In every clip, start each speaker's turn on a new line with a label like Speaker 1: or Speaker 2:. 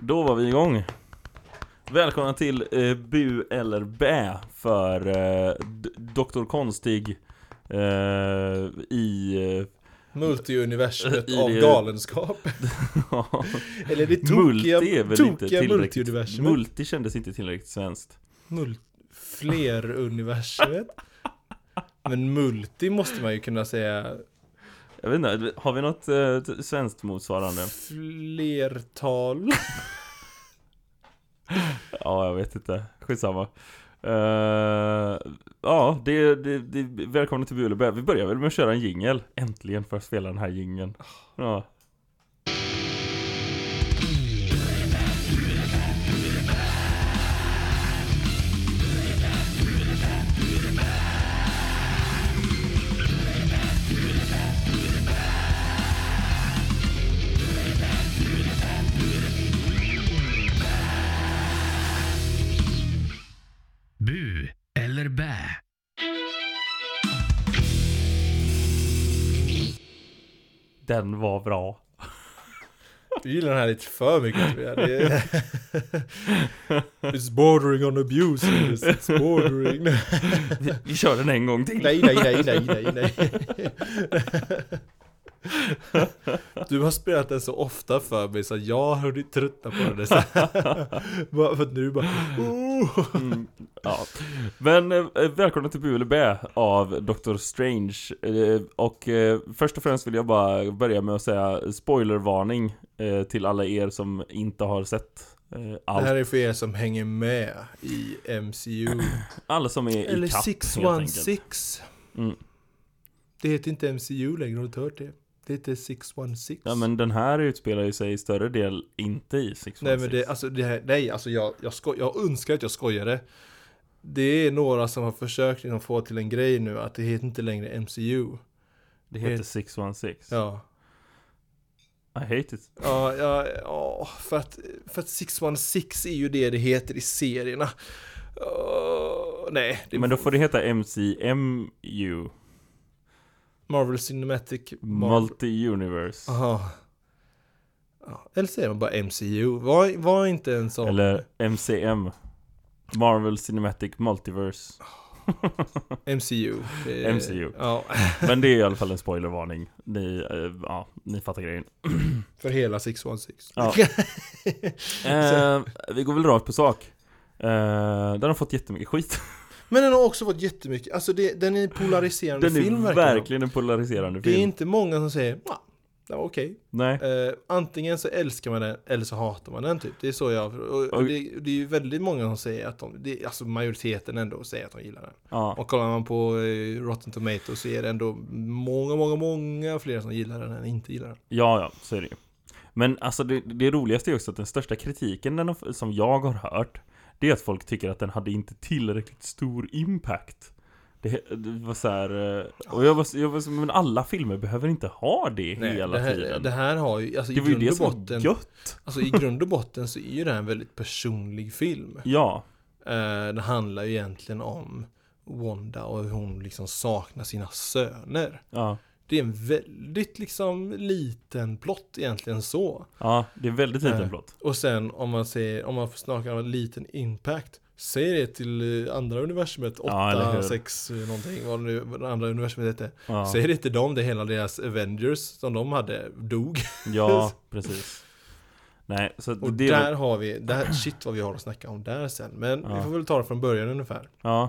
Speaker 1: Då var vi igång. Välkomna till eh, Bu eller Bä för eh, D- Dr. Konstig eh, i... Eh,
Speaker 2: Multiuniversumet
Speaker 1: I
Speaker 2: av
Speaker 1: det-
Speaker 2: galenskap. Eller det tokiga,
Speaker 1: multi är väl inte
Speaker 2: tokiga
Speaker 1: tillräckligt...
Speaker 2: multiuniversumet.
Speaker 1: Multi kändes inte tillräckligt svenskt.
Speaker 2: Mul- Fleruniversumet. Men multi måste man ju kunna säga.
Speaker 1: Jag vet inte, har vi något eh, t- svenskt motsvarande?
Speaker 2: Flertal.
Speaker 1: Ja, jag vet inte. Skitsamma. Eh, ja, det, det, det, välkomna till Bu eller Bä. Vi börjar väl med att köra en jingel. Äntligen får jag spela den här jingeln. Ja.
Speaker 3: Bu eller bä?
Speaker 1: Den var bra.
Speaker 2: Du gillar den här lite för mycket tror jag. Det är... It's bordering on abuse. It's bordering.
Speaker 1: Vi, vi kör den en gång till.
Speaker 2: Nej, nej, nej, nej, nej, nej. Du har spelat den så ofta för mig så jag har hunnit tröttna på den. Så. Bara för att nu bara... Oh.
Speaker 1: Mm, ja. Men eh, välkomna till Bu eller Bä av Dr. Strange. Eh, och eh, först och främst vill jag bara börja med att säga spoilervarning eh, till alla er som inte har sett eh,
Speaker 2: Det
Speaker 1: allt.
Speaker 2: här är för er som hänger med i MCU.
Speaker 1: Alla som är
Speaker 2: Eller
Speaker 1: i kapp, helt enkelt.
Speaker 2: 616.
Speaker 1: Mm.
Speaker 2: Det heter inte MCU längre, har du inte hört det? Det heter 616.
Speaker 1: Ja men den här utspelar ju sig i större del inte i 616.
Speaker 2: Nej men det, alltså det här, nej alltså jag, jag, sko- jag önskar att jag skojade. Det är några som har försökt att få till en grej nu att det heter inte längre MCU.
Speaker 1: det heter
Speaker 2: det-
Speaker 1: 616.
Speaker 2: Ja.
Speaker 1: I hate it.
Speaker 2: Ja, ja, ja för, att, för att 616 är ju det det heter i serierna. Åh, nej, det är
Speaker 1: Men då får det heta MCMU.
Speaker 2: Marvel Cinematic Marvel.
Speaker 1: Multi-universe.
Speaker 2: Aha. Ja, eller säger man bara MCU. Var, var inte en sån.
Speaker 1: Eller MCM. Marvel Cinematic Multiverse.
Speaker 2: MCU. Det-
Speaker 1: MCU.
Speaker 2: Ja,
Speaker 1: Men det är i alla fall en spoilervarning. Ni, eh, ja, ni fattar grejen.
Speaker 2: för hela 616.
Speaker 1: Ja. Eh, vi går väl rakt på sak. Eh, den har fått jättemycket skit.
Speaker 2: Men den har också varit jättemycket, alltså det, den är en polariserande
Speaker 1: Den
Speaker 2: film
Speaker 1: är
Speaker 2: verkar
Speaker 1: verkligen en polariserande
Speaker 2: Det är
Speaker 1: film.
Speaker 2: inte många som säger "Nja, det var okej.
Speaker 1: Nej.
Speaker 2: Eh, antingen så älskar man den eller så hatar man den typ. Det är så jag, och
Speaker 1: Och-
Speaker 2: det, det är ju väldigt många som säger att de, det, alltså majoriteten ändå säger att de gillar den.
Speaker 1: Ja.
Speaker 2: Och kollar man på eh, Rotten Tomatoes så är det ändå många, många, många fler som gillar den än inte gillar den.
Speaker 1: Ja, ja, så är det ju. Men alltså det, det roligaste är också att den största kritiken den har, som jag har hört Det är att folk tycker att den hade inte tillräckligt stor impact Det, det var så här, eh, och jag var, så- jag var så, men alla filmer behöver inte ha det hela
Speaker 2: det, här,
Speaker 1: tiden
Speaker 2: det här har ju, alltså i
Speaker 1: Det var ju
Speaker 2: grund
Speaker 1: det
Speaker 2: och
Speaker 1: som var
Speaker 2: botten,
Speaker 1: gött
Speaker 2: alltså i grund och botten så är ju det här en väldigt personlig film.
Speaker 1: Ja,
Speaker 2: Eh, Det handlar ju egentligen om Wanda och hur hon liksom saknar sina söner.
Speaker 1: ja,
Speaker 2: Det är en väldigt liksom liten plott egentligen så.
Speaker 1: ja, det är väldigt liten
Speaker 2: Eh.
Speaker 1: plott
Speaker 2: Och sen om man säger, om man får snacka om en liten impact Säg det till eh, andra universumet, 8,
Speaker 1: Ja, eller hur?
Speaker 2: 6 någonting vad nu vad det andra universumet hette
Speaker 1: Ja,
Speaker 2: Säg det till dem, det hela deras Avengers som de hade dog
Speaker 1: ja precis Nej, så
Speaker 2: Och
Speaker 1: det
Speaker 2: där har vi, där, shit vad vi har att snacka om där sen Men
Speaker 1: Ja.
Speaker 2: vi får väl ta det från början ungefär
Speaker 1: Ja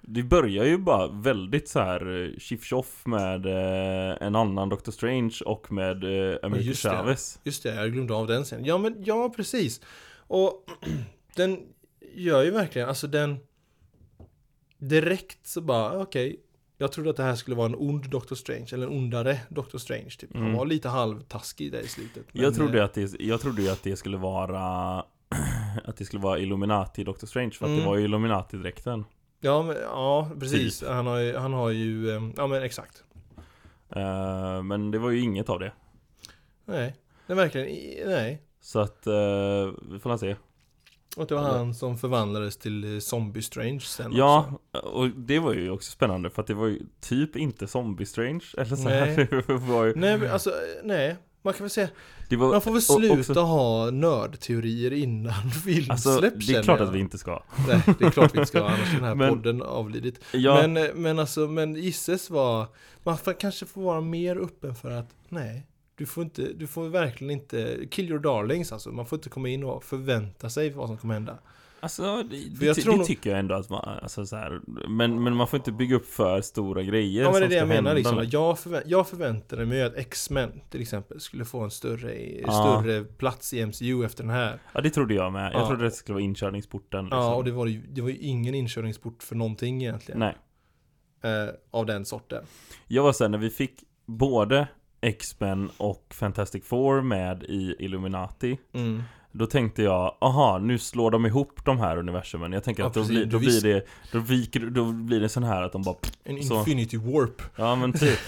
Speaker 1: Det börjar ju bara väldigt så här eh, tjoff med eh, en annan Doctor Strange och med eh, America
Speaker 2: just det.
Speaker 1: Chavez
Speaker 2: Just det, jag glömde av den sen. Ja, men ja, precis. Och den gör ju verkligen, alltså den direkt så bara, okej, jag trodde att det här skulle vara en ond Doctor Strange, eller en ondare Doctor Strange typ. Han
Speaker 1: Mm.
Speaker 2: var lite halvtaskig där i slutet. men,
Speaker 1: jag, trodde
Speaker 2: eh,
Speaker 1: att det, jag trodde ju att det skulle vara Att det skulle vara Illuminati i Doctor Strange för att det
Speaker 2: Mm.
Speaker 1: var ju Illuminati-dräkten
Speaker 2: Ja, men, ja precis.
Speaker 1: Typ.
Speaker 2: Han, har ju, han har ju, eh, ja men exakt.
Speaker 1: Eh, Men det var ju inget av det
Speaker 2: Nej, det är verkligen, i- nej.
Speaker 1: Så att, eh, vi får la se
Speaker 2: Och det var
Speaker 1: Eller-
Speaker 2: han som förvandlades till eh, Zombie Strange sen också.
Speaker 1: Ja, och det var ju också spännande för att det var ju typ inte Zombie Strange eller så här.
Speaker 2: Nej.
Speaker 1: Det var ju,
Speaker 2: Nej, men alltså, eh, nej. Man kan väl säga,
Speaker 1: Det var,
Speaker 2: man får väl
Speaker 1: och-
Speaker 2: sluta
Speaker 1: också-
Speaker 2: ha nördteorier innan film
Speaker 1: Alltså,
Speaker 2: släpps
Speaker 1: det är
Speaker 2: känner
Speaker 1: klart
Speaker 2: jag.
Speaker 1: att vi inte ska.
Speaker 2: Nej, det är klart vi inte ska, annars är den här
Speaker 1: Men-
Speaker 2: podden avlidit.
Speaker 1: Ja,
Speaker 2: Men, eh, men alltså, men Isses var, man får, kanske får vara mer öppen för att, nej, du får inte, du får verkligen inte, kill your darlings alltså, man får inte komma in och förvänta sig vad som kommer hända.
Speaker 1: alltså, det,
Speaker 2: För
Speaker 1: det,
Speaker 2: jag
Speaker 1: ty-
Speaker 2: tror
Speaker 1: det
Speaker 2: nog-
Speaker 1: tycker jag ändå att man, alltså, så här, men, men man får inte bygga upp för stora grejer
Speaker 2: Ja men det
Speaker 1: som
Speaker 2: är det
Speaker 1: ska
Speaker 2: jag menar
Speaker 1: hända.
Speaker 2: liksom, att jag, förvä- jag förväntade mig att X-Men till exempel skulle få en större,
Speaker 1: Ja.
Speaker 2: större plats i MCU efter den här.
Speaker 1: Ja, det trodde jag med. Jag
Speaker 2: Ja.
Speaker 1: trodde det skulle vara inkörningsporten. Liksom.
Speaker 2: Ja, och det var, ju, det var ju ingen inkörningsport för någonting egentligen.
Speaker 1: Nej.
Speaker 2: Eh, av den sorten.
Speaker 1: Jag var såhär, när vi fick både X-Men och Fantastic Four med i Illuminati
Speaker 2: Mm.
Speaker 1: Då tänkte jag, aha, nu slår de ihop de här universumen Jag tänker
Speaker 2: Ja,
Speaker 1: att då,
Speaker 2: precis.
Speaker 1: blir, då,
Speaker 2: Du
Speaker 1: blir
Speaker 2: visste-
Speaker 1: det, då, viker, då blir det sån här att de bara
Speaker 2: En
Speaker 1: Så.
Speaker 2: infinity warp.
Speaker 1: Ja men typ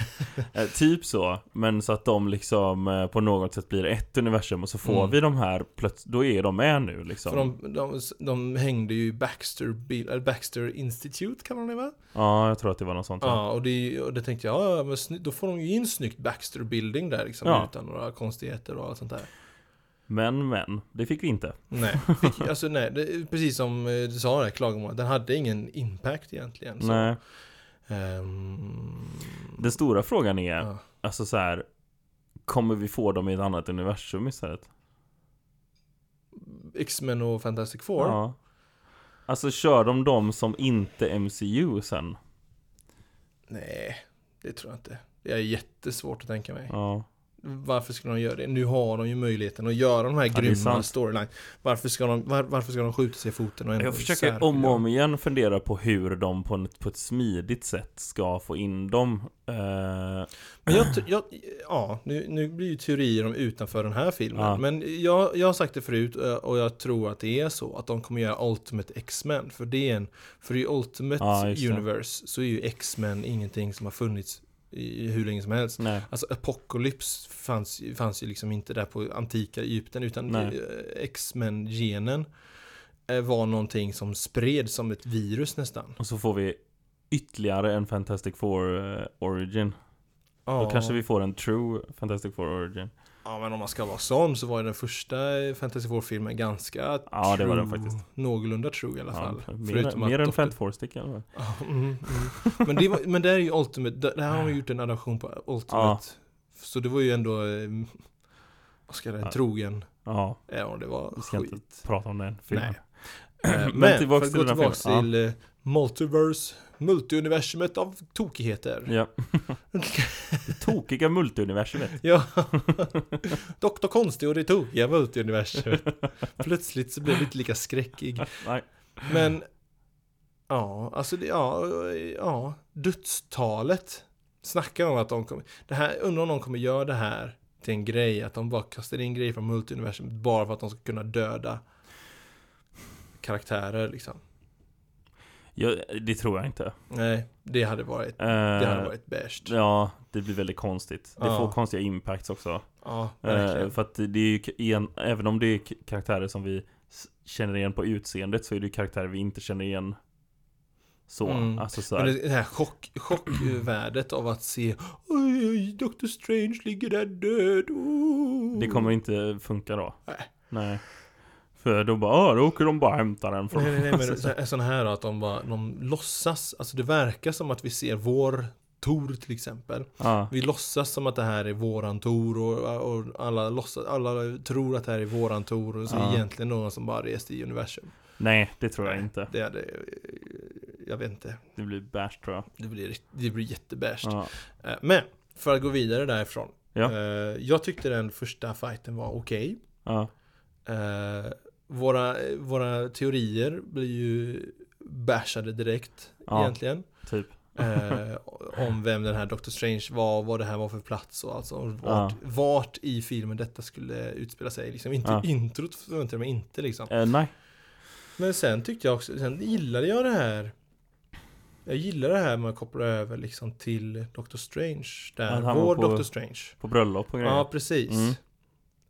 Speaker 1: eh, Typ så Men så att de liksom eh, på något sätt blir ett universum Och så får
Speaker 2: Mm.
Speaker 1: vi de här plötsligt Då är de med nu liksom
Speaker 2: För de, de, de hängde ju i Baxter, Bill, eller Baxter Institute kallar de det va?
Speaker 1: Ja jag tror att det var något sånt ja.
Speaker 2: Ja, och det, och det tänkte jag, ja, men sny- då får de ju in snyggt Baxter Building där liksom
Speaker 1: Ja.
Speaker 2: utan några konstigheter och allt sånt där.
Speaker 1: Men men Det fick vi inte
Speaker 2: Nej, fick, alltså nej, det, är precis som eh, du sa där, klagomålet, den hade ingen impact egentligen. Så,
Speaker 1: Nej
Speaker 2: ehm,
Speaker 1: Den stora frågan är
Speaker 2: Ja.
Speaker 1: Alltså så här Kommer vi få dem i ett annat universum istället?
Speaker 2: X-Men och Fantastic Four.
Speaker 1: Ja Alltså kör de dem som inte MCU sen?
Speaker 2: Nej, det tror jag inte. Det är jättesvårt att tänka mig.
Speaker 1: Ja
Speaker 2: Varför skulle de göra det? Nu har de ju möjligheten att göra de här
Speaker 1: det är
Speaker 2: grymma
Speaker 1: sant.
Speaker 2: storyline. Varför ska, de, var, varför ska de skjuta sig i foten och ändå
Speaker 1: Jag försöker
Speaker 2: särskilja
Speaker 1: om och
Speaker 2: dem?
Speaker 1: om igen fundera på hur de på ett, på ett smidigt sätt ska få in dem Eh,
Speaker 2: Men jag, tr- jag, ja, nu, nu blir ju teorier om utanför den här filmen.
Speaker 1: Ja.
Speaker 2: Men jag, jag har sagt det förut eh, och jag tror att det är så. Att de kommer göra Ultimate X-Men. För, det är en, för i Ultimate
Speaker 1: Ja, just det.
Speaker 2: Universe så är ju X-Men ingenting som har funnits i hur länge som helst.
Speaker 1: Nej,
Speaker 2: Alltså Apocalypse fanns, ju- fanns ju liksom inte där på antika Egypten utan
Speaker 1: Nej.
Speaker 2: eh, X-Men-genen eh, var någonting som spreds som ett virus nästan.
Speaker 1: och så får vi ytterligare en Fantastic Four eh, Origin. Då kanske vi får en true Fantastic Four Origin.
Speaker 2: Ja men om man ska vara sån så var ju den första Fantasy Four-filmen ganska
Speaker 1: Ja, det var den faktiskt.
Speaker 2: Någorlunda true i alla fall.
Speaker 1: Ja, mer mer än
Speaker 2: Dr.
Speaker 1: Fant Four Stick i alla fall.
Speaker 2: Ja, mm, mm. Men, det var, men det är ju Ultimate, det det här har man gjort en adaption på eh, Ultimate.
Speaker 1: Ja.
Speaker 2: Så det var ju ändå, eh, vad ska jag säga,
Speaker 1: Ja.
Speaker 2: trogen.
Speaker 1: Ja,
Speaker 2: Ja, det var
Speaker 1: Vi ska inte
Speaker 2: skit.
Speaker 1: prata om den filmen.
Speaker 2: Nej. Eh,
Speaker 1: Men
Speaker 2: Men
Speaker 1: tillbaks
Speaker 2: för att
Speaker 1: till
Speaker 2: gå
Speaker 1: den här
Speaker 2: tillbaks
Speaker 1: filmen.
Speaker 2: till eh, Multiverse, multiuniversumet av tokigheter.
Speaker 1: Ja. det tokiga multiuniversumet.
Speaker 2: Ja. Doktor Konstig och det tokiga multiuniversumet. Plötsligt så blev det inte lika skräckig.
Speaker 1: Nej.
Speaker 2: Men, ja, alltså det, ja, ja, dödstalet. Snacka om att de kommer, det här, undrar om de kommer göra det här till en grej, att de bara kastar in grejer från multiuniversumet bara för att de ska kunna döda karaktärer liksom.
Speaker 1: Ja, det tror jag inte.
Speaker 2: Nej, det hade varit
Speaker 1: Eh,
Speaker 2: Det hade varit bäst.
Speaker 1: Ja, det blir väldigt konstigt. Det
Speaker 2: Ja.
Speaker 1: får konstiga impacts också.
Speaker 2: Ja,
Speaker 1: Eh,
Speaker 2: verkligen.
Speaker 1: för att det är ju k- igen, även om det är k- karaktärer som vi s- känner igen på utseendet så är det ju karaktärer vi inte känner igen så.
Speaker 2: Mm.
Speaker 1: Alltså så
Speaker 2: Men
Speaker 1: här,
Speaker 2: det, det här chock, chockvärdet av att se Oj, oj, Dr. Strange ligger där död. Oh.
Speaker 1: det kommer inte funka då.
Speaker 2: Nej.
Speaker 1: Nej. För då bara, "Ah, då åker de bara och hämtar den från...
Speaker 2: Nej, nej, nej, men det- så- en sån här då, att de bara, de låtsas, alltså det verkar som att vi ser vår Tor till exempel.
Speaker 1: Ja.
Speaker 2: Vi låtsas som att det här är våran Tor och, och alla, låtsas, alla tror att det här är våran Tor och så är
Speaker 1: Ja.
Speaker 2: det egentligen någon som bara reste i universum.
Speaker 1: Nej, det tror jag inte.
Speaker 2: Det hade, jag vet inte,
Speaker 1: Det blir bash tror jag.
Speaker 2: det blir, rikt- det blir jättebäst.
Speaker 1: Ja.
Speaker 2: Eh, Men, för att gå vidare därifrån.
Speaker 1: Ja.
Speaker 2: Eh, Jag tyckte den första fighten var okej.
Speaker 1: Ja.
Speaker 2: Eh, Våra, våra teorier blir ju bashade direkt
Speaker 1: Ja.
Speaker 2: egentligen.
Speaker 1: Typ.
Speaker 2: Eh, om vem den här Dr. Strange var, vad det här var för plats och alltså vart, vart i filmen detta skulle utspela sig. Liksom inte
Speaker 1: Ja.
Speaker 2: introt förväntade jag mig inte liksom.
Speaker 1: Eh, nej.
Speaker 2: Men sen tyckte jag också, sen gillade jag det här. Jag gillar det här med att koppla över liksom till Dr. Strange. Där,
Speaker 1: Att han var
Speaker 2: vår
Speaker 1: på- Mm.
Speaker 2: Dr. Strange.
Speaker 1: På bröllop och grejer.
Speaker 2: Ja, precis.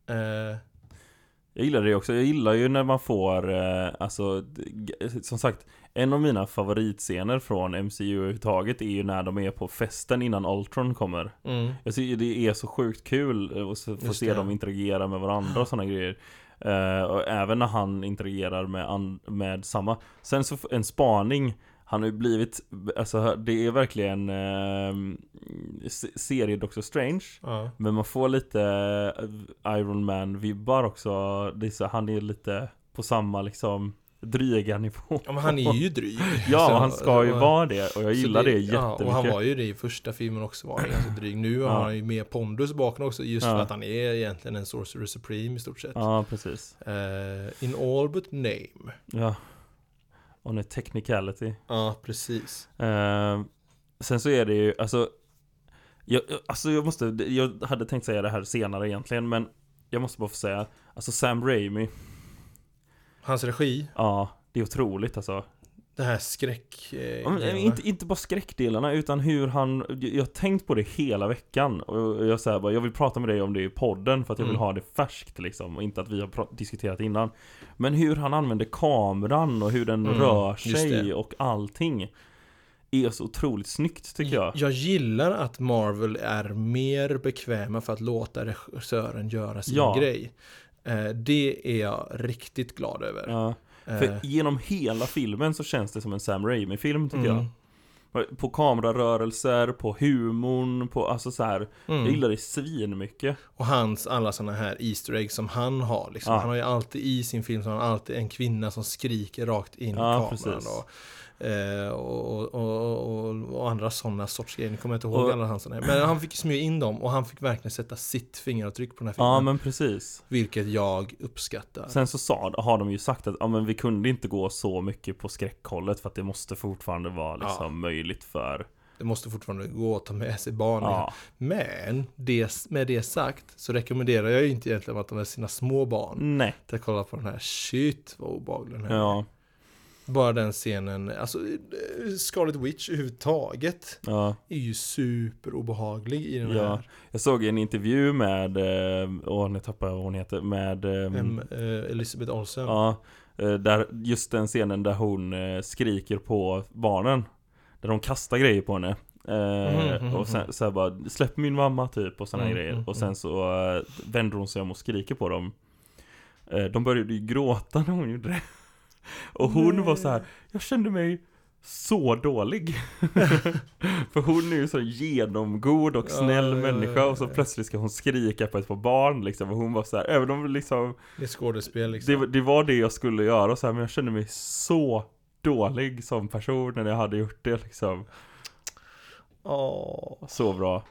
Speaker 2: Eh,
Speaker 1: Jag gillar det också. Jag gillar ju när man får, eh, alltså, d- g- som sagt, en av mina favoritscener från MCU överhuvudtaget är ju när de är på festen innan Ultron kommer.
Speaker 2: Mm.
Speaker 1: Jag tycker det är så sjukt kul eh, att se- få
Speaker 2: Just
Speaker 1: se
Speaker 2: det.
Speaker 1: dem interagera med varandra och sådana grejer. Eh, och även när han interagerar med, an- med samma. Sen så f- en spaning. Han har ju blivit, alltså det är verkligen eh, se- serie Doctor Strange.
Speaker 2: Ja.
Speaker 1: Men man får lite eh, Iron Man-vibbar också. Det är så, han är lite på samma liksom dryga nivå.
Speaker 2: ja, men han är ju dryg.
Speaker 1: Ja,
Speaker 2: Så-
Speaker 1: han ska ju
Speaker 2: så-
Speaker 1: vara det och jag
Speaker 2: så
Speaker 1: gillar det,
Speaker 2: Ja,
Speaker 1: jättemycket.
Speaker 2: och han var ju det i första filmen också, var han ganska dryg. Nu har
Speaker 1: Ja.
Speaker 2: han ju mer pondus bakom också, just för
Speaker 1: Ja.
Speaker 2: att han är egentligen en Sorcerer Supreme i stort sett.
Speaker 1: Ja, precis.
Speaker 2: Eh, in all but name.
Speaker 1: Ja. Och nu technicality.
Speaker 2: Ja, precis.
Speaker 1: Eh, sen så är det ju, alltså jag, jag- alltså jag måste, jag hade tänkt säga det här senare egentligen men Jag måste bara få säga Alltså Sam Raimi
Speaker 2: Hans regi,
Speaker 1: Ja, det är otroligt alltså
Speaker 2: det här skräck... Eh,
Speaker 1: Ja, men,
Speaker 2: grejerna.
Speaker 1: inte, inte bara skräckdelarna utan hur han Jag jag har tänkt på det hela veckan Och jag säger bara, jag vill prata med dig om det i podden För att jag vill
Speaker 2: Mm.
Speaker 1: ha det färskt liksom Och inte att vi har pra- diskuterat innan Men hur han använder kameran och hur den
Speaker 2: Mm,
Speaker 1: rör
Speaker 2: just
Speaker 1: sig
Speaker 2: det.
Speaker 1: och allting Är så otroligt snyggt tycker jag
Speaker 2: Jag gillar att Marvel är mer bekväma för att låta regissören göra sin
Speaker 1: Ja.
Speaker 2: grej. Eh, det är jag riktigt glad över.
Speaker 1: Ja.
Speaker 2: Eh,
Speaker 1: För genom hela filmen så känns det som en Sam Raimi-film tycker
Speaker 2: mm,
Speaker 1: jag. På kamerarörelser, på humorn, på alltså så här. Jag
Speaker 2: mm.
Speaker 1: gillar det svinmycket.
Speaker 2: Och hans alla sådana här Easter eggs som han har. Liksom.
Speaker 1: Ja.
Speaker 2: Han har ju alltid i sin film så har han alltid en kvinna som skriker rakt in
Speaker 1: Ja,
Speaker 2: i kameran.
Speaker 1: precis.
Speaker 2: Och, eh, och, och, och, och, och andra sådana sorts grejer. Nu kommer jag inte ihåg
Speaker 1: Och-
Speaker 2: alla hans sådana. här. Men han fick ju smyga in dem och han fick verkligen sätta sitt fingeravtryck på den här filmen.
Speaker 1: Ja men precis.
Speaker 2: Vilket jag uppskattar.
Speaker 1: Sen så sa, har de ju sagt att ja, men vi kunde inte gå så mycket på skräckhållet för att det måste fortfarande vara liksom
Speaker 2: Ja.
Speaker 1: möjligt för...
Speaker 2: Det måste fortfarande gå att ta med sig barn.
Speaker 1: Ja,
Speaker 2: Men det, med det sagt så rekommenderar jag ju inte egentligen att de med sina små barn
Speaker 1: nej.
Speaker 2: till att kolla på den här. Shit vad obehaglig den här
Speaker 1: Mm. Ja,
Speaker 2: Bara den scenen, alltså eh, Scarlet Witch överhuvudtaget
Speaker 1: ja.
Speaker 2: är ju superobehaglig i den
Speaker 1: Ja.
Speaker 2: här.
Speaker 1: Jag såg en intervju med, eh, åh nu tappar jag vad hon heter, med... ehm,
Speaker 2: Em, eh, Elisabeth Olsen.
Speaker 1: Ja, eh, där, just den scenen där hon eh, skriker på barnen Där de kastar grejer på henne Eh,
Speaker 2: Mhm, mhm,
Speaker 1: Och sen så här bara Släpp min mamma typ och sådana
Speaker 2: Mm,
Speaker 1: grejer
Speaker 2: mm,
Speaker 1: Och sen så eh, vänder hon sig om och skriker på dem Eh, De började ju gråta när hon gjorde det Och hon var så här Jag kände mig så dålig För hon är ju så genomgod och
Speaker 2: Ja,
Speaker 1: snäll
Speaker 2: ja, ja,
Speaker 1: människa Och så
Speaker 2: ja.
Speaker 1: plötsligt ska hon skrika på ett par barn liksom Och hon var så här Även om liksom
Speaker 2: Det är skådespel liksom.
Speaker 1: det, det var det jag skulle göra och så här, men jag kände mig så dålig som person när jag hade gjort det liksom.
Speaker 2: Åh.
Speaker 1: Så bra.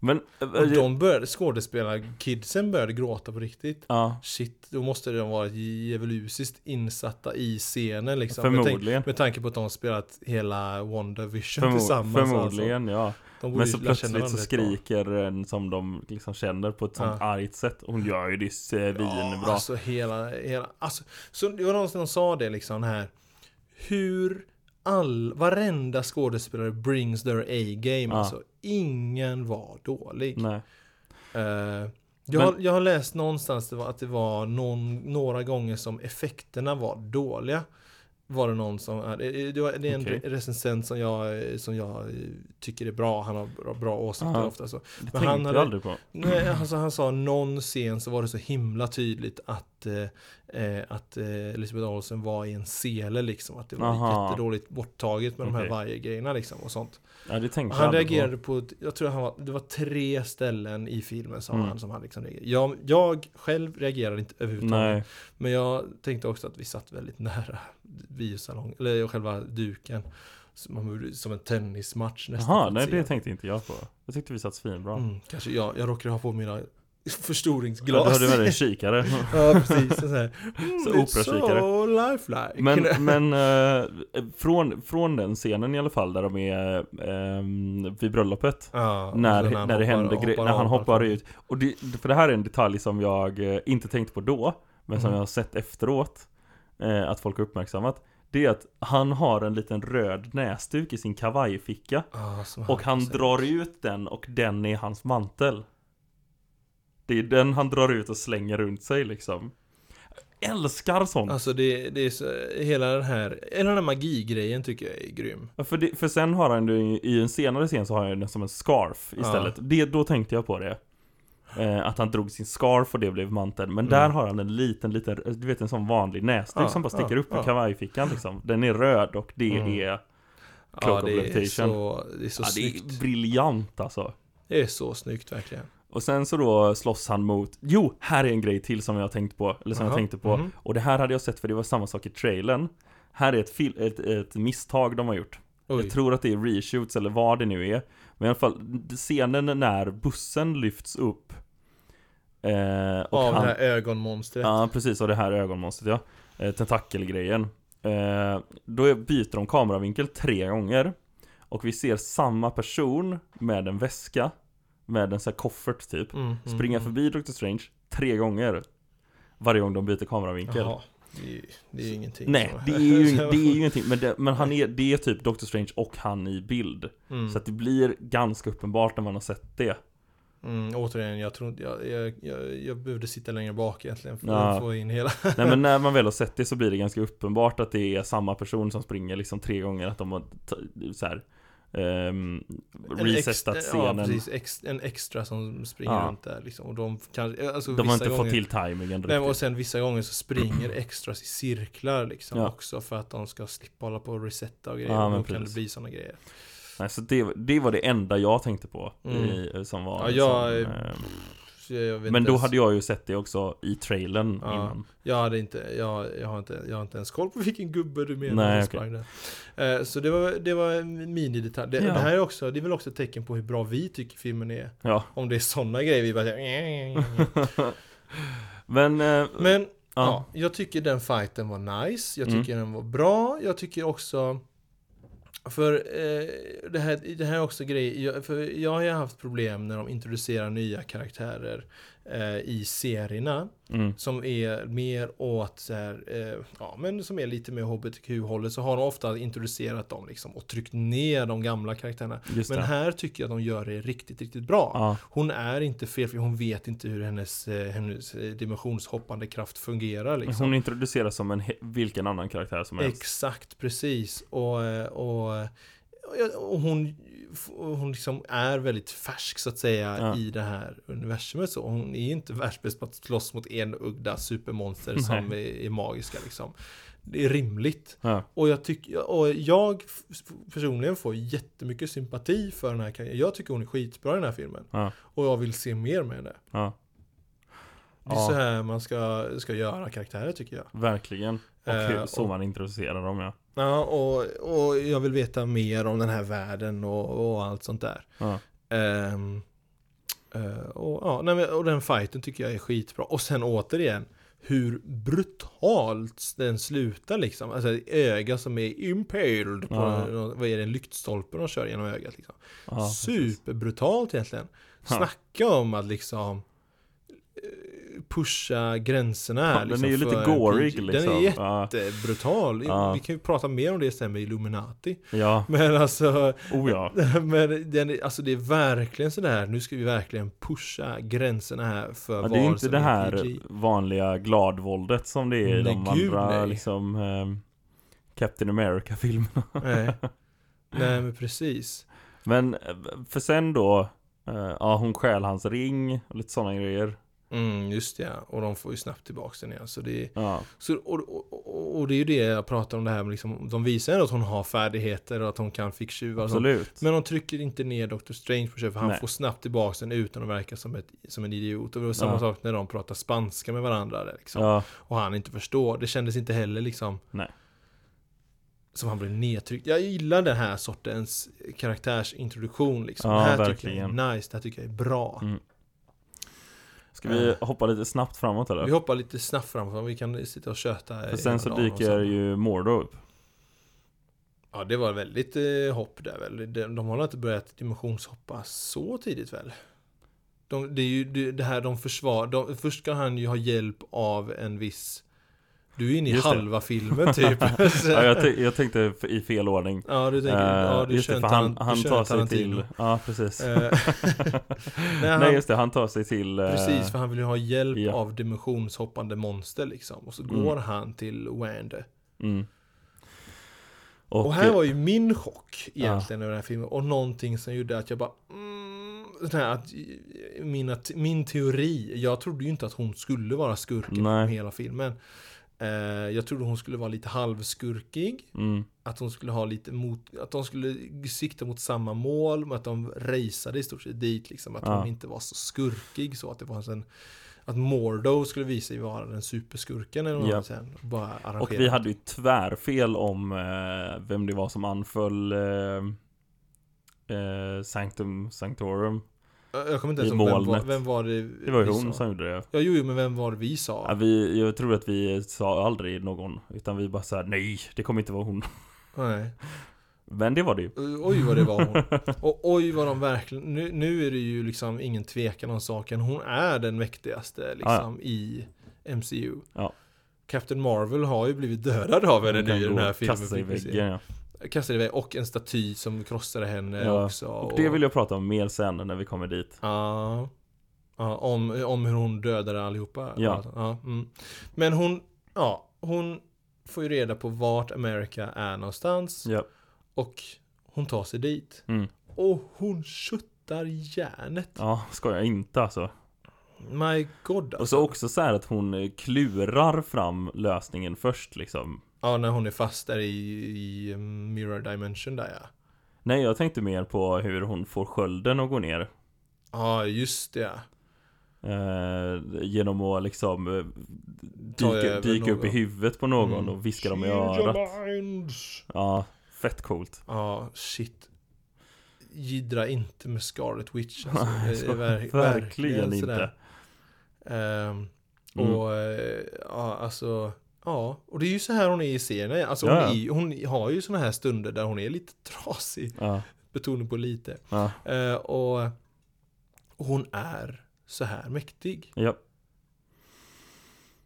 Speaker 1: Men... eh,
Speaker 2: Och de började, skådespelarna, kidsen började gråta på riktigt.
Speaker 1: ja,
Speaker 2: Shit, då måste de vara djävulusiskt insatta i scenen liksom. Med tanke-
Speaker 1: förmodligen.
Speaker 2: Med tanke på att de har spelat hela WandaVision
Speaker 1: Förmo-
Speaker 2: tillsammans.
Speaker 1: förmodligen, ja.
Speaker 2: Alltså. De borde
Speaker 1: Men
Speaker 2: ju
Speaker 1: så
Speaker 2: lära känna
Speaker 1: plötsligt så
Speaker 2: varandra rätt bra.
Speaker 1: skriker en som de liksom känner på ett sånt
Speaker 2: Ja.
Speaker 1: argt sätt. Hon gör ju eh, det svinbra.
Speaker 2: Ja, alltså hela, hela, alltså. Så det var någon som sa det liksom här. Hur all, varenda skådespelare brings their A-game.
Speaker 1: Ja.
Speaker 2: Alltså ingen var dålig.
Speaker 1: Nej.
Speaker 2: Eh, jag, har,
Speaker 1: Men-
Speaker 2: jag har läst någonstans det var att det var någon, några gånger som effekterna var dåliga. Var det någon som, eh, det det var- det är en
Speaker 1: Okej.
Speaker 2: recensent som jag, eh, som jag eh, tycker är bra, han har bra, bra åsikter
Speaker 1: Aha.
Speaker 2: ofta. Så.
Speaker 1: Det
Speaker 2: han
Speaker 1: tänkte jag
Speaker 2: hade-
Speaker 1: aldrig på.
Speaker 2: Nej, alltså, han sa någon scen så var det så himla tydligt att, eh, eh, att eh, Elisabeth Olsen var i en sele liksom. Att det var
Speaker 1: Aha.
Speaker 2: jättedåligt borttaget med de
Speaker 1: Okej.
Speaker 2: här varje-grejerna liksom och sånt.
Speaker 1: Ja, det tänkte jag
Speaker 2: Han
Speaker 1: aldrig
Speaker 2: reagerade på, ett- jag tror han var, det var tre ställen i filmen sa
Speaker 1: Mm.
Speaker 2: han som han liksom reagerade. Jag, jag själv reagerade inte
Speaker 1: på.
Speaker 2: överhuvudtaget.
Speaker 1: Nej.
Speaker 2: Men jag tänkte också att vi satt väldigt nära biosalongen, eller själva duken. Så man gjorde Som en tennismatch nästan. för
Speaker 1: Jaha,
Speaker 2: att
Speaker 1: nej
Speaker 2: se.
Speaker 1: det tänkte inte jag på. Jag tyckte vi satt svinbra.
Speaker 2: mm, Kanske jag, jag råkade ha på mina
Speaker 1: Ja, du
Speaker 2: förstoringsglas.
Speaker 1: hade med dig en kikare.
Speaker 2: ja, precis. Så här. Mm,
Speaker 1: Så
Speaker 2: it's
Speaker 1: operakikare.
Speaker 2: so lifelike.
Speaker 1: Men, men eh, från, från den scenen i alla fall där de är eh, vid bröllopet
Speaker 2: Ja, och
Speaker 1: när,
Speaker 2: sen
Speaker 1: när, det händer gre- när han
Speaker 2: av
Speaker 1: hoppar
Speaker 2: plattformen.
Speaker 1: ut Och det, för det här är en detalj som jag eh, inte tänkt på då Men som
Speaker 2: Mm.
Speaker 1: jag har sett efteråt eh, Att folk har uppmärksammat Det är att han har en liten röd näsduk i sin kavajficka
Speaker 2: Ja, som
Speaker 1: Och han drar ut den och den är hans mantel Det är den han drar ut och slänger runt sig liksom Älskar sånt!
Speaker 2: Alltså det, det är så, hela den här, hela den här magigrejen tycker jag är grym.
Speaker 1: Ja, För, det, för sen har han det i- i en senare scen så har han den som en scarf istället. Det, då tänkte jag på det. Eh, att han drog sin scarf och det blev manteln. Men där har han en liten, liten, du vet en sån vanlig näsduk
Speaker 2: Mm. Ja,
Speaker 1: som bara sticker
Speaker 2: ja,
Speaker 1: upp i
Speaker 2: ja.
Speaker 1: kavajfickan liksom. Den är röd och det
Speaker 2: Mm.
Speaker 1: är,
Speaker 2: Ja,
Speaker 1: Cloak of
Speaker 2: det är
Speaker 1: Levitation.
Speaker 2: så, det är så
Speaker 1: ja, det
Speaker 2: snyggt.
Speaker 1: är briljant alltså.
Speaker 2: Det är så snyggt verkligen.
Speaker 1: Och sen så då slåss han mot, jo, här är en grej till som jag har tänkt på, eller som
Speaker 2: Aha,
Speaker 1: jag tänkte på.
Speaker 2: mhm.
Speaker 1: Och det här hade jag sett för det var samma sak i trailern. Här är ett, fil- ett, ett misstag de har gjort.
Speaker 2: Oj.
Speaker 1: Jag tror att det är reshoots eller vad det nu är. Men i alla fall, scenen när bussen lyfts upp. Eh, och
Speaker 2: Av
Speaker 1: han,
Speaker 2: det här ögonmonstret.
Speaker 1: Ja, precis. Och det här ögonmonstret, ja. Eh, tentakelgrejen. Eh, då är- byter de kameravinkel tre gånger. Och vi ser samma person med en väska. Med en sån här koffert typ.
Speaker 2: Mm, mm,
Speaker 1: Springa
Speaker 2: mm.
Speaker 1: förbi Dr. Strange tre gånger. Varje gång de byter kameravinkel.
Speaker 2: Jaha. Det är ju, det är ju ingenting.
Speaker 1: Nej,
Speaker 2: som-
Speaker 1: det är ju, det är ju ingenting. Men, det, men han är, det är typ Dr. Strange och han i bild.
Speaker 2: Mm.
Speaker 1: Så att det blir ganska uppenbart när man har sett det.
Speaker 2: Mm, återigen, jag tror inte, jag, jag, jag, jag behövde sitta längre bak egentligen för
Speaker 1: Ja.
Speaker 2: att få in hela.
Speaker 1: Nej men när man väl har sett det så blir det ganska uppenbart att det är samma person som springer liksom tre gånger. Att de har t- så här, ehm,
Speaker 2: En
Speaker 1: resetat
Speaker 2: ex- Ja,
Speaker 1: scenen.
Speaker 2: precis. Ex, en extra som springer
Speaker 1: Ja.
Speaker 2: runt där liksom. Och de kan, alltså,
Speaker 1: de har
Speaker 2: vissa
Speaker 1: inte
Speaker 2: gånger,
Speaker 1: fått till tajmingen
Speaker 2: Nej,
Speaker 1: riktigt.
Speaker 2: och sen vissa gånger så springer extras i cirklar liksom
Speaker 1: Ja.
Speaker 2: också för att de ska slippa hålla på och resetta och grejer.
Speaker 1: Ja,
Speaker 2: och
Speaker 1: men
Speaker 2: då kan det
Speaker 1: precis.
Speaker 2: bli sådana grejer.
Speaker 1: Nej, så det, det var det enda jag tänkte på.
Speaker 2: Mm.
Speaker 1: I, som var,
Speaker 2: Ja, jag-
Speaker 1: som, ehm,
Speaker 2: Så jag, jag vet
Speaker 1: men
Speaker 2: inte
Speaker 1: då
Speaker 2: ens-
Speaker 1: hade jag ju sett det också i trailern
Speaker 2: Ja.
Speaker 1: innan.
Speaker 2: Jag hade inte, jag, jag har inte, jag har inte ens koll på vilken gubbe du menar
Speaker 1: Nej,
Speaker 2: som
Speaker 1: okej.
Speaker 2: sprang där. Eh, Så det var, det var en minidetalj. Det,
Speaker 1: Ja.
Speaker 2: det här är också, det är väl också ett tecken på hur bra vi tycker filmen är.
Speaker 1: Ja.
Speaker 2: Om det är sådana grejer vi bara säger,
Speaker 1: Men, eh,
Speaker 2: Men,
Speaker 1: ja.
Speaker 2: ja. jag tycker den fighten var nice. Jag
Speaker 1: Mm.
Speaker 2: tycker den var bra. Jag tycker också för eh, det, här, det här är också grej, jag, för jag har ju haft problem när de introducerar nya karaktärer eh, i serierna.
Speaker 1: Mm.
Speaker 2: som är mer åt så här, eh, ja men som är lite mer hbtq-hållet så har de ofta introducerat dem liksom och tryckt ner de gamla karaktärerna.
Speaker 1: Just
Speaker 2: Men
Speaker 1: det.
Speaker 2: här tycker jag att de gör det riktigt, riktigt bra.
Speaker 1: Ja.
Speaker 2: Hon är inte felfri, hon vet inte hur hennes, eh, hennes eh, dimensionshoppande kraft fungerar liksom.
Speaker 1: Hon introduceras som en he- vilken annan karaktär som helst.
Speaker 2: Exakt, precis. Och, eh, och, eh, och hon, och hon liksom är väldigt färsk så att säga
Speaker 1: Ja.
Speaker 2: i det här universumet. Så hon är inte världsbäst på att slåss mot enögda supermonster som är, är magiska liksom. Det är rimligt.
Speaker 1: Ja.
Speaker 2: Och jag, tycker, och jag f- personligen får jättemycket sympati för den här karaktären. Jag tycker hon är skitbra i den här filmen.
Speaker 1: Ja.
Speaker 2: Och jag vill se mer med henne.
Speaker 1: Ja.
Speaker 2: Det är
Speaker 1: Ja.
Speaker 2: så här man ska, ska göra karaktärer tycker jag.
Speaker 1: Verkligen. Och
Speaker 2: Eh,
Speaker 1: hur, så
Speaker 2: och-
Speaker 1: man introducerar dem ja.
Speaker 2: Ja, och, och jag vill veta mer om den här världen och, och allt sånt där.
Speaker 1: ja.
Speaker 2: Ehm, eh, och, ja, nej, men, och den fighten tycker jag är skitbra. Och sen återigen, hur brutalt den slutar liksom. Alltså ett öga som är impaled på,
Speaker 1: Ja.
Speaker 2: vad är det, en lyktstolpe de kör genom ögat liksom.
Speaker 1: Ja, precis.
Speaker 2: Superbrutalt egentligen.
Speaker 1: Ja.
Speaker 2: Snacka om att liksom eh, pusha gränserna här. liksom
Speaker 1: Ja, den är ju
Speaker 2: för
Speaker 1: lite
Speaker 2: en
Speaker 1: gorig
Speaker 2: PG.
Speaker 1: liksom.
Speaker 2: Den är
Speaker 1: ja.
Speaker 2: jättebrutal.
Speaker 1: Ja.
Speaker 2: Vi kan ju prata mer om det sen med Illuminati.
Speaker 1: ja,
Speaker 2: Men alltså,
Speaker 1: oh ja.
Speaker 2: men den, är- alltså det är verkligen sådär, nu ska vi verkligen pusha gränserna här för
Speaker 1: ja
Speaker 2: vad
Speaker 1: det är ju inte
Speaker 2: som
Speaker 1: det här
Speaker 2: PG.
Speaker 1: vanliga gladvåldet som det är i
Speaker 2: Nej,
Speaker 1: de
Speaker 2: gud,
Speaker 1: andra
Speaker 2: nej.
Speaker 1: liksom ehm, Captain America-filmerna.
Speaker 2: Nej. Nej men precis.
Speaker 1: Men eh, för sen då, eh, ja hon stjäl hans ring och lite sådana grejer.
Speaker 2: Mm, just det, ja. och de får ju snabbt tillbaka den igen. Så det,
Speaker 1: Ja,
Speaker 2: så, och, och, och- och det är ju det jag pratar om det här med liksom, de visar ändå att hon har färdigheter och att hon kan ficktjuva och sånt.
Speaker 1: absolut.
Speaker 2: Men de trycker inte ner Dr. Strange på köpet, för han
Speaker 1: Nej.
Speaker 2: får snabbt tillbaka den utan att verka som, ett, som en idiot. Och det var samma
Speaker 1: Ja.
Speaker 2: sak när de pratar spanska med varandra. där, Liksom.
Speaker 1: Ja,
Speaker 2: och han inte förstår. Det kändes inte heller liksom
Speaker 1: Nej.
Speaker 2: som han blev nedtryckt. Jag gillar den här sortens karaktärsintroduktion liksom.
Speaker 1: Ja,
Speaker 2: det här tycker
Speaker 1: verkligen.
Speaker 2: jag är nice, det här tycker jag är bra.
Speaker 1: Mm. ska vi hoppa lite snabbt framåt
Speaker 2: Eh. Vi
Speaker 1: eller?
Speaker 2: hoppar lite snabbt fram för vi kan sitta och köta.
Speaker 1: För
Speaker 2: hela
Speaker 1: sen så
Speaker 2: dagen och
Speaker 1: dyker
Speaker 2: sen-
Speaker 1: ju Mordo upp.
Speaker 2: Ja, det var väldigt eh, hopp där väl. De, de har inte börjat dimensionshoppa så tidigt väl? De, det är ju det, det här de försvar... De, först ska han ju ha hjälp av en viss Du är inne i
Speaker 1: Just det.
Speaker 2: halva filmen typ.
Speaker 1: Ja, jag, t- jag tänkte f- i fel ordning.
Speaker 2: ja, du tänker, ja,
Speaker 1: Eh,
Speaker 2: du
Speaker 1: just
Speaker 2: kör
Speaker 1: det,
Speaker 2: en
Speaker 1: för
Speaker 2: Taran-
Speaker 1: han,
Speaker 2: du
Speaker 1: han
Speaker 2: kör
Speaker 1: tar
Speaker 2: en
Speaker 1: sig
Speaker 2: Tarantino.
Speaker 1: till... Ja, precis.
Speaker 2: Eh, Nej, han,
Speaker 1: Nej, just det. Han tar sig till... eh,
Speaker 2: Precis, för han vill ju ha hjälp
Speaker 1: ja.
Speaker 2: av dimensionshoppande monster liksom. Och så
Speaker 1: Mm.
Speaker 2: går han till Wande.
Speaker 1: Mm.
Speaker 2: Och,
Speaker 1: eh,
Speaker 2: här var ju min chock egentligen över den här filmen. Och någonting som gjorde att jag bara... Mm, den här, att, eh, mina, min teori, jag trodde ju inte att hon skulle vara skurken
Speaker 1: Nej.
Speaker 2: i hela filmen. Eh, jag trodde hon skulle vara lite halvskurkig.
Speaker 1: Mm,
Speaker 2: Att hon skulle ha lite mot, att de skulle sikta mot samma mål, men att de raceade i stort sett dit liksom. Att
Speaker 1: Ja.
Speaker 2: hon inte var så skurkig så att det var en att Mordo skulle visa sig vara den superskurken eller något
Speaker 1: Ja.
Speaker 2: sen. Bara arrangera.
Speaker 1: och vi hade ju tvärfel om eh, vem det var som anföll eh, eh, Sanctum Sanctorum.
Speaker 2: Jag kommer inte
Speaker 1: i
Speaker 2: ens ihåg vem var,
Speaker 1: molnet.
Speaker 2: vem var det
Speaker 1: Det var ju
Speaker 2: vi
Speaker 1: hon
Speaker 2: sa?
Speaker 1: som gjorde det.
Speaker 2: Ja, jo, jo, men vem var det vi sa?
Speaker 1: Ja, vi, jag tror att vi sa aldrig någon, utan vi bara såhär nej, det kommer inte vara hon.
Speaker 2: Nej.
Speaker 1: Men det var det ju.
Speaker 2: Ö, Oj vad det var hon. Och oj vad de verkligen, nu, nu är det ju liksom ingen tvekan om saken. Hon är den mäktigaste liksom i MCU.
Speaker 1: Ja.
Speaker 2: Captain Marvel har ju blivit dödad av henne
Speaker 1: Hon
Speaker 2: nu
Speaker 1: kan
Speaker 2: i
Speaker 1: gå
Speaker 2: den här
Speaker 1: och
Speaker 2: filmen.
Speaker 1: Kasta sig i
Speaker 2: fick vi se.
Speaker 1: väggen ja.
Speaker 2: Kastade iväg och en staty som krossade henne
Speaker 1: Ja,
Speaker 2: också.
Speaker 1: Och det vill jag prata om mer sen när vi kommer dit.
Speaker 2: Ja. Ja, om, om hur hon dödade allihopa.
Speaker 1: Ja.
Speaker 2: mm. Men hon, ja, hon får ju reda på vart America är någonstans.
Speaker 1: Ja.
Speaker 2: Och hon tar sig dit.
Speaker 1: Mm.
Speaker 2: Och hon köttar järnet.
Speaker 1: Ja, skojar inte alltså.
Speaker 2: My god
Speaker 1: Och
Speaker 2: alltså.
Speaker 1: så också så här att hon eh, klurar fram lösningen först liksom.
Speaker 2: Ja, när hon är fast där i, i um, Mirror Dimension där ja.
Speaker 1: Nej, jag tänkte mer på hur hon får skölden att gå ner.
Speaker 2: Ja, just det. ja.
Speaker 1: Eh, genom att liksom eh,
Speaker 2: Ta
Speaker 1: dyka,
Speaker 2: över
Speaker 1: dyka upp i
Speaker 2: någon.
Speaker 1: huvudet på någon
Speaker 2: Mm.
Speaker 1: och viska dem i
Speaker 2: Change your
Speaker 1: örat.
Speaker 2: minds.
Speaker 1: Ja, fett coolt.
Speaker 2: Ja, shit. Jiddra inte med Scarlet Witch. Alltså,
Speaker 1: Nej,
Speaker 2: Det är
Speaker 1: så-
Speaker 2: verk-
Speaker 1: verkligen inte.
Speaker 2: sådär. Ehm,
Speaker 1: Mm.
Speaker 2: Och eh, ja, alltså. Ja, och det är ju så här hon är i serien. Alltså hon,
Speaker 1: Ja, ja.
Speaker 2: är, ju- hon har ju såna här stunder där hon är lite trasig.
Speaker 1: Ja,
Speaker 2: Betoning på lite.
Speaker 1: ja,
Speaker 2: Eh, och hon är så här mäktig.
Speaker 1: ja,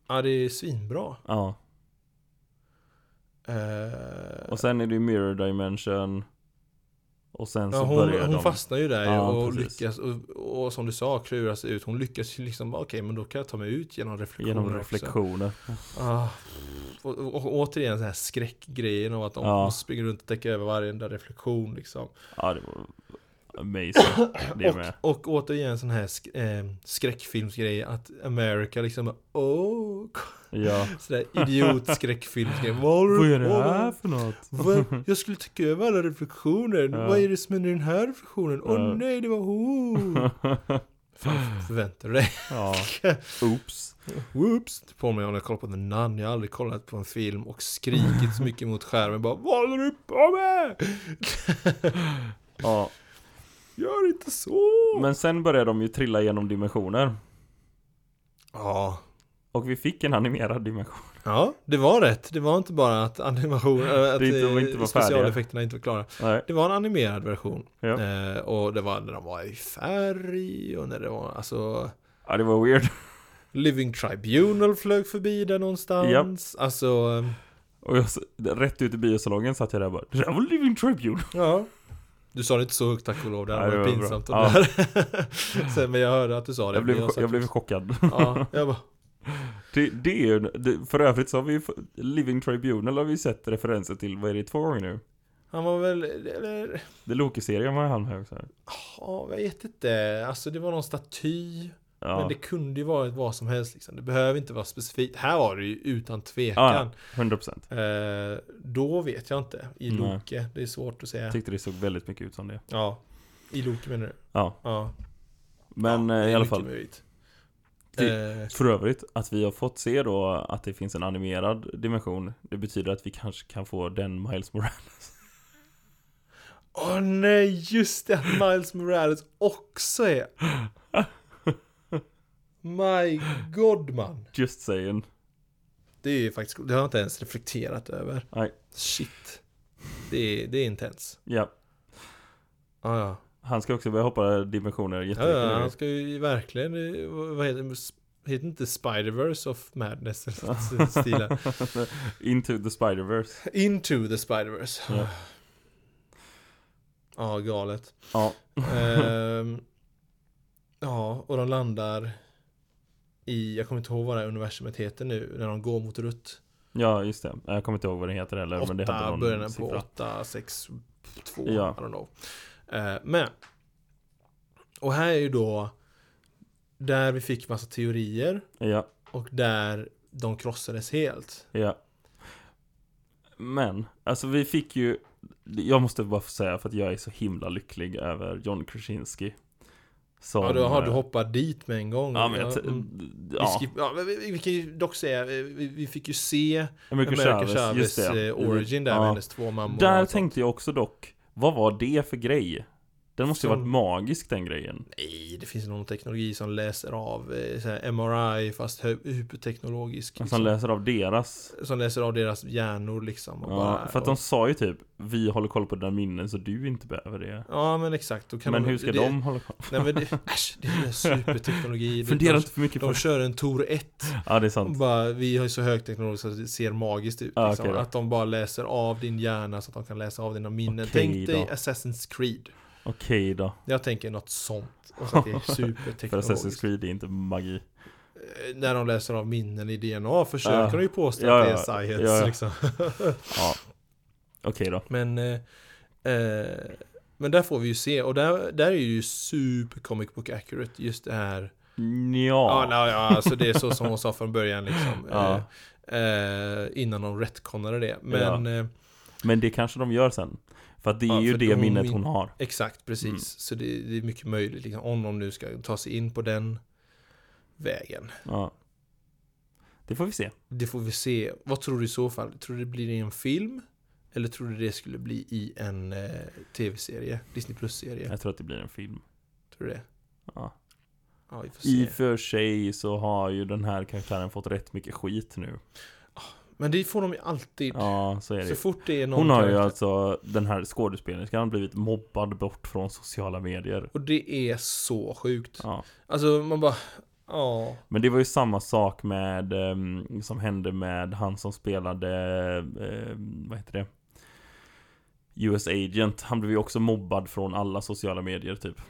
Speaker 2: Ja, det är svinbra.
Speaker 1: ja.
Speaker 2: Eh,
Speaker 1: Och sen är det ju Mirror Dimension. Och sen så
Speaker 2: Ja, hon,
Speaker 1: börjar
Speaker 2: hon
Speaker 1: de.
Speaker 2: fastnar ju där ju
Speaker 1: Ja,
Speaker 2: och
Speaker 1: precis.
Speaker 2: lyckas och, och som du sa klura sig ut. Hon lyckas ju liksom, bara, okej men då kan jag ta mig ut genom reflektioner
Speaker 1: Genom
Speaker 2: också."
Speaker 1: reflektioner.
Speaker 2: Ah, och, och, och återigen den här skräckgrejen om att de
Speaker 1: Ja.
Speaker 2: måste springa runt och täcka över varenda reflektion liksom.
Speaker 1: Ja, det var amazing. Det
Speaker 2: Och,
Speaker 1: med.
Speaker 2: och återigen sån här sk- eh, skräckfilmsgrej att America liksom bara, åh,
Speaker 1: Ja.
Speaker 2: sådär idiotskräckfilmsgrej. Vad har du-
Speaker 1: Vad är det
Speaker 2: vad-
Speaker 1: här för något?
Speaker 2: Vad, jag skulle täcka över alla reflektioner.
Speaker 1: Ja.
Speaker 2: Vad är det som händer i den här reflektionen? Åh
Speaker 1: Ja.
Speaker 2: nej, det var hon! Fan, förväntar du dig?
Speaker 1: Ja. Oops.
Speaker 2: Whoops! Det påminner om när jag kollar på The Nun. Jag har aldrig kollat på en film och skrikit så mycket mot skärmen. Bara Vad håller du på med?
Speaker 1: Ja.
Speaker 2: Gör inte så!
Speaker 1: Men sen börjar de ju trilla genom dimensioner.
Speaker 2: Ja.
Speaker 1: Och vi fick en animerad dimension.
Speaker 2: Ja, det var rätt. Det var inte bara att animationen, att
Speaker 1: Det inte- de inte
Speaker 2: eh,
Speaker 1: var färdiga.
Speaker 2: specialeffekterna inte var klara.
Speaker 1: Nej.
Speaker 2: Det var en animerad version.
Speaker 1: Ja.
Speaker 2: Eh, och det var när de var i färg och när det var, alltså
Speaker 1: Ja, det var weird.
Speaker 2: Living Tribunal flög förbi där någonstans. Alltså,
Speaker 1: Och jag, s- rätt ut i biosalongen satt jag där och bara Det där var Living Tribune
Speaker 2: ja. Du sa det inte så högt tack och lov, det
Speaker 1: Nej,
Speaker 2: hade
Speaker 1: det
Speaker 2: varit
Speaker 1: var bra.
Speaker 2: pinsamt. om
Speaker 1: Ja.
Speaker 2: det här. Sen, men jag hörde att du sa det.
Speaker 1: Jag blev,
Speaker 2: men
Speaker 1: cho-
Speaker 2: sa-
Speaker 1: jag blev chockad
Speaker 2: Ja, jag bara,
Speaker 1: det, det är ju, det, För övrigt så har vi ju f- Living Tribunal har vi ju sett referenser till, vad är det, två gånger nu?
Speaker 2: han var väl, eller,
Speaker 1: Det Loki-serien var ju han med också
Speaker 2: ja, jag vet inte. Alltså det var någon staty. Men
Speaker 1: Ja,
Speaker 2: det kunde ju varit vad som helst liksom. Det behöver inte vara specifikt. Här var det ju utan tvekan.
Speaker 1: Ja, 100%
Speaker 2: Eh, då vet jag inte. I
Speaker 1: Nej.
Speaker 2: Loke. Det är svårt att säga.
Speaker 1: Jag tyckte det såg väldigt mycket ut som det
Speaker 2: Ja. I Loke menar du?
Speaker 1: Ja,
Speaker 2: Ja.
Speaker 1: men
Speaker 2: det
Speaker 1: eh,
Speaker 2: är
Speaker 1: i alla
Speaker 2: mycket
Speaker 1: fall
Speaker 2: möjligt.
Speaker 1: Det-
Speaker 2: Eh,
Speaker 1: För övrigt, att vi har fått se då att det finns en animerad dimension Det betyder att vi kanske kan få den Miles Morales
Speaker 2: Åh nej, just det att Miles Morales också är. My god man.
Speaker 1: Just saying
Speaker 2: Det är ju faktiskt Det har jag inte ens reflekterat över.
Speaker 1: Nej.
Speaker 2: Shit. Det är, det är intens.
Speaker 1: Ja,
Speaker 2: Ah, ja.
Speaker 1: han ska också börja hoppa dimensioner
Speaker 2: Ja,
Speaker 1: jättemycket
Speaker 2: ja,
Speaker 1: nu
Speaker 2: han ska ju verkligen, eh, vad heter det, Heter inte Spider-Verse of Madness eller något i stilen?
Speaker 1: Into the Spider-Verse.
Speaker 2: Into the Spider-Verse.
Speaker 1: Ja.
Speaker 2: Ja, galet.
Speaker 1: Ja.
Speaker 2: Ehm, ja, och de landar i, jag kommer inte ihåg vad det här universumet heter nu, när de går mot rött.
Speaker 1: ja, just det. Jag kommer inte ihåg vad den heter heller. men det hade
Speaker 2: Åtta,
Speaker 1: någon
Speaker 2: början på
Speaker 1: siffra.
Speaker 2: åtta, sex, två,
Speaker 1: Ja.
Speaker 2: I don't know. Eh, men, och här är ju då där vi fick massa teorier
Speaker 1: Ja,
Speaker 2: och där de krossades helt.
Speaker 1: ja. Men, alltså vi fick ju... Jag måste bara få säga för att jag är så himla lycklig över John Krasinski. Som,
Speaker 2: ja, då har du
Speaker 1: eh,
Speaker 2: hoppat dit med en gång.
Speaker 1: Ja, men jag...
Speaker 2: Ja,
Speaker 1: t-
Speaker 2: mm.
Speaker 1: Ja,
Speaker 2: Vi, skip, ja, men vi, vi, vi kan ju dock säga, vi, vi vi fick ju se
Speaker 1: America
Speaker 2: America
Speaker 1: Chavez,
Speaker 2: Chavez
Speaker 1: just det.
Speaker 2: eh, origin där
Speaker 1: Ja.
Speaker 2: med hennes två mammor. och
Speaker 1: Där
Speaker 2: allt
Speaker 1: tänkte jag också dock, vad var det för grej? Den måste ju
Speaker 2: Som-
Speaker 1: varit magisk den grejen.
Speaker 2: sånt. Nej, det finns någon teknologi som läser av eh, så här MRI fast hö- hyperteknologisk.
Speaker 1: Som
Speaker 2: Liksom,
Speaker 1: läser av deras.
Speaker 2: som läser av deras hjärnor liksom. Och
Speaker 1: Ja,
Speaker 2: bara,
Speaker 1: för att de sa ju typ, vi håller koll på dina minnen så du inte behöver det.
Speaker 2: och, ja, men exakt. Då kan
Speaker 1: Men
Speaker 2: de,
Speaker 1: hur ska
Speaker 2: det,
Speaker 1: de hålla koll?
Speaker 2: Nej, men det, äsch, det är superteknologi. Det-
Speaker 1: Fundera
Speaker 2: de,
Speaker 1: inte för mycket på
Speaker 2: de
Speaker 1: det.
Speaker 2: kör en Tor 1.
Speaker 1: Ja, det är sant.
Speaker 2: Bara, vi har ju så hög teknologi så att det ser magiskt ut.
Speaker 1: Ah,
Speaker 2: liksom.
Speaker 1: okej då.
Speaker 2: att de bara läser av din hjärna så att de kan läsa av dina minnen.
Speaker 1: Okej
Speaker 2: Tänk dig
Speaker 1: då.
Speaker 2: Assassin's Creed.
Speaker 1: Okej då.
Speaker 2: Jag tänker något sånt. Och så att det är superteknologiskt.
Speaker 1: För Assassin's Creed är inte magi.
Speaker 2: Eh, När de läser av minnen i DNA försöker
Speaker 1: Ja.
Speaker 2: de ju påstå
Speaker 1: Ja,
Speaker 2: att det
Speaker 1: ja.
Speaker 2: är science
Speaker 1: Ja, ja.
Speaker 2: liksom.
Speaker 1: Ja. Okej då.
Speaker 2: Men, eh, eh, men där får vi ju se. Och där, där är ju super comic book accurate. Just det här. Ja,
Speaker 1: Nja.
Speaker 2: ja, ja alltså det är så som hon sa från början liksom.
Speaker 1: Ja.
Speaker 2: Eh, eh, innan de retconade det. Men eh,
Speaker 1: Men det kanske de gör sen. För att det är
Speaker 2: Ja,
Speaker 1: ju
Speaker 2: för
Speaker 1: det
Speaker 2: hon-
Speaker 1: minnet hon har.
Speaker 2: Exakt, precis.
Speaker 1: Mm.
Speaker 2: Så det, det är mycket möjligt, liksom, om de nu ska ta sig in på den vägen.
Speaker 1: Ja. Det får vi se.
Speaker 2: Det får vi se. Vad tror du i så fall? Tror du det blir i en film? Eller tror du det skulle bli i en eh, tv-serie? Disney Plus-serie?
Speaker 1: Jag tror att det blir en film.
Speaker 2: Tror du det?
Speaker 1: Ja.
Speaker 2: Ja, vi får se.
Speaker 1: I för sig så har ju den här karaktären fått rätt mycket skit nu.
Speaker 2: Men det får de ju alltid.
Speaker 1: Ja, så är det
Speaker 2: så
Speaker 1: ju.
Speaker 2: fort det är någon
Speaker 1: Hon har ju
Speaker 2: karaktär-
Speaker 1: alltså, den här skådespelerskan, blivit mobbad bort från sociala medier.
Speaker 2: Och det är så sjukt.
Speaker 1: Ja.
Speaker 2: Alltså, man bara... Ja.
Speaker 1: Men det var ju samma sak med, ehm, som hände med han som spelade, ehm, vad heter det? US Agent, han blev ju också mobbad från alla sociala medier typ.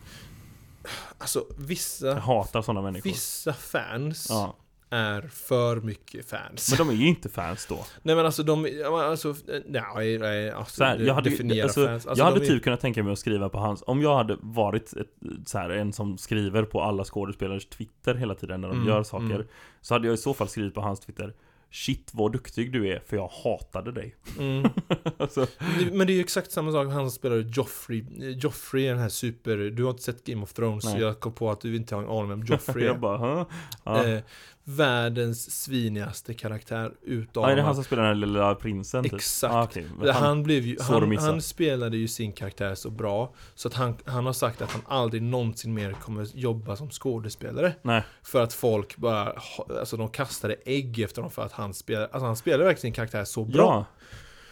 Speaker 2: Alltså,
Speaker 1: Jag
Speaker 2: vissa,
Speaker 1: hatar sådana människor.
Speaker 2: vissa fans
Speaker 1: Ja.
Speaker 2: är för mycket fans.
Speaker 1: Men de är ju inte fans då.
Speaker 2: Nej men alltså de, ja, men alltså, nej, nej alltså,
Speaker 1: Så här, jag hade,
Speaker 2: definiera
Speaker 1: alltså,
Speaker 2: fans.
Speaker 1: jag
Speaker 2: de
Speaker 1: hade
Speaker 2: är-
Speaker 1: typ kunnat tänka mig att skriva på hans, om jag hade varit ett, så här, en som skriver på alla skådespelares Twitter hela tiden när de
Speaker 2: Mm,
Speaker 1: gör saker,
Speaker 2: mm.
Speaker 1: så hade jag i så fall skrivit på hans Twitter Shit vad duktig du är, för jag hatade dig.
Speaker 2: mm.
Speaker 1: alltså,
Speaker 2: Det- Men det är ju exakt samma sak, han som spelar Joffrey, Joffrey är den här super, du har inte sett Game of Thrones,
Speaker 1: Nej.
Speaker 2: så jag kom på att du inte har en aning om Joffrey
Speaker 1: jag
Speaker 2: är.
Speaker 1: bara, "Ah." "Hä? ja.
Speaker 2: eh, Världens svinigaste karaktär utav
Speaker 1: ja, är det han
Speaker 2: alla.
Speaker 1: som spelar den här lilla prinsen? Typ?
Speaker 2: Exakt.
Speaker 1: Ah, okej.
Speaker 2: han,
Speaker 1: han,
Speaker 2: blev ju,
Speaker 1: så de
Speaker 2: han,
Speaker 1: missar.
Speaker 2: han spelade ju sin karaktär så bra Så att han, han har sagt att han aldrig någonsin mer kommer jobba som skådespelare
Speaker 1: nej,
Speaker 2: För att folk bara, ha- alltså de kastade ägg efter honom för att han spelade, alltså han spelade verkligen sin karaktär så bra.
Speaker 1: ja.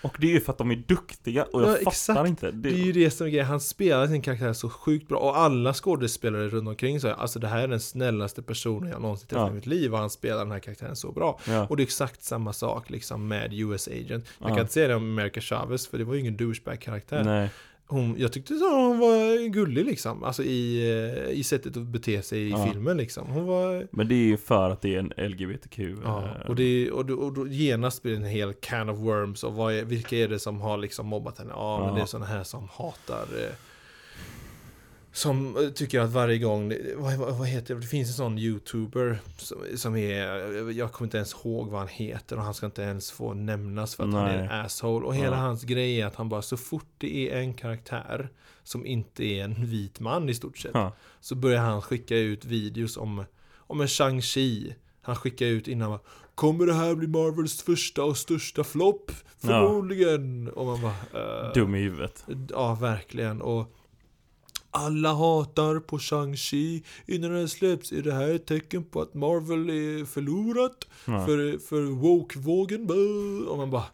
Speaker 1: Och det är ju för att de är duktiga, och jag
Speaker 2: Ja,
Speaker 1: fattar
Speaker 2: exakt.
Speaker 1: inte. Det,
Speaker 2: Det är ju det som är grejen, han spelar sin karaktär så sjukt bra och alla skådespelare runt omkring sa alltså det här är den snällaste personen jag någonsin träffat
Speaker 1: Ja.
Speaker 2: i mitt liv och han spelar den här karaktären så bra.
Speaker 1: ja.
Speaker 2: Och det är exakt samma sak liksom med US Agent.
Speaker 1: Ja.
Speaker 2: Jag kan inte säga det om America Chavez för det var ju ingen douchebag-karaktär.
Speaker 1: Nej,
Speaker 2: Hon, jag tyckte så hon var gullig liksom, alltså i, eh, i sättet att bete sig i
Speaker 1: Ja.
Speaker 2: filmen liksom. Hon var
Speaker 1: men det är ju för att det är en LGBTQ.
Speaker 2: Ja,
Speaker 1: eh,
Speaker 2: och, det, och, då, och då genast blir det en hel can of worms och vad är, vilka är det som har liksom mobbat henne? Ja, men
Speaker 1: Ja.
Speaker 2: det är sådana här som hatar eh, som eh, tycker att varje gång, vad, vad, vad heter det, det finns en sån youtuber som, som är, jag kommer inte ens ihåg vad han heter och han ska inte ens få nämnas för att han är
Speaker 1: Nej.
Speaker 2: en asshole. Och hela
Speaker 1: Ja.
Speaker 2: hans grej är att han bara, så fort det är en karaktär som inte är en vit man i stort sett,
Speaker 1: Ja.
Speaker 2: så börjar han skicka ut videos om, om en Shang-Chi. Han skickar ut innan bara, Kommer det här bli Marvels första och största flopp? Förmodligen! Och man bara, eh,
Speaker 1: Dum i huvudet.
Speaker 2: Ja, verkligen. Och alla hatar på Shang-Chi innan den släpps. Är det här ett tecken på att Marvel är förlorat?
Speaker 1: Ja.
Speaker 2: För, för woke-vågen? Bäh. Och man bara,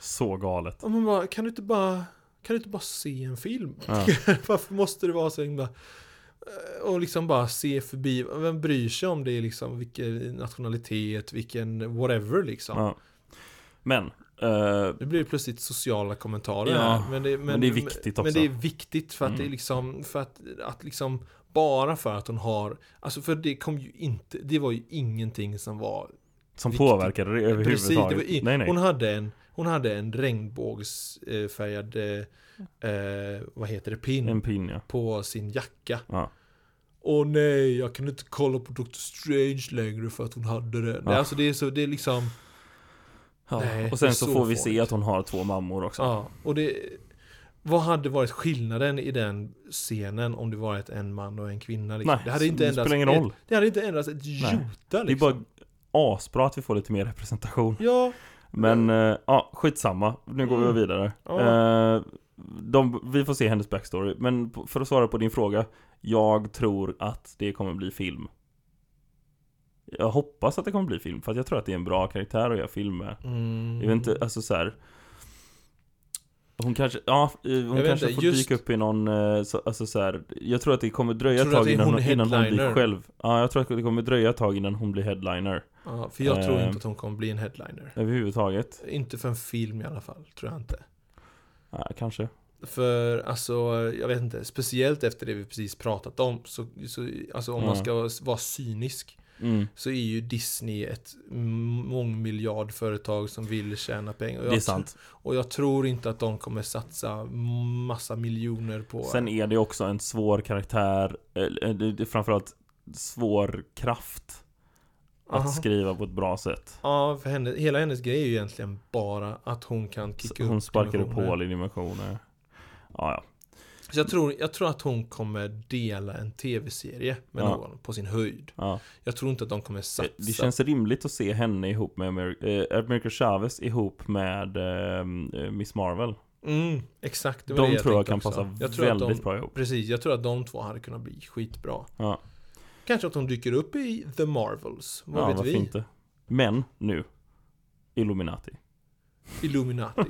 Speaker 1: Så galet.
Speaker 2: och man bara, kan du inte bara, kan du inte bara se en film?
Speaker 1: Ja.
Speaker 2: Varför måste det vara så himla... Och liksom bara se förbi, vem bryr sig om det liksom, vilken nationalitet, vilken whatever liksom.
Speaker 1: Ja. Men, eh,
Speaker 2: Det blir ju plötsligt sociala kommentarer
Speaker 1: Ja,
Speaker 2: här. Men det,
Speaker 1: men det är viktigt
Speaker 2: Men
Speaker 1: också.
Speaker 2: det är viktigt för att
Speaker 1: Mm.
Speaker 2: det är liksom, för att, att liksom bara för att hon har, alltså för det kom ju inte, det var ju ingenting som var
Speaker 1: som
Speaker 2: Viktigt.
Speaker 1: påverkade det
Speaker 2: Precis, det var
Speaker 1: överhuvudtaget.
Speaker 2: i,
Speaker 1: nej, nej.
Speaker 2: Hon hade en, hon hade en regnbågsfärgad, eh, eh, vad heter det, pin
Speaker 1: En pin, ja.
Speaker 2: på sin jacka.
Speaker 1: ja.
Speaker 2: Åh nej, jag kan inte kolla på Doctor Strange längre för att hon hade den.
Speaker 1: Ja.
Speaker 2: Nej, alltså det är så, det är liksom,
Speaker 1: ja.
Speaker 2: Nej,
Speaker 1: och
Speaker 2: det är
Speaker 1: sen så,
Speaker 2: så
Speaker 1: får vi se
Speaker 2: fånigt.
Speaker 1: att hon har två mammor också.
Speaker 2: ja, och det, vad hade varit skillnaden i den scenen om det varit en man och en kvinna? Liksom?
Speaker 1: Nej,
Speaker 2: det hade inte
Speaker 1: det
Speaker 2: ändrats
Speaker 1: spelar ingen
Speaker 2: ett-
Speaker 1: roll.
Speaker 2: Det hade inte ändrats ett jota
Speaker 1: Det är
Speaker 2: liksom.
Speaker 1: bara asbra att vi får lite mer representation.
Speaker 2: Ja,
Speaker 1: Men, eh, ja, skitsamma. Nu går vi
Speaker 2: Mm.
Speaker 1: vidare.
Speaker 2: Ja.
Speaker 1: Eh, de, vi får se hennes backstory. Men p- för att svara på din fråga. Jag tror att det kommer bli film. Jag hoppas att det kommer bli film. För att jag tror att det är en bra karaktär att göra film med.
Speaker 2: mm.
Speaker 1: Jag vet inte, alltså så här. Hon kanske, ja, eh, hon
Speaker 2: vet
Speaker 1: kanske
Speaker 2: inte,
Speaker 1: får
Speaker 2: just-
Speaker 1: dyka upp i någon, eh, så, alltså så här, Jag tror att det kommer dröja
Speaker 2: Tror
Speaker 1: ett
Speaker 2: du att
Speaker 1: tag
Speaker 2: det är
Speaker 1: innan
Speaker 2: hon
Speaker 1: hon, innan hon blir
Speaker 2: headliner?
Speaker 1: själv Ja, jag tror att det kommer dröja ett tag innan hon blir headliner
Speaker 2: ja, för jag tror
Speaker 1: Eh.
Speaker 2: inte att hon kommer bli en headliner.
Speaker 1: Överhuvudtaget
Speaker 2: Inte för en film i alla fall, tror jag inte.
Speaker 1: ja, kanske
Speaker 2: För alltså, jag vet inte, speciellt efter det vi precis pratat om, så, så alltså om man
Speaker 1: Ja.
Speaker 2: ska vara cynisk,
Speaker 1: mm.
Speaker 2: så är ju Disney ett mångmiljardföretag som vill tjäna pengar. Och
Speaker 1: Det är
Speaker 2: jag,
Speaker 1: sant
Speaker 2: Och jag tror inte att de kommer satsa massa miljoner på...
Speaker 1: Sen är det också en svår karaktär eh, eh, det är Framförallt svår kraft Att
Speaker 2: Aha.
Speaker 1: skriva på ett bra sätt
Speaker 2: Ja, för henne, hela hennes grej är ju egentligen bara att hon kan kicka
Speaker 1: Hon
Speaker 2: upp
Speaker 1: sparkar upp
Speaker 2: dimensioner.
Speaker 1: hål i dimensioner Ja, ja.
Speaker 2: Så jag tror, jag tror att hon kommer dela en tv-serie med
Speaker 1: Ja.
Speaker 2: någon, på sin höjd.
Speaker 1: ja.
Speaker 2: Jag tror inte att de kommer satsa.
Speaker 1: Eh, Det- Det känns rimligt att se henne ihop med Amer- eh, America Chavez ihop med ehm, eh, Miss Marvel.
Speaker 2: Mm, exakt. det
Speaker 1: De
Speaker 2: var det
Speaker 1: tror jag
Speaker 2: tänkte
Speaker 1: kan
Speaker 2: också.
Speaker 1: passa
Speaker 2: Jag tror att de-
Speaker 1: väldigt bra ihop.
Speaker 2: Precis, jag tror att de två hade kunnat bli skitbra.
Speaker 1: Ja,
Speaker 2: Kanske att de dyker upp i The Marvels. Vad
Speaker 1: ja
Speaker 2: vet
Speaker 1: varför
Speaker 2: vi?
Speaker 1: inte? Men nu, Illuminati.
Speaker 2: Illuminati.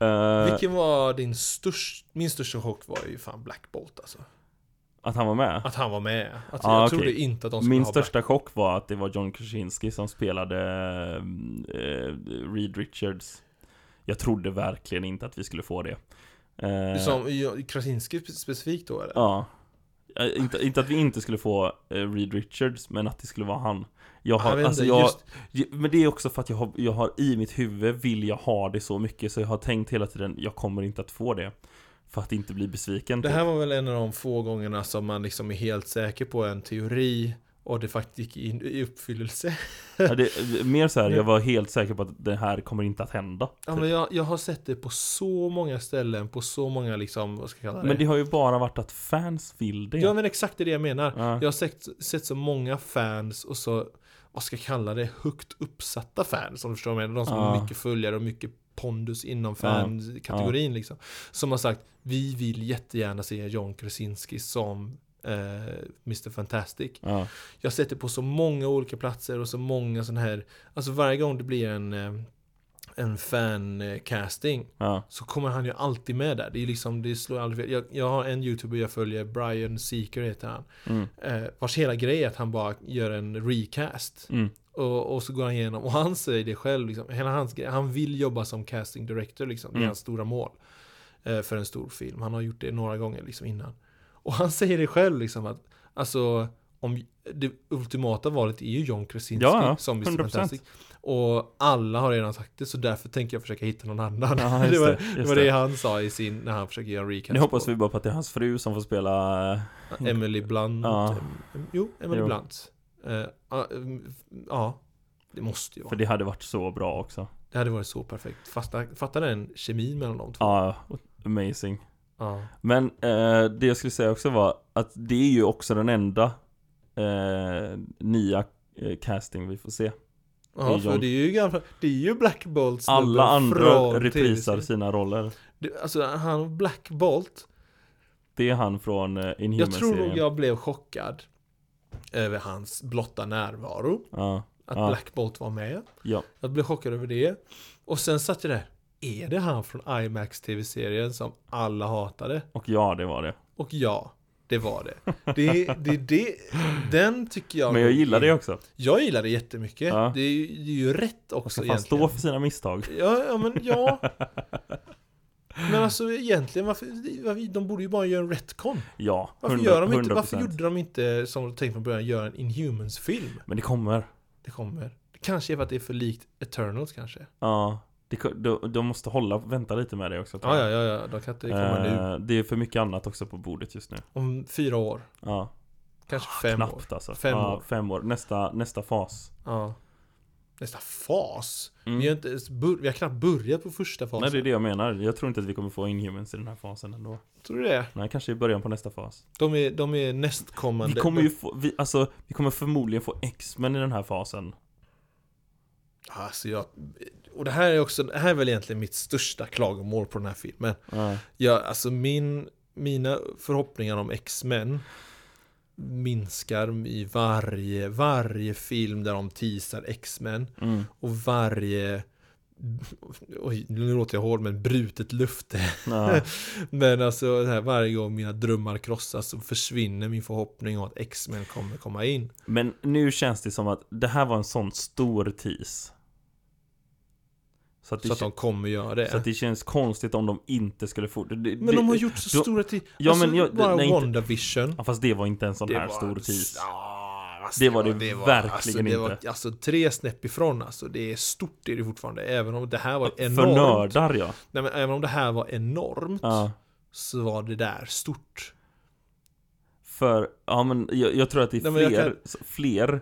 Speaker 1: Eh,
Speaker 2: Vilken var din störst, min största chock var ju fan Black Bolt alltså.
Speaker 1: Att han var med?
Speaker 2: Att han var med. Att
Speaker 1: Ah,
Speaker 2: jag
Speaker 1: okej.
Speaker 2: trodde inte att de skulle
Speaker 1: Min
Speaker 2: ha
Speaker 1: största chock var att det var John Krasinski som spelade eh, Reed Richards. Jag trodde verkligen inte att vi skulle få det. Eh,
Speaker 2: Black. Som ja, Krasinski specifikt då eller?
Speaker 1: Ja. Eh, Inte, inte att vi inte skulle få eh, Reed Richards, men att det skulle vara han. Jag har,
Speaker 2: vet
Speaker 1: alltså
Speaker 2: inte,
Speaker 1: jag,
Speaker 2: just-
Speaker 1: Men det är också för att jag har, jag har i mitt huvud vill jag ha det så mycket så jag har tänkt hela tiden jag kommer inte att få det. För att inte bli besviken.
Speaker 2: Det
Speaker 1: typ.
Speaker 2: här var väl en av de få gångerna som man liksom är helt säker på en teori och det faktiskt gick in i uppfyllelse.
Speaker 1: Ja, det, mer så här, jag var helt säker på att det här kommer inte att hända.
Speaker 2: Ja,
Speaker 1: typ.
Speaker 2: men jag, jag har sett det på så många ställen, på så många liksom, vad ska jag kalla det?
Speaker 1: men det har ju bara varit att fans vill det.
Speaker 2: Ja men exakt det är det jag menar.
Speaker 1: Ja.
Speaker 2: Jag har sett, sett så många fans och så, vad ska jag kalla det, högt uppsatta fans om du förstår vad jag menar. De som
Speaker 1: Ja.
Speaker 2: har mycket följare och mycket pondus inom fankategorin liksom. Som har sagt, vi vill jättegärna se John Krasinski som eh, Mr Fantastic.
Speaker 1: Ja.
Speaker 2: Jag har sett det på så många olika platser och så många sådana här, alltså varje gång det blir en, eh, en eh, fancasting
Speaker 1: Ja.
Speaker 2: så kommer han ju alltid med där. Det är liksom, det slår aldrig fel. Jag, jag har en youtuber jag följer, Brian Seeker heter han.
Speaker 1: Mm.
Speaker 2: Eh, vars hela grej är att han bara gör en recast.
Speaker 1: Mm.
Speaker 2: Och, och så går han igenom, och han säger det själv, liksom, hela hans grej, han vill jobba som casting director, liksom, det är
Speaker 1: Mm.
Speaker 2: hans stora mål. Eh, för en stor film, han har gjort det några gånger liksom, innan. Och han säger det själv, liksom, att alltså, om, det ultimata valet är ju John Krasinski
Speaker 1: Ja, ja,
Speaker 2: som Mr.
Speaker 1: 100%.
Speaker 2: Fantastic. Och alla har redan sagt det, så därför tänker jag försöka hitta någon annan.
Speaker 1: Ja, just
Speaker 2: det, var,
Speaker 1: det,
Speaker 2: det,
Speaker 1: just
Speaker 2: var
Speaker 1: det.
Speaker 2: det. han sa i sin, när han försöker göra en recast
Speaker 1: Nu hoppas
Speaker 2: på
Speaker 1: vi bara på att det är hans fru som får spela... eh,
Speaker 2: Emily Blunt.
Speaker 1: Ja.
Speaker 2: Em- em- jo, Emily
Speaker 1: Jo.
Speaker 2: Blunt. Eh, Ja, em, ja, det måste ju
Speaker 1: För
Speaker 2: vara.
Speaker 1: det hade varit så bra också.
Speaker 2: Det hade varit så perfekt. Fatta, fatta den kemin mellan de två.
Speaker 1: Ja, amazing.
Speaker 2: Ja.
Speaker 1: Men eh, det jag skulle säga också var att det är ju också den enda eh, nya eh, casting vi får se.
Speaker 2: Ja,
Speaker 1: I
Speaker 2: för
Speaker 1: John-
Speaker 2: det är ju gamla, det är ju Black Bolt snubben
Speaker 1: Alla andra
Speaker 2: från
Speaker 1: reprisar
Speaker 2: TV-serien.
Speaker 1: sina roller.
Speaker 2: Det- Alltså han Black Bolt,
Speaker 1: Det är han från eh,
Speaker 2: jag tror nog
Speaker 1: Inhumans-serien.
Speaker 2: jag blev chockad över hans blotta närvaro.
Speaker 1: Ja,
Speaker 2: Att
Speaker 1: Ja.
Speaker 2: Black Bolt var med.
Speaker 1: ja.
Speaker 2: Jag blev chockad över det. Och sen satt jag där. Är det han från IMAX TV-serien som alla hatade?
Speaker 1: Och ja, det var det.
Speaker 2: Och ja, Det var det. Det, det, det. Den tycker jag...
Speaker 1: Men jag gillar det också.
Speaker 2: Jag gillar det jättemycket.
Speaker 1: Ja.
Speaker 2: Det, är ju, det är ju rätt
Speaker 1: Man
Speaker 2: också
Speaker 1: ska fan
Speaker 2: egentligen.
Speaker 1: stå för sina misstag.
Speaker 2: Ja, ja, men ja. Men alltså egentligen, varför, varför- de borde ju bara göra en retcon.
Speaker 1: Ja,
Speaker 2: Varför,
Speaker 1: 100%.
Speaker 2: gör de inte, varför gjorde de inte, som de tänkte från början, göra en Inhumans-film?
Speaker 1: Men det kommer.
Speaker 2: Det kommer. Det kanske är för att det är för likt Eternals kanske.
Speaker 1: Ja. Det, ko- de, de måste hålla, vänta lite med det också. tror
Speaker 2: Ja,
Speaker 1: jag.
Speaker 2: ja, ja, ja. de kan inte komma nu.
Speaker 1: Eh, det är för mycket annat också på bordet just nu.
Speaker 2: Om fyra år.
Speaker 1: Ja,
Speaker 2: Kanske fem år.
Speaker 1: knappt alltså.
Speaker 2: Fem
Speaker 1: ja,
Speaker 2: år.
Speaker 1: fem år. Nästa, nästa fas.
Speaker 2: Ja. Nästa fas.
Speaker 1: Mm.
Speaker 2: Vi, har inte ens bör- vi har knappt börjat på första fasen.
Speaker 1: Nej, det är det jag menar. Jag tror inte att vi kommer få Inhumans i den här fasen ändå.
Speaker 2: Tror du det?
Speaker 1: Nej, kanske i början på nästa fas.
Speaker 2: De är, de är nästkommande.
Speaker 1: Vi kommer ju få, vi, alltså, vi kommer förmodligen få X-Men i den här fasen.
Speaker 2: Alltså jag... Och det här är också, det här är väl egentligen mitt största klagomål på den här filmen.
Speaker 1: Ja.
Speaker 2: Ja, alltså min, mina förhoppningar om X-Men minskar i varje, varje film där de teasar X-Men.
Speaker 1: Mm.
Speaker 2: Och varje, oj, nu låter jag hård, men brutet löfte.
Speaker 1: Ja.
Speaker 2: Men alltså det här, varje gång mina drömmar krossas så försvinner min förhoppning om att X-Men kommer komma in.
Speaker 1: Men nu känns det som att det här var en sån stor tease. Så att det,
Speaker 2: Så att de kommer göra det.
Speaker 1: så att det känns konstigt om de inte skulle få det. det
Speaker 2: men de har
Speaker 1: det-
Speaker 2: gjort så
Speaker 1: då-
Speaker 2: stora till...
Speaker 1: Ja,
Speaker 2: alltså,
Speaker 1: men jag-
Speaker 2: bara
Speaker 1: nej, inte-
Speaker 2: WandaVision.
Speaker 1: Ja, fast det var inte en sån här
Speaker 2: var-
Speaker 1: stor tease.
Speaker 2: Ja, alltså,
Speaker 1: Det var det verkligen
Speaker 2: alltså, det Var,
Speaker 1: inte.
Speaker 2: alltså tre snäpp ifrån alltså. Det är stort är det fortfarande. Även om det här var
Speaker 1: För
Speaker 2: enormt.
Speaker 1: nördar ja.
Speaker 2: Nej, men även om det här var enormt.
Speaker 1: ja.
Speaker 2: Så var det där stort.
Speaker 1: För, ja men jag, jag tror att det är
Speaker 2: Nej, men jag
Speaker 1: fler, fler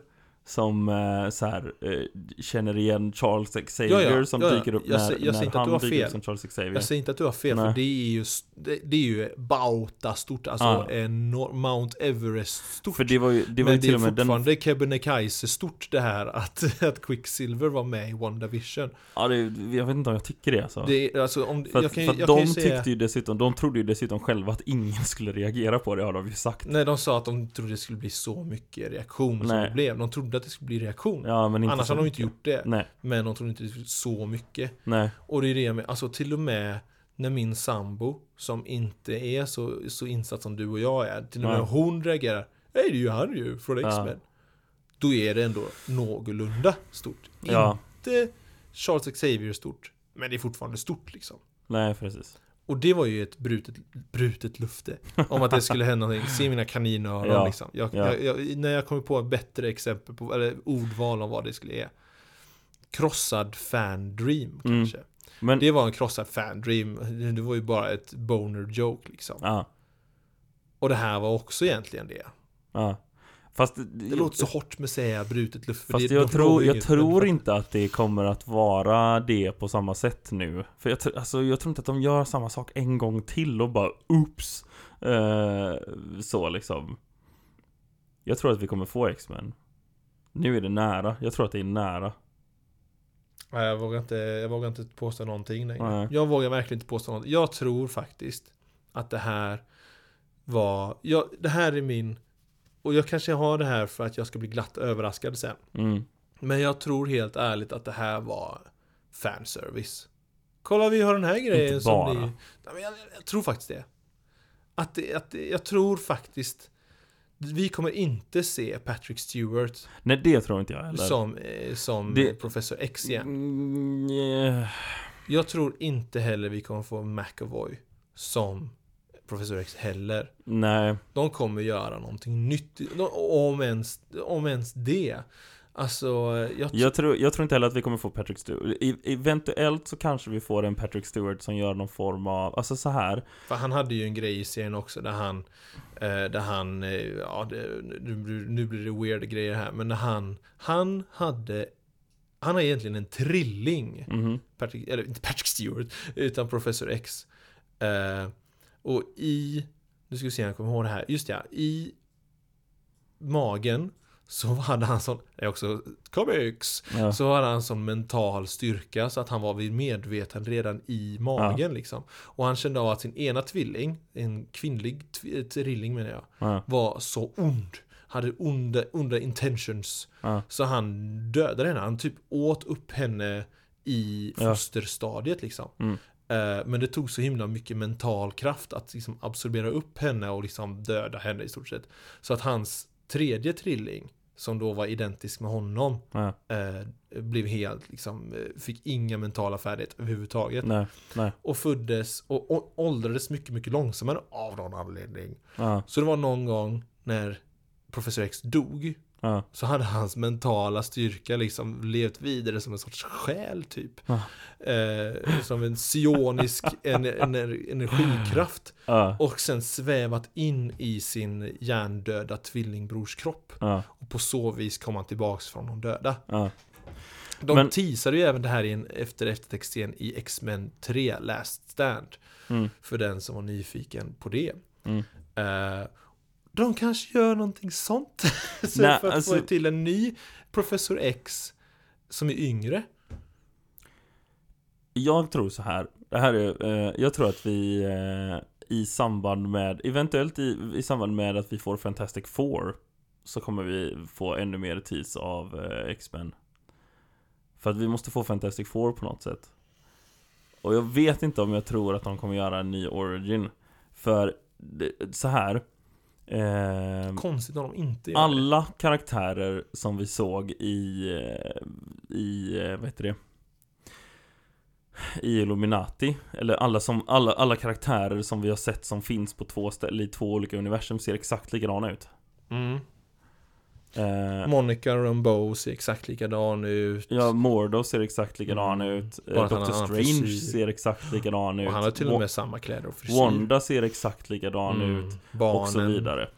Speaker 1: som eh, så här, eh, känner igen Charles Xavier
Speaker 2: Ja, ja,
Speaker 1: som
Speaker 2: ja, ja.
Speaker 1: dyker upp
Speaker 2: Jag
Speaker 1: när,
Speaker 2: ser- jag ser
Speaker 1: när
Speaker 2: inte att du
Speaker 1: han
Speaker 2: har
Speaker 1: dyker upp
Speaker 2: fel.
Speaker 1: som Charles Xavier.
Speaker 2: Jag säger inte att du har fel.
Speaker 1: Nej.
Speaker 2: För det är ju, det, det är ju bauta stort. Alltså
Speaker 1: Ja.
Speaker 2: enor- Mount Everest stort.
Speaker 1: För det var ju, det var ju
Speaker 2: men det
Speaker 1: till
Speaker 2: är
Speaker 1: och med den
Speaker 2: fortfarande Kebnekaise stort det här att, att Quicksilver var med i WandaVision.
Speaker 1: Ja, det, jag vet inte om jag tycker det alltså.
Speaker 2: Det är, alltså, om,
Speaker 1: för att,
Speaker 2: jag kan, ju-
Speaker 1: för att
Speaker 2: jag kan
Speaker 1: de
Speaker 2: ju säga...
Speaker 1: tyckte ju dessutom, de trodde ju dessutom själva att ingen skulle reagera på det har de ju sagt.
Speaker 2: Nej, de sa att de trodde det skulle bli så mycket reaktion som
Speaker 1: Nej.
Speaker 2: det blev. De trodde att det skulle bli reaktion.
Speaker 1: Ja, men inte
Speaker 2: Annars
Speaker 1: så
Speaker 2: hade de
Speaker 1: mycket.
Speaker 2: inte gjort det.
Speaker 1: Nej,
Speaker 2: Men de trodde inte det skulle bli så mycket.
Speaker 1: nej.
Speaker 2: Och det är det med, alltså till och med när min sambo, som inte är så, så insatt som du och jag är, till och med
Speaker 1: Nej.
Speaker 2: hon reagerar Hej, det är ju han ju, från
Speaker 1: Ja.
Speaker 2: X-Men. Då är det ändå någorlunda stort.
Speaker 1: Ja,
Speaker 2: Inte Charles Xavier stort, men det är fortfarande stort liksom.
Speaker 1: nej precis.
Speaker 2: Och det var ju ett brutet, brutet lufte Om att det skulle hända någonting, se mina kaninöron
Speaker 1: Ja,
Speaker 2: liksom jag,
Speaker 1: ja.
Speaker 2: jag, jag, När jag kommer på ett bättre exempel på, eller ordval om vad det skulle är Krossad
Speaker 1: Mm.
Speaker 2: fan-dream kanske
Speaker 1: Men,
Speaker 2: Det var en krossad fan-dream Det var ju bara ett boner joke liksom
Speaker 1: ja,
Speaker 2: Och det här var också egentligen det
Speaker 1: ja. Fast,
Speaker 2: Det låter så hårt med att säga brutet luft för
Speaker 1: fast
Speaker 2: det,
Speaker 1: jag,
Speaker 2: de frågar
Speaker 1: tror,
Speaker 2: ju
Speaker 1: jag
Speaker 2: inget.
Speaker 1: tror inte att det kommer att vara det på samma sätt nu. För jag, tr- alltså, jag tror inte att de gör samma sak en gång till och bara oops. Eh, så liksom. Jag tror att vi kommer få X-Men. Nu är det nära. Jag tror att det är nära.
Speaker 2: Nej, jag, vågar inte, jag vågar inte påstå någonting längre.
Speaker 1: Nej.
Speaker 2: Jag vågar verkligen inte påstå någonting. Jag tror faktiskt att det här var... Jag, det här är min... Och jag kanske har det här för att jag ska bli glatt överraskad sen.
Speaker 1: Mm.
Speaker 2: Men jag tror helt ärligt att det här var fanservice. Kolla vi har den här grejen
Speaker 1: Inte
Speaker 2: som
Speaker 1: bara.
Speaker 2: ni... Nej, men jag, jag tror faktiskt det. Att det, att det. Jag tror faktiskt... Vi kommer inte se Patrick Stewart
Speaker 1: Nej, det tror inte jag heller.
Speaker 2: som, eh, som
Speaker 1: Det-
Speaker 2: Professor X igen.
Speaker 1: Mm, eh,
Speaker 2: Jag tror inte heller vi kommer få McAvoy som Professor X heller.
Speaker 1: nej.
Speaker 2: De kommer göra någonting nytt. De- Om ens, om ens det. Alltså, jag,
Speaker 1: Jag tror, jag tror inte heller att vi kommer få Patrick Stewart. E- eventuellt så kanske vi får en Patrick Stewart som gör någon form av, alltså så här.
Speaker 2: för han hade ju en grej i serien också där han, eh, där han, eh, ja det, nu, blir- nu blir det weird grejer här, men när han, han hade, han har egentligen en trilling.
Speaker 1: Mhm.
Speaker 2: Patrick, eller inte Patrick Stewart, utan Professor X. Eh, och i, nu ska vi se om jag kommer ihåg det här, just ja, i magen så hade han sån, det är också comics,
Speaker 1: Ja.
Speaker 2: så hade han sån mental styrka så att han var vid medveten redan i magen liksom. Och han kände av att sin ena tvilling, en kvinnlig tv- trilling menar jag,
Speaker 1: Ja.
Speaker 2: var så ond. Hade onda, onda intentions.
Speaker 1: Ja.
Speaker 2: Så han dödade henne. Han typ åt upp henne i
Speaker 1: Ja.
Speaker 2: fosterstadiet liksom.
Speaker 1: Mm.
Speaker 2: Eh, Men det tog så himla mycket mental kraft att liksom absorbera upp henne och liksom döda henne i stort sett. Så att hans tredje trilling, som då var identisk med honom,
Speaker 1: Ja.
Speaker 2: eh, blev helt liksom, eh, fick inga mentala färdigheter överhuvudtaget.
Speaker 1: Nej. Nej.
Speaker 2: Och föddes och å- åldrades mycket, mycket långsammare av någon anledning.
Speaker 1: Ja.
Speaker 2: Så det var någon gång när Professor X dog,
Speaker 1: Ja.
Speaker 2: så hade hans mentala styrka liksom levt vidare som en sorts själ typ.
Speaker 1: Ah.
Speaker 2: Eh, som en sionisk en, en, energikraft.
Speaker 1: Ja.
Speaker 2: Och sen svävat in i sin hjärndöda tvillingbrors kropp.
Speaker 1: Ja.
Speaker 2: Och på så vis kom han tillbaks från de döda.
Speaker 1: Ja.
Speaker 2: De
Speaker 1: Men-
Speaker 2: teasade ju även det här i en efter eftertexten i X-Men 3 Last Stand.
Speaker 1: Mm.
Speaker 2: För den som var nyfiken på det.
Speaker 1: Mm.
Speaker 2: Eh, de kanske gör någonting sånt. så
Speaker 1: Nej,
Speaker 2: för att
Speaker 1: alltså-
Speaker 2: få till en ny Professor X som är yngre.
Speaker 1: Jag tror så här. Det här är, eh, jag tror att vi eh, i samband med, eventuellt i, i samband med att vi får Fantastic Four så kommer vi få ännu mer tease av eh, X-Men. För att vi måste få Fantastic Four på något sätt. Och jag vet inte om jag tror att de kommer göra en ny origin. För det, så här. ehm,
Speaker 2: Konstigt om de inte gör det.
Speaker 1: alla karaktärer som vi såg i, eh, i eh, vad heter det? I Illuminati, eller alla, som, alla, alla karaktärer som vi har sett som finns på två ställen, i två olika universum ser exakt likadana ut.
Speaker 2: Mm.
Speaker 1: Eh,
Speaker 2: Monica Rambeau ser exakt likadan ut.
Speaker 1: ja, Mordo ser exakt likadan
Speaker 2: Mm.
Speaker 1: ut.
Speaker 2: Bara
Speaker 1: Eh,
Speaker 2: att han
Speaker 1: Doctor
Speaker 2: har annan
Speaker 1: Strange
Speaker 2: frisyr.
Speaker 1: ser exakt likadan ut.
Speaker 2: och han har till
Speaker 1: Wa-
Speaker 2: och med samma kläder och frisyr.
Speaker 1: Wanda ser exakt likadan
Speaker 2: Mm.
Speaker 1: ut.
Speaker 2: Barnen.
Speaker 1: Och så vidare.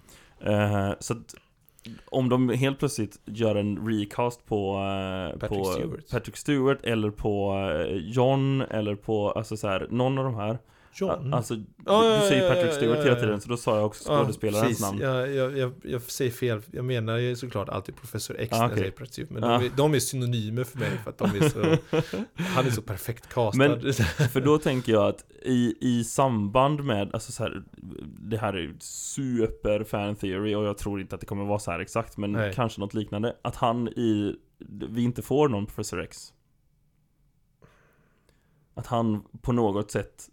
Speaker 1: Eh, så att om de helt plötsligt gör en recast på, eh,
Speaker 2: Patrick
Speaker 1: på
Speaker 2: Stewart.
Speaker 1: Patrick Stewart eller på eh, John eller på alltså så här, någon av de här.
Speaker 2: John.
Speaker 1: A- Alltså, du-
Speaker 2: Ja, ja,
Speaker 1: du säger
Speaker 2: ja,
Speaker 1: Patrick
Speaker 2: ja,
Speaker 1: Stewart
Speaker 2: ja,
Speaker 1: hela
Speaker 2: ja.
Speaker 1: tiden så då sa jag också
Speaker 2: Ja,
Speaker 1: skådespelarens
Speaker 2: precis.
Speaker 1: namn.
Speaker 2: Jag, jag, jag, jag säger fel. Jag menar ju såklart alltid Professor X
Speaker 1: Ah,
Speaker 2: när
Speaker 1: okej.
Speaker 2: jag säger Professor X, Men
Speaker 1: Ah.
Speaker 2: de, är, de är synonymer för mig för att de är så... han är så perfekt castad.
Speaker 1: Men- För då tänker jag att i, i samband med, alltså så här, det här är ju super fan theory och jag tror inte att det kommer vara så här exakt men
Speaker 2: Nej.
Speaker 1: kanske något liknande. Att han i, vi inte får någon Professor X. Att han på något sätt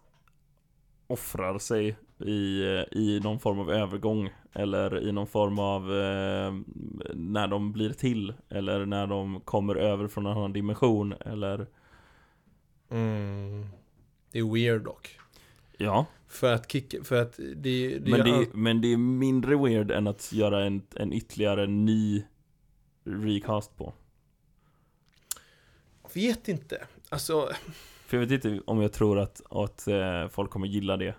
Speaker 1: offrar sig i, i någon form av övergång eller i någon form av eh, när de blir till eller när de kommer över från en annan dimension eller
Speaker 2: mm. Det är weird dock.
Speaker 1: ja.
Speaker 2: För att kicka, för att det, det,
Speaker 1: Men
Speaker 2: gör
Speaker 1: det,
Speaker 2: allt-
Speaker 1: men det är mindre weird än att göra en, en ytterligare ny recast på.
Speaker 2: jag vet inte. Alltså,
Speaker 1: För jag vet inte om jag tror att, att eh, folk kommer gilla det.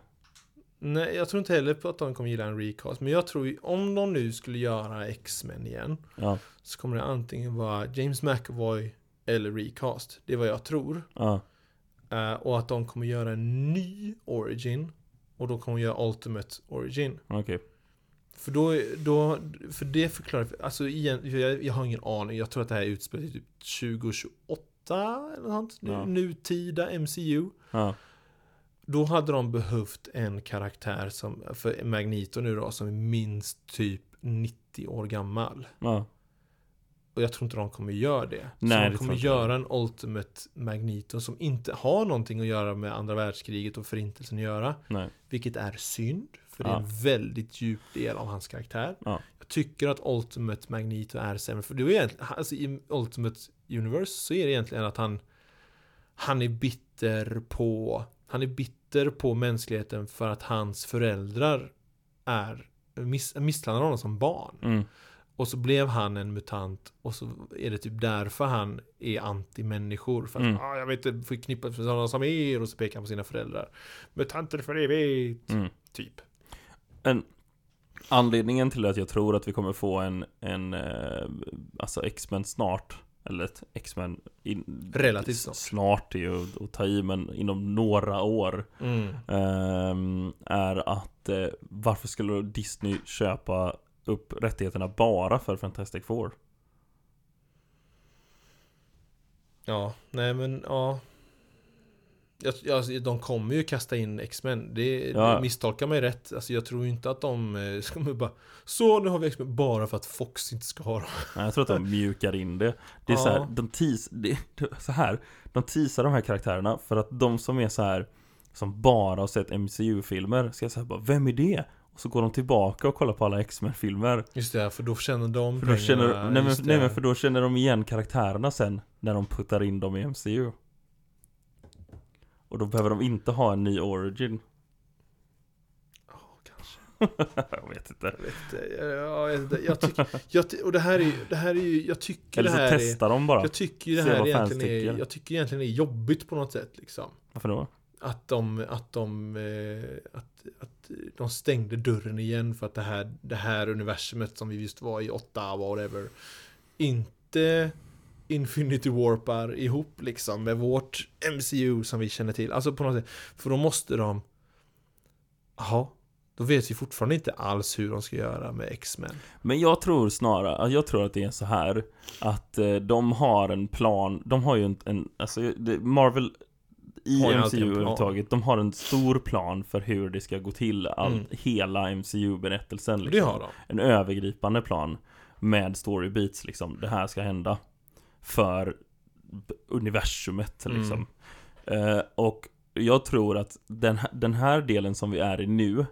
Speaker 2: nej, jag tror inte heller på att de kommer gilla en recast. Men jag tror ju, om de nu skulle göra X-Men igen
Speaker 1: Ja,
Speaker 2: så kommer det antingen vara James McAvoy eller recast. Det är vad jag tror.
Speaker 1: ja,
Speaker 2: Eh, och att de kommer göra en ny origin. Och då kommer de göra Ultimate Origin.
Speaker 1: okej.
Speaker 2: För då, då för det förklarar, alltså igen, jag, jag har ingen aning. Jag tror att det här utspelar sig typ 2028 eller något sånt.
Speaker 1: Ja.
Speaker 2: Nutida MCU.
Speaker 1: Ja,
Speaker 2: Då hade de behövt en karaktär som, för Magneto nu då, som är minst typ 90 år gammal.
Speaker 1: ja,
Speaker 2: Och jag tror inte de kommer göra det.
Speaker 1: Nej, det
Speaker 2: så de
Speaker 1: tror
Speaker 2: kommer
Speaker 1: inte
Speaker 2: göra en Ultimate Magneto som inte har någonting att göra med andra världskriget och förintelsen att göra.
Speaker 1: nej.
Speaker 2: Vilket är synd, för det är
Speaker 1: Ja.
Speaker 2: en väldigt djup del av hans karaktär.
Speaker 1: Ja.
Speaker 2: Jag tycker att Ultimate Magneto är sämre, för det är egentligen, alltså i Ultimate Universe så är det egentligen att han han är bitter på han är bitter på mänskligheten för att hans föräldrar är miss, misshandlade honom som barn.
Speaker 1: Mm,
Speaker 2: Och så blev han en mutant och så är det typ därför han är anti-människor. För att
Speaker 1: Mm.
Speaker 2: ah, jag vet inte förknippat med sådana som er och så pekar han på sina föräldrar. Mutanter för evigt.
Speaker 1: mm.
Speaker 2: Typ.
Speaker 1: Anledningen till att jag tror att vi kommer få en, en eh, alltså X-Men snart, eller ett X-Men in-
Speaker 2: Relativt snart.
Speaker 1: Snart är ju att- att ta i, men inom några år. Mm. Ehm, är att eh, varför skulle Disney köpa upp rättigheterna bara för Fantastic Four?
Speaker 2: Ja, nej men ja. Jag, jag, de kommer ju kasta in X-Men. Det,
Speaker 1: Ja.
Speaker 2: det misstolkar mig rätt. Alltså jag tror ju inte att de eh, ska bara Så nu har vi X-Men bara för att Fox inte ska ha dem.
Speaker 1: Nej, Jag tror att de mjukar in det. Det är
Speaker 2: Ja.
Speaker 1: så här, de teas, det, det- så här, de teasar de här karaktärerna för att de som är så här som bara har sett MCU-filmer ska säga bara Vem är det? Och så går de tillbaka och kollar på alla X-Men-filmer
Speaker 2: Just det, för då känner de
Speaker 1: För då känner,
Speaker 2: pengarna,
Speaker 1: nej, men,
Speaker 2: just
Speaker 1: nej
Speaker 2: det.
Speaker 1: men för då känner de igen karaktärerna sen När de puttar in dem i MCU Och då behöver de inte ha en ny origin
Speaker 2: Ja, kanske.
Speaker 1: Jag vet inte
Speaker 2: Jag vet inte. Ja, jag, vet inte. jag tycker, jag, ty- och det här är ju, det här är ju, jag tycker
Speaker 1: Eller
Speaker 2: det här
Speaker 1: så
Speaker 2: är,
Speaker 1: testar de bara
Speaker 2: jag tycker ju det
Speaker 1: Se
Speaker 2: här
Speaker 1: vad fans
Speaker 2: egentligen är,
Speaker 1: tycker.
Speaker 2: jag tycker egentligen det är jobbigt på något sätt liksom.
Speaker 1: Varför då?
Speaker 2: Att de, att de, eh, att, att de stängde dörren igen för att det här, det här universumet som vi just var i, åtta whatever, inte Infinity Warpar ihop liksom med vårt MCU som vi känner till. Alltså på något sätt, för då måste de, jaha, då vet vi fortfarande inte alls hur de ska göra med X-Men.
Speaker 1: Men jag tror snarare, jag tror att det är så här Att eh, de har en plan, de har ju en, en alltså det, Marvel i
Speaker 2: Har ju alltid
Speaker 1: MCU
Speaker 2: en plan.
Speaker 1: överhuvudtaget, de har en stor plan för hur det ska gå till all,
Speaker 2: Mm.
Speaker 1: Hela MCU-berättelsen
Speaker 2: Och det har de.
Speaker 1: en övergripande plan med story beats liksom. Det här ska hända för b- universumet
Speaker 2: Mm.
Speaker 1: liksom. Eh, och jag tror att den, här- den här delen som vi är i nu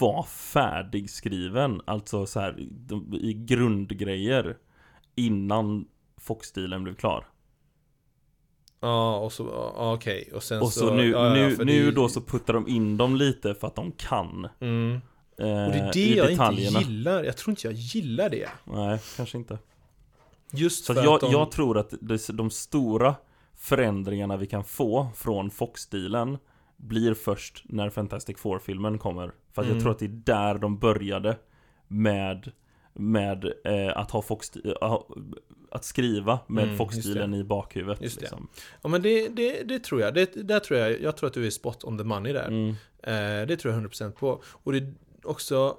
Speaker 1: var färdigskriven, alltså så här i- de- i grundgrejer innan Fox-stilen blev klar.
Speaker 2: Ja, och så, ja, okej. Och sen
Speaker 1: Och så, nu,
Speaker 2: Alltså, ja, ja,
Speaker 1: nu,
Speaker 2: för det-
Speaker 1: nu då så puttar de in dem lite för att de kan. Eh,
Speaker 2: Mm. Och det är det
Speaker 1: i
Speaker 2: jag
Speaker 1: detaljerna.
Speaker 2: inte gillar. Jag tror inte jag gillar det.
Speaker 1: Nej, kanske inte.
Speaker 2: Just
Speaker 1: Så
Speaker 2: för
Speaker 1: att jag,
Speaker 2: att de...
Speaker 1: jag tror att det- de stora förändringarna vi kan få från Fox-stilen blir först när Fantastic Four-filmen kommer. För att
Speaker 2: Mm.
Speaker 1: jag tror att det är där de började med, med eh, att ha Fox, eh, att skriva med
Speaker 2: Mm,
Speaker 1: Fox-stilen i bakhuvudet.
Speaker 2: Just det.
Speaker 1: Liksom.
Speaker 2: Ja, men det, det, det tror jag. Det, där tror jag. Jag tror att du är spot on the money där.
Speaker 1: Mm.
Speaker 2: Eh, det tror jag 100% på. Och det är också...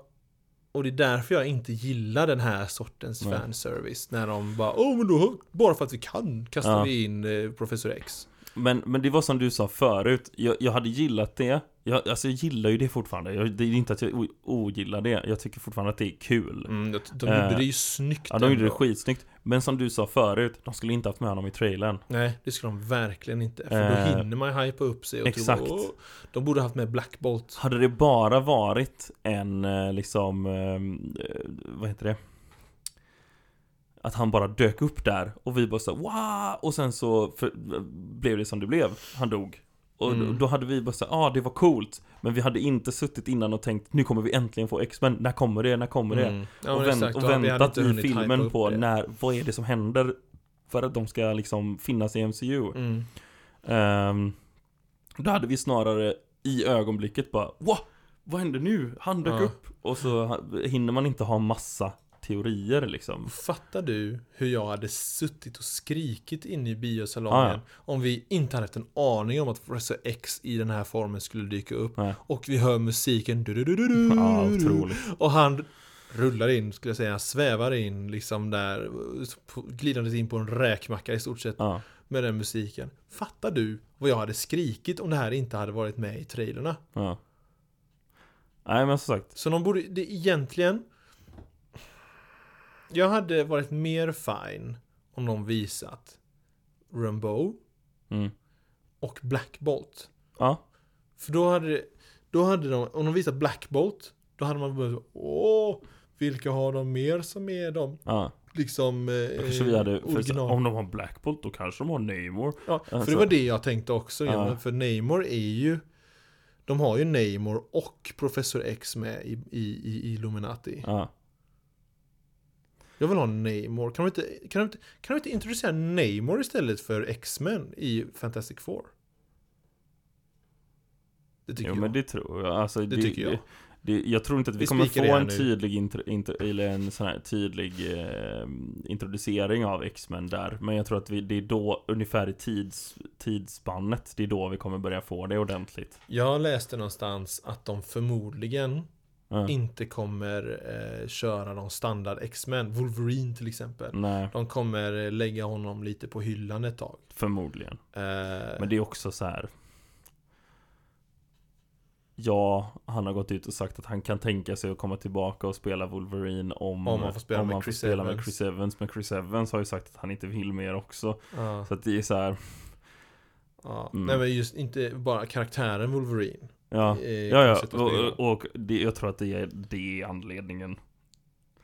Speaker 2: Och det är därför jag inte gillar den här sortens
Speaker 1: Nej.
Speaker 2: fanservice. När de bara Åh, men då, bara för att vi kan kastar
Speaker 1: Ja.
Speaker 2: vi in eh, Professor X.
Speaker 1: Men, men det var som du sa förut, jag, jag hade gillat det. Jag, alltså jag gillar ju det fortfarande. Jag, det är inte att jag o- ogillar det. Jag tycker fortfarande att det är kul.
Speaker 2: Mm, de de
Speaker 1: Eh,
Speaker 2: gjorde det ju snyggt
Speaker 1: Ja, de gjorde det
Speaker 2: ändå.
Speaker 1: skitsnyggt. Men som du sa förut, de skulle inte haft med honom i trailern.
Speaker 2: Nej, det skulle de verkligen inte. För då
Speaker 1: Eh,
Speaker 2: hinner man ju hypa upp sig och
Speaker 1: exakt.
Speaker 2: tro "Åh, De borde haft med Black Bolt.
Speaker 1: Hade det bara varit en eh, liksom, eh, vad heter det? Att han bara dök upp där och vi bara så här, wow! Och sen så för, blev det som det blev. Han dog. Och
Speaker 2: Mm.
Speaker 1: då- då hade vi bara såhär, ah det var coolt. Men vi hade inte suttit innan och tänkt, nu kommer vi äntligen få X-Men, när kommer det, när kommer det?
Speaker 2: Mm. Ja,
Speaker 1: och,
Speaker 2: men
Speaker 1: vänt,
Speaker 2: exakt.
Speaker 1: och
Speaker 2: Då hade- vi hade
Speaker 1: väntat
Speaker 2: inte
Speaker 1: i
Speaker 2: hunnit hypa
Speaker 1: filmen
Speaker 2: upp
Speaker 1: på
Speaker 2: det.
Speaker 1: när, vad är det som händer? För att de ska liksom finnas i MCU.
Speaker 2: Mm.
Speaker 1: Um, då hade vi snarare i ögonblicket bara Wow! Vad hände nu? Han dök
Speaker 2: Ja.
Speaker 1: upp! Och så ha- hinner man inte ha massa teorier liksom.
Speaker 2: Fattar du hur jag hade suttit och skrikit inne i biosalongen
Speaker 1: Ah, ja.
Speaker 2: om vi inte hade haft en aning om att Professor X i den här formen skulle dyka upp
Speaker 1: Nej.
Speaker 2: och vi hör musiken du, du, du, du, du,
Speaker 1: Ja, otroligt.
Speaker 2: och han rullar in, skulle jag säga, svävar in liksom där på- glidandes in på en räkmacka i stort sett
Speaker 1: Ja.
Speaker 2: med den musiken. Fattar du vad jag hade skrikit om det här inte hade varit med i trailerna?
Speaker 1: ja. Nej men som sagt.
Speaker 2: Så de borde, det är egentligen Jag hade varit mer fine Om de visat Rumbo
Speaker 1: Mm.
Speaker 2: och Black Bolt
Speaker 1: Ja.
Speaker 2: För då hade det- Då hade de, om de visat Black Bolt Då hade man börjat Åh Vilka har de mer som är de
Speaker 1: ja.
Speaker 2: liksom eh,
Speaker 1: Då kanske vi hade, för så-
Speaker 2: original
Speaker 1: om de har Black Bolt då kanske de har Namor.
Speaker 2: Ja, för
Speaker 1: Alltså-
Speaker 2: det var det jag tänkte också. Ja.
Speaker 1: Ja.
Speaker 2: men För Namor är ju... De har ju Namor och Professor X med i, i, i Illuminati.
Speaker 1: Ja.
Speaker 2: Jag vill ha Namor. Kan de inte, kan de inte, kan de inte introducera Namor istället för X-Men i Fantastic Four? Det tycker
Speaker 1: Jo
Speaker 2: jag.
Speaker 1: men det tror jag. Alltså,
Speaker 2: det, tycker jag.
Speaker 1: Det, det, jag tror inte att vi,
Speaker 2: Vi
Speaker 1: kommer
Speaker 2: spikar
Speaker 1: få
Speaker 2: det här
Speaker 1: en
Speaker 2: nu.
Speaker 1: tydlig, intro, intro, eller en sån här tydlig eh, introducering av X-Men där. Men jag tror att vi, det är då, ungefär i tids, tidsspannet, det är då vi kommer börja få det ordentligt.
Speaker 2: Jag läste någonstans att de förmodligen
Speaker 1: Ja.
Speaker 2: inte kommer eh, köra de standard X-Men. Wolverine till exempel.
Speaker 1: Nej,
Speaker 2: De kommer eh, lägga honom lite på hyllan ett tag.
Speaker 1: förmodligen.
Speaker 2: Eh,
Speaker 1: Men det är också så här. Ja, han har gått ut och sagt att han kan tänka sig att komma tillbaka och spela Wolverine om,
Speaker 2: Om han får spela med
Speaker 1: han
Speaker 2: Chris
Speaker 1: spela
Speaker 2: Evans.
Speaker 1: med Chris Evans. Men Chris Evans har ju sagt att han inte vill mer också.
Speaker 2: ja.
Speaker 1: Så att det är så här.
Speaker 2: Ja.
Speaker 1: Mm.
Speaker 2: Nej men just inte bara karaktären Wolverine. Eh,
Speaker 1: Ja,
Speaker 2: är
Speaker 1: ja, ja.
Speaker 2: konstigt att spela.
Speaker 1: och, och det, jag tror att det är det är anledningen.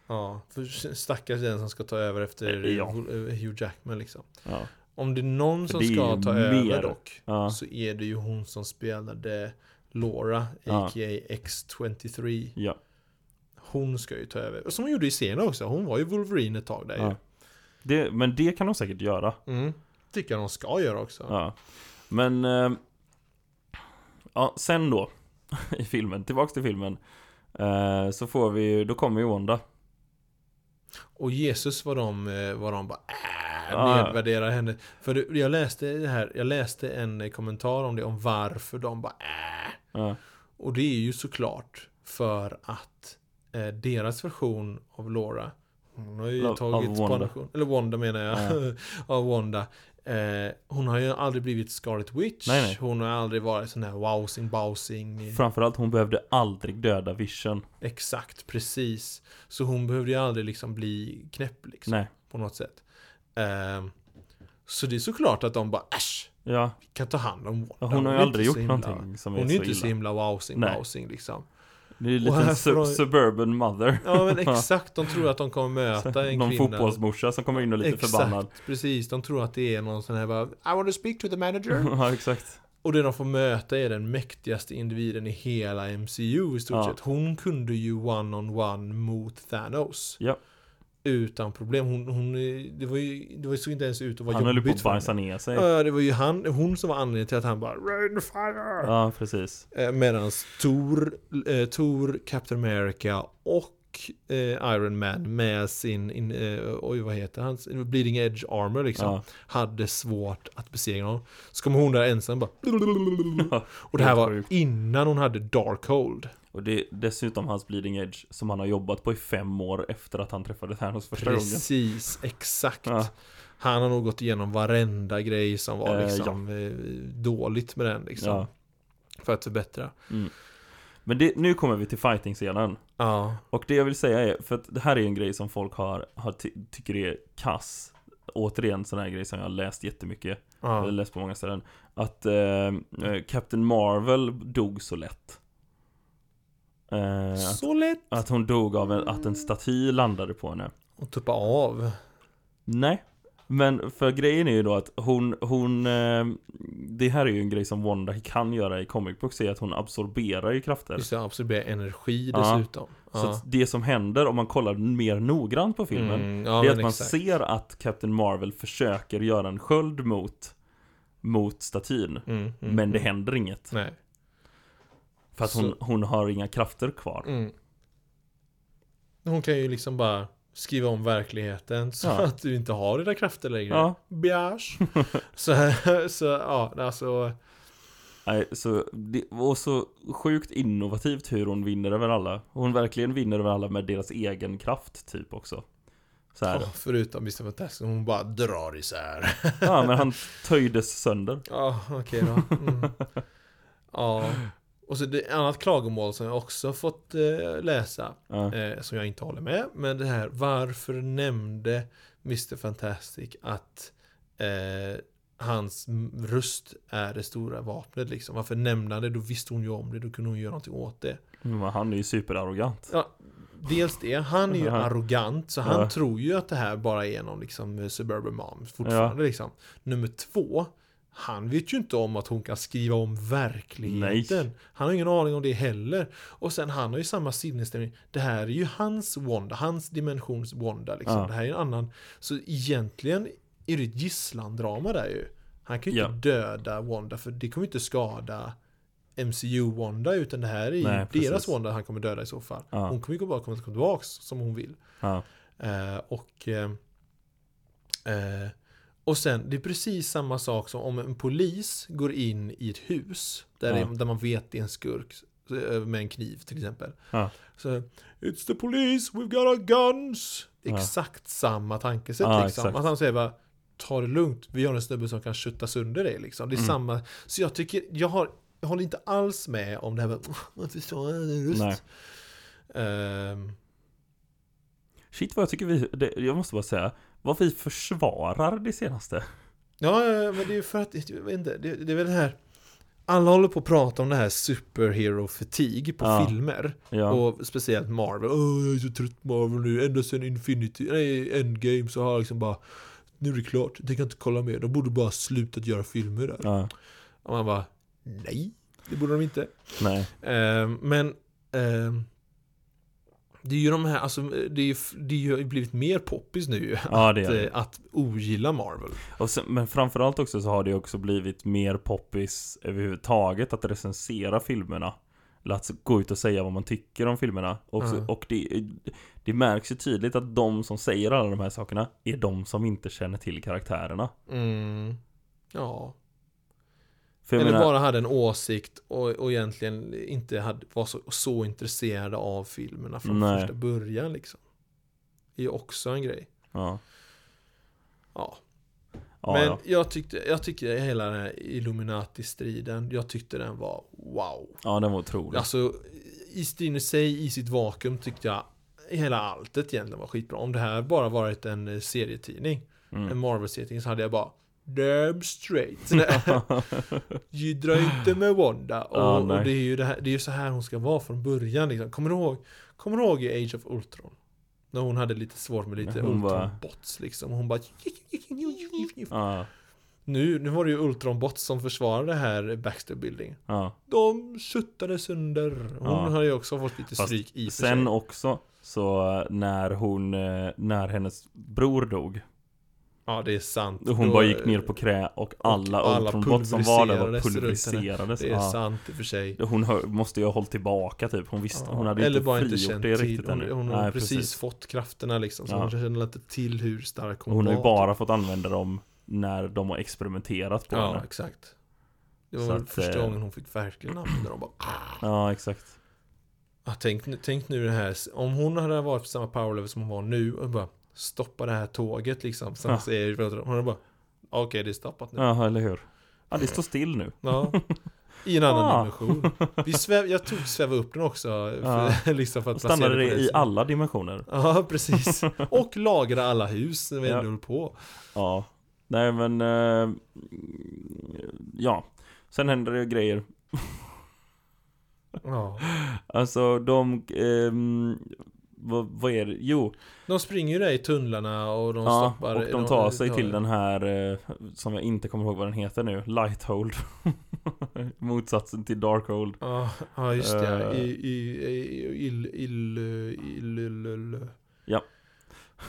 Speaker 2: Ja, för stackars den som ska ta över efter
Speaker 1: Ja.
Speaker 2: eh, Hugh Jackman liksom.
Speaker 1: Ja,
Speaker 2: Om det är någon
Speaker 1: För
Speaker 2: som
Speaker 1: det är
Speaker 2: ska
Speaker 1: ju
Speaker 2: ta
Speaker 1: mer.
Speaker 2: över dock.
Speaker 1: ja.
Speaker 2: Så är det ju hon som spelade Laura,
Speaker 1: Ja.
Speaker 2: a.k.a. X23.
Speaker 1: ja.
Speaker 2: Hon ska ju ta över. Som hon gjorde i serien också. Hon var ju Wolverine ett tag där
Speaker 1: Ja. Det, men det kan de säkert göra.
Speaker 2: ju. Mm. Tycker jag de ska göra också.
Speaker 1: Ja. Men... ehm, ja, sen då. I filmen. Tillbaks till filmen. eh, så får vi ju- Då kommer ju Wanda.
Speaker 2: Och Jesus var de, eh, var de bara äh,
Speaker 1: Ja.
Speaker 2: nedvärderar henne. För det- jag läste det här, jag läste en eh, kommentar om det, om varför de bara äh.
Speaker 1: Ja.
Speaker 2: Och det är ju såklart för att eh, deras version av Laura Hon har ju
Speaker 1: Av-
Speaker 2: tagit
Speaker 1: av Wanda.
Speaker 2: pension, eller Wanda menar jag, av Wanda eh, Hon har ju aldrig blivit Scarlet Witch
Speaker 1: Nej, nej.
Speaker 2: Hon har aldrig varit sån här wowsing, bowsing eh,
Speaker 1: Framförallt, hon behövde aldrig döda Vision.
Speaker 2: Exakt, precis Så hon behövde ju aldrig liksom bli knäpp liksom
Speaker 1: Nej.
Speaker 2: på något sätt. Ehm, så det är såklart att de bara äsch,
Speaker 1: Ja.
Speaker 2: vi kan ta hand om Wanda.
Speaker 1: Hon, har ju
Speaker 2: är
Speaker 1: aldrig
Speaker 2: inte så
Speaker 1: gjort
Speaker 2: himla-
Speaker 1: någonting som
Speaker 2: Hon
Speaker 1: är
Speaker 2: är ju
Speaker 1: så
Speaker 2: inte så
Speaker 1: illa.
Speaker 2: himla wowsing
Speaker 1: Nej.
Speaker 2: wowsing liksom.
Speaker 1: Det är ju en
Speaker 2: Och
Speaker 1: liten
Speaker 2: här
Speaker 1: sub
Speaker 2: får-
Speaker 1: surburban mother.
Speaker 2: Ja men exakt, de tror att de kommer möta en
Speaker 1: Någon
Speaker 2: kvinna.
Speaker 1: fotbollsmorsa som kommer in och är lite
Speaker 2: Exakt,
Speaker 1: förbannad.
Speaker 2: precis. De tror att det är någon sån här bara I want to speak to the manager.
Speaker 1: ja, exakt.
Speaker 2: Och det de får möta är den mäktigaste individen i hela MCU i stort
Speaker 1: Ja.
Speaker 2: sett. Hon kunde ju one-on-one mot Thanos.
Speaker 1: Ja.
Speaker 2: Utan problem. Hon, hon, eh, det, var ju, det var- såg inte ens ut att vara
Speaker 1: Han höll ju på
Speaker 2: jobbigt
Speaker 1: att
Speaker 2: för henne.
Speaker 1: bajsa ner sig.
Speaker 2: Ja, det var ju han, hon som var anledningen till att han bara Rain fire!
Speaker 1: Ja, precis.
Speaker 2: Eh, Medan Thor, eh, Thor, Captain America och eh, Iron Man med sin, in, eh, oj vad heter hans, Bleeding Edge Armor liksom,
Speaker 1: Ja.
Speaker 2: hade svårt att besegra honom. Så kom hon där ensam bara
Speaker 1: Ja,
Speaker 2: Och det här
Speaker 1: helt
Speaker 2: var
Speaker 1: sjukt.
Speaker 2: innan hon hade Darkhold.
Speaker 1: Och det är dessutom hans bleeding edge som han har jobbat på i fem år efter att han träffade Thanos första gången.
Speaker 2: Precis, exakt.
Speaker 1: Ja.
Speaker 2: Han har nog gått igenom varenda grej som var
Speaker 1: Eh,
Speaker 2: liksom eh, dåligt med den liksom.
Speaker 1: Ja.
Speaker 2: För att förbättra.
Speaker 1: Men det, nu kommer vi till fighting-scenen.
Speaker 2: Ja.
Speaker 1: Och det jag vill säga är, för att det här är en grej som folk har, har ty- tycker är kass. Återigen sån här grej som jag har läst jättemycket.
Speaker 2: ja.
Speaker 1: Eller läst på många ställen. Att eh, eh, Captain Marvel dog så lätt. Eh, att,
Speaker 2: Så lätt
Speaker 1: att hon dog av en, att en staty landade på henne.
Speaker 2: att tuppa av.
Speaker 1: Nej. Men för grejen är ju då att hon, hon eh, Det här är ju en grej som Wanda kan göra i comic books är att hon absorberar ju krafter
Speaker 2: Just det, absorbera energi
Speaker 1: Ja.
Speaker 2: dessutom. Ja.
Speaker 1: Så att det som händer om man kollar mer noggrant på filmen
Speaker 2: Mm, ja,
Speaker 1: Det är
Speaker 2: men
Speaker 1: att man
Speaker 2: exakt.
Speaker 1: ser att Captain Marvel försöker göra en sköld mot Mot statyn
Speaker 2: Mm, mm,
Speaker 1: Men det
Speaker 2: mm.
Speaker 1: händer inget
Speaker 2: Nej.
Speaker 1: För att hon,
Speaker 2: Så-
Speaker 1: hon har inga krafter kvar
Speaker 2: Mm. Hon kan ju liksom bara skriva om verkligheten så
Speaker 1: Ja.
Speaker 2: att du inte har dina krafter längre.
Speaker 1: Ja.
Speaker 2: Biash. så, så ja, alltså.
Speaker 1: Nej, så det var så sjukt innovativt hur hon vinner över alla. Hon verkligen vinner över alla med deras egen kraft typ också. Så här.
Speaker 2: Ja, förutom Mr. Fantastic, hon bara drar isär.
Speaker 1: Ja, men han töjdes sönder.
Speaker 2: Ja, okej då. Mm. Ja. Och så det annat klagomål som jag också fått eh, läsa.
Speaker 1: Ja.
Speaker 2: eh, som jag inte håller med. Men det här, varför nämnde Mr. Fantastic att eh, hans m- röst är det stora vapnet liksom? Varför nämnde han det? Då visste hon ju om det, då kunde hon göra någonting åt det.
Speaker 1: Men han är ju superarrogant.
Speaker 2: Ja, dels det, han är ju
Speaker 1: Ja.
Speaker 2: arrogant så han
Speaker 1: Ja.
Speaker 2: tror ju att det här bara är någon liksom eh, suburban mom fortfarande liksom. Nummer två, han vet ju inte om att hon kan skriva om verkligheten. Han har ingen aning om det heller. Och sen han har ju samma sinnesstämning. Det här är ju hans Wanda, hans dimensions Wanda liksom.
Speaker 1: Ja.
Speaker 2: Det här är en annan. Så egentligen är det ett gisslandrama där ju. Han kan ju
Speaker 1: Ja.
Speaker 2: inte döda Wanda för det kommer ju inte skada MCU-Wanda utan det här är ju
Speaker 1: Nej, precis.
Speaker 2: deras Wanda han kommer döda i så fall.
Speaker 1: Ja.
Speaker 2: Hon kommer ju bara komma tillbaka som hon vill.
Speaker 1: Ja.
Speaker 2: Eh, och, eh, eh, och sen, det är precis samma sak som om en polis går in i ett hus där,
Speaker 1: Ja.
Speaker 2: det, där man vet det är en skurk eh, med en kniv till exempel.
Speaker 1: Ja.
Speaker 2: Så, It's the police, we've got our guns!
Speaker 1: Ja.
Speaker 2: Exakt samma tankesätt
Speaker 1: Ja,
Speaker 2: liksom.
Speaker 1: exakt.
Speaker 2: Att han säger bara Ta det lugnt, vi har en snubbe som kan kötta sönder dig liksom. Det är
Speaker 1: Mm.
Speaker 2: samma. Så jag tycker, jag, har, jag håller inte alls med om det här med Varför sa han en
Speaker 1: Nej.
Speaker 2: röst? Ehm,
Speaker 1: Shit vad jag tycker vi, det, jag måste bara säga, vad vi försvarar det senaste.
Speaker 2: Ja, ja, ja, men det är ju för att, jag vet inte, det, det är väl det här. Alla håller på att prata om det här superhero fatigue på
Speaker 1: Ja.
Speaker 2: filmer.
Speaker 1: Ja.
Speaker 2: Och speciellt Marvel. Åh, jag är så trött på Marvel nu. Ända sedan Infinity, nej, Endgame så har jag liksom bara Nu är det klart, jag tänker inte kolla mer. De borde bara slutat göra filmer där.
Speaker 1: ja.
Speaker 2: Och man bara Nej, det borde de inte.
Speaker 1: Nej.
Speaker 2: Ehm, men ehm, det är ju de här, alltså det är ju, det är ju blivit mer poppis nu ju,
Speaker 1: Ja, det är
Speaker 2: att,
Speaker 1: det.
Speaker 2: eh, att ogilla Marvel.
Speaker 1: Och sen, men framförallt också så har det också blivit mer poppis överhuvudtaget att recensera filmerna. Eller att gå ut och säga vad man tycker om filmerna. Och, så,
Speaker 2: Mm.
Speaker 1: och det, det märks ju tydligt att de som säger alla de här sakerna är de som inte känner till karaktärerna.
Speaker 2: Mm. Ja.
Speaker 1: För jag
Speaker 2: Eller
Speaker 1: menar,
Speaker 2: bara hade en åsikt och, och egentligen inte hade, var så, så intresserade av filmerna från
Speaker 1: Nej.
Speaker 2: första början liksom. Det är ju också en grej.
Speaker 1: ja.
Speaker 2: Ja.
Speaker 1: Ja,
Speaker 2: Men
Speaker 1: ja.
Speaker 2: jag tyckte, jag tyckte hela den här Illuminati-striden, jag tyckte den var wow.
Speaker 1: ja, den var otrolig.
Speaker 2: Alltså, i striden i sig, i sitt vakuum tyckte jag hela alltet egentligen var skitbra. Om det här bara varit en eh, serietidning, en
Speaker 1: Mm.
Speaker 2: Marvel-serietidning, så hade jag bara Damn straight. Nej, Jiddra inte med Wanda. Och,
Speaker 1: Ja, nej.
Speaker 2: och det är ju det här, det är ju så här hon ska vara från början liksom. Kommer du ihåg, kommer du ihåg i Age of Ultron? När hon hade lite svårt med lite
Speaker 1: Ja, hon bara-
Speaker 2: Ultron-bots liksom. Hon bara
Speaker 1: ja,
Speaker 2: nu, nu var det ju Ultron-bots som försvarade det här Baxter Building.
Speaker 1: ja.
Speaker 2: De suttade sönder. Hon
Speaker 1: Ja.
Speaker 2: har ju också fått lite
Speaker 1: Fast
Speaker 2: stryk i och för
Speaker 1: Sen
Speaker 2: sig.
Speaker 1: också så eh, när hon, eh, när hennes bror dog
Speaker 2: Ja, det är sant.
Speaker 1: Hon
Speaker 2: Då- eh,
Speaker 1: bara gick ner på krä och alla,
Speaker 2: alla
Speaker 1: alla Ultronbot som var där var
Speaker 2: pulveriserades runt
Speaker 1: pulveriserades
Speaker 2: Det är
Speaker 1: ja.
Speaker 2: sant i och för sig.
Speaker 1: Hon hö- måste ju ha hållit tillbaka typ, hon visste,
Speaker 2: Ja,
Speaker 1: hon hade
Speaker 2: Eller
Speaker 1: inte
Speaker 2: bara
Speaker 1: frigjort
Speaker 2: inte känt
Speaker 1: det
Speaker 2: till.
Speaker 1: riktigt
Speaker 2: Hon,
Speaker 1: ännu
Speaker 2: hon har
Speaker 1: Nej,
Speaker 2: precis, fått krafterna liksom. Så
Speaker 1: Ja.
Speaker 2: hon känner inte till hur stark hon,
Speaker 1: Och Hon har ju
Speaker 2: var.
Speaker 1: bara fått använda dem när de har experimenterat på
Speaker 2: Ja,
Speaker 1: henne
Speaker 2: exakt. Det var
Speaker 1: Så
Speaker 2: väl
Speaker 1: att,
Speaker 2: första
Speaker 1: eh,
Speaker 2: gången hon fick verkligen använda dem. Bara,
Speaker 1: Ja, exakt
Speaker 2: ah, tänk, nu- tänk nu det här. Om hon hade varit på samma power level som hon var nu och bara stoppa det här tåget liksom. Som
Speaker 1: Ja.
Speaker 2: säger, hon hade bara okej det är stoppat nu.
Speaker 1: Ja, eller hur? Ja, det står still nu
Speaker 2: Ja. I en annan
Speaker 1: Ah.
Speaker 2: dimension. Vi sväv, jag tog sväva upp den också. För, liksom för att
Speaker 1: Och stannade
Speaker 2: placera
Speaker 1: det
Speaker 2: på
Speaker 1: i
Speaker 2: som-
Speaker 1: alla dimensioner
Speaker 2: Ja, precis. Och lagra alla hus när vi
Speaker 1: Ja.
Speaker 2: ändå höll på.
Speaker 1: Ja Nej men eh, Ja Sen händer det grejer
Speaker 2: Ja.
Speaker 1: Alltså de, ehm, vad, vad är det? Jo,
Speaker 2: De springer ju där i tunnlarna och de
Speaker 1: ja,
Speaker 2: stoppar...
Speaker 1: och de tar sig till den här eh, som jag inte kommer ihåg vad den heter nu, Lighthold. Motsatsen till Darkhold.
Speaker 2: Ja, ja just det. ja.
Speaker 1: Eh.
Speaker 2: I, i, i, ill, ill, ill, ill, ill.
Speaker 1: Ja.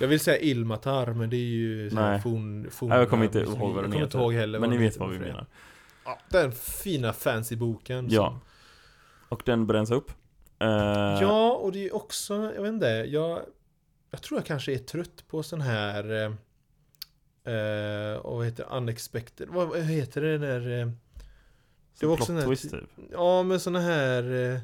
Speaker 2: Jag vill säga Ilmatar, men det är ju så här
Speaker 1: Nej.
Speaker 2: forn, forn,
Speaker 1: Nej, jag kommer inte
Speaker 2: jag
Speaker 1: ihåg vad den
Speaker 2: kommer inte
Speaker 1: heter.
Speaker 2: ihåg heller
Speaker 1: Men ni
Speaker 2: den
Speaker 1: vet
Speaker 2: heter
Speaker 1: vad vi
Speaker 2: för det.
Speaker 1: menar.
Speaker 2: Ja, den fina fancy boken. som-
Speaker 1: Ja. Och den bränns upp. Eh,
Speaker 2: Ja, och det är ju också, jag vet inte, jag, jag tror jag kanske är trött på sån här, eh, eh, och vad heter det, unexpected, vad, vad heter det när, eh,
Speaker 1: det
Speaker 2: var
Speaker 1: var plot
Speaker 2: också den här
Speaker 1: twist
Speaker 2: ti-
Speaker 1: typ.
Speaker 2: ja men såna här, eh,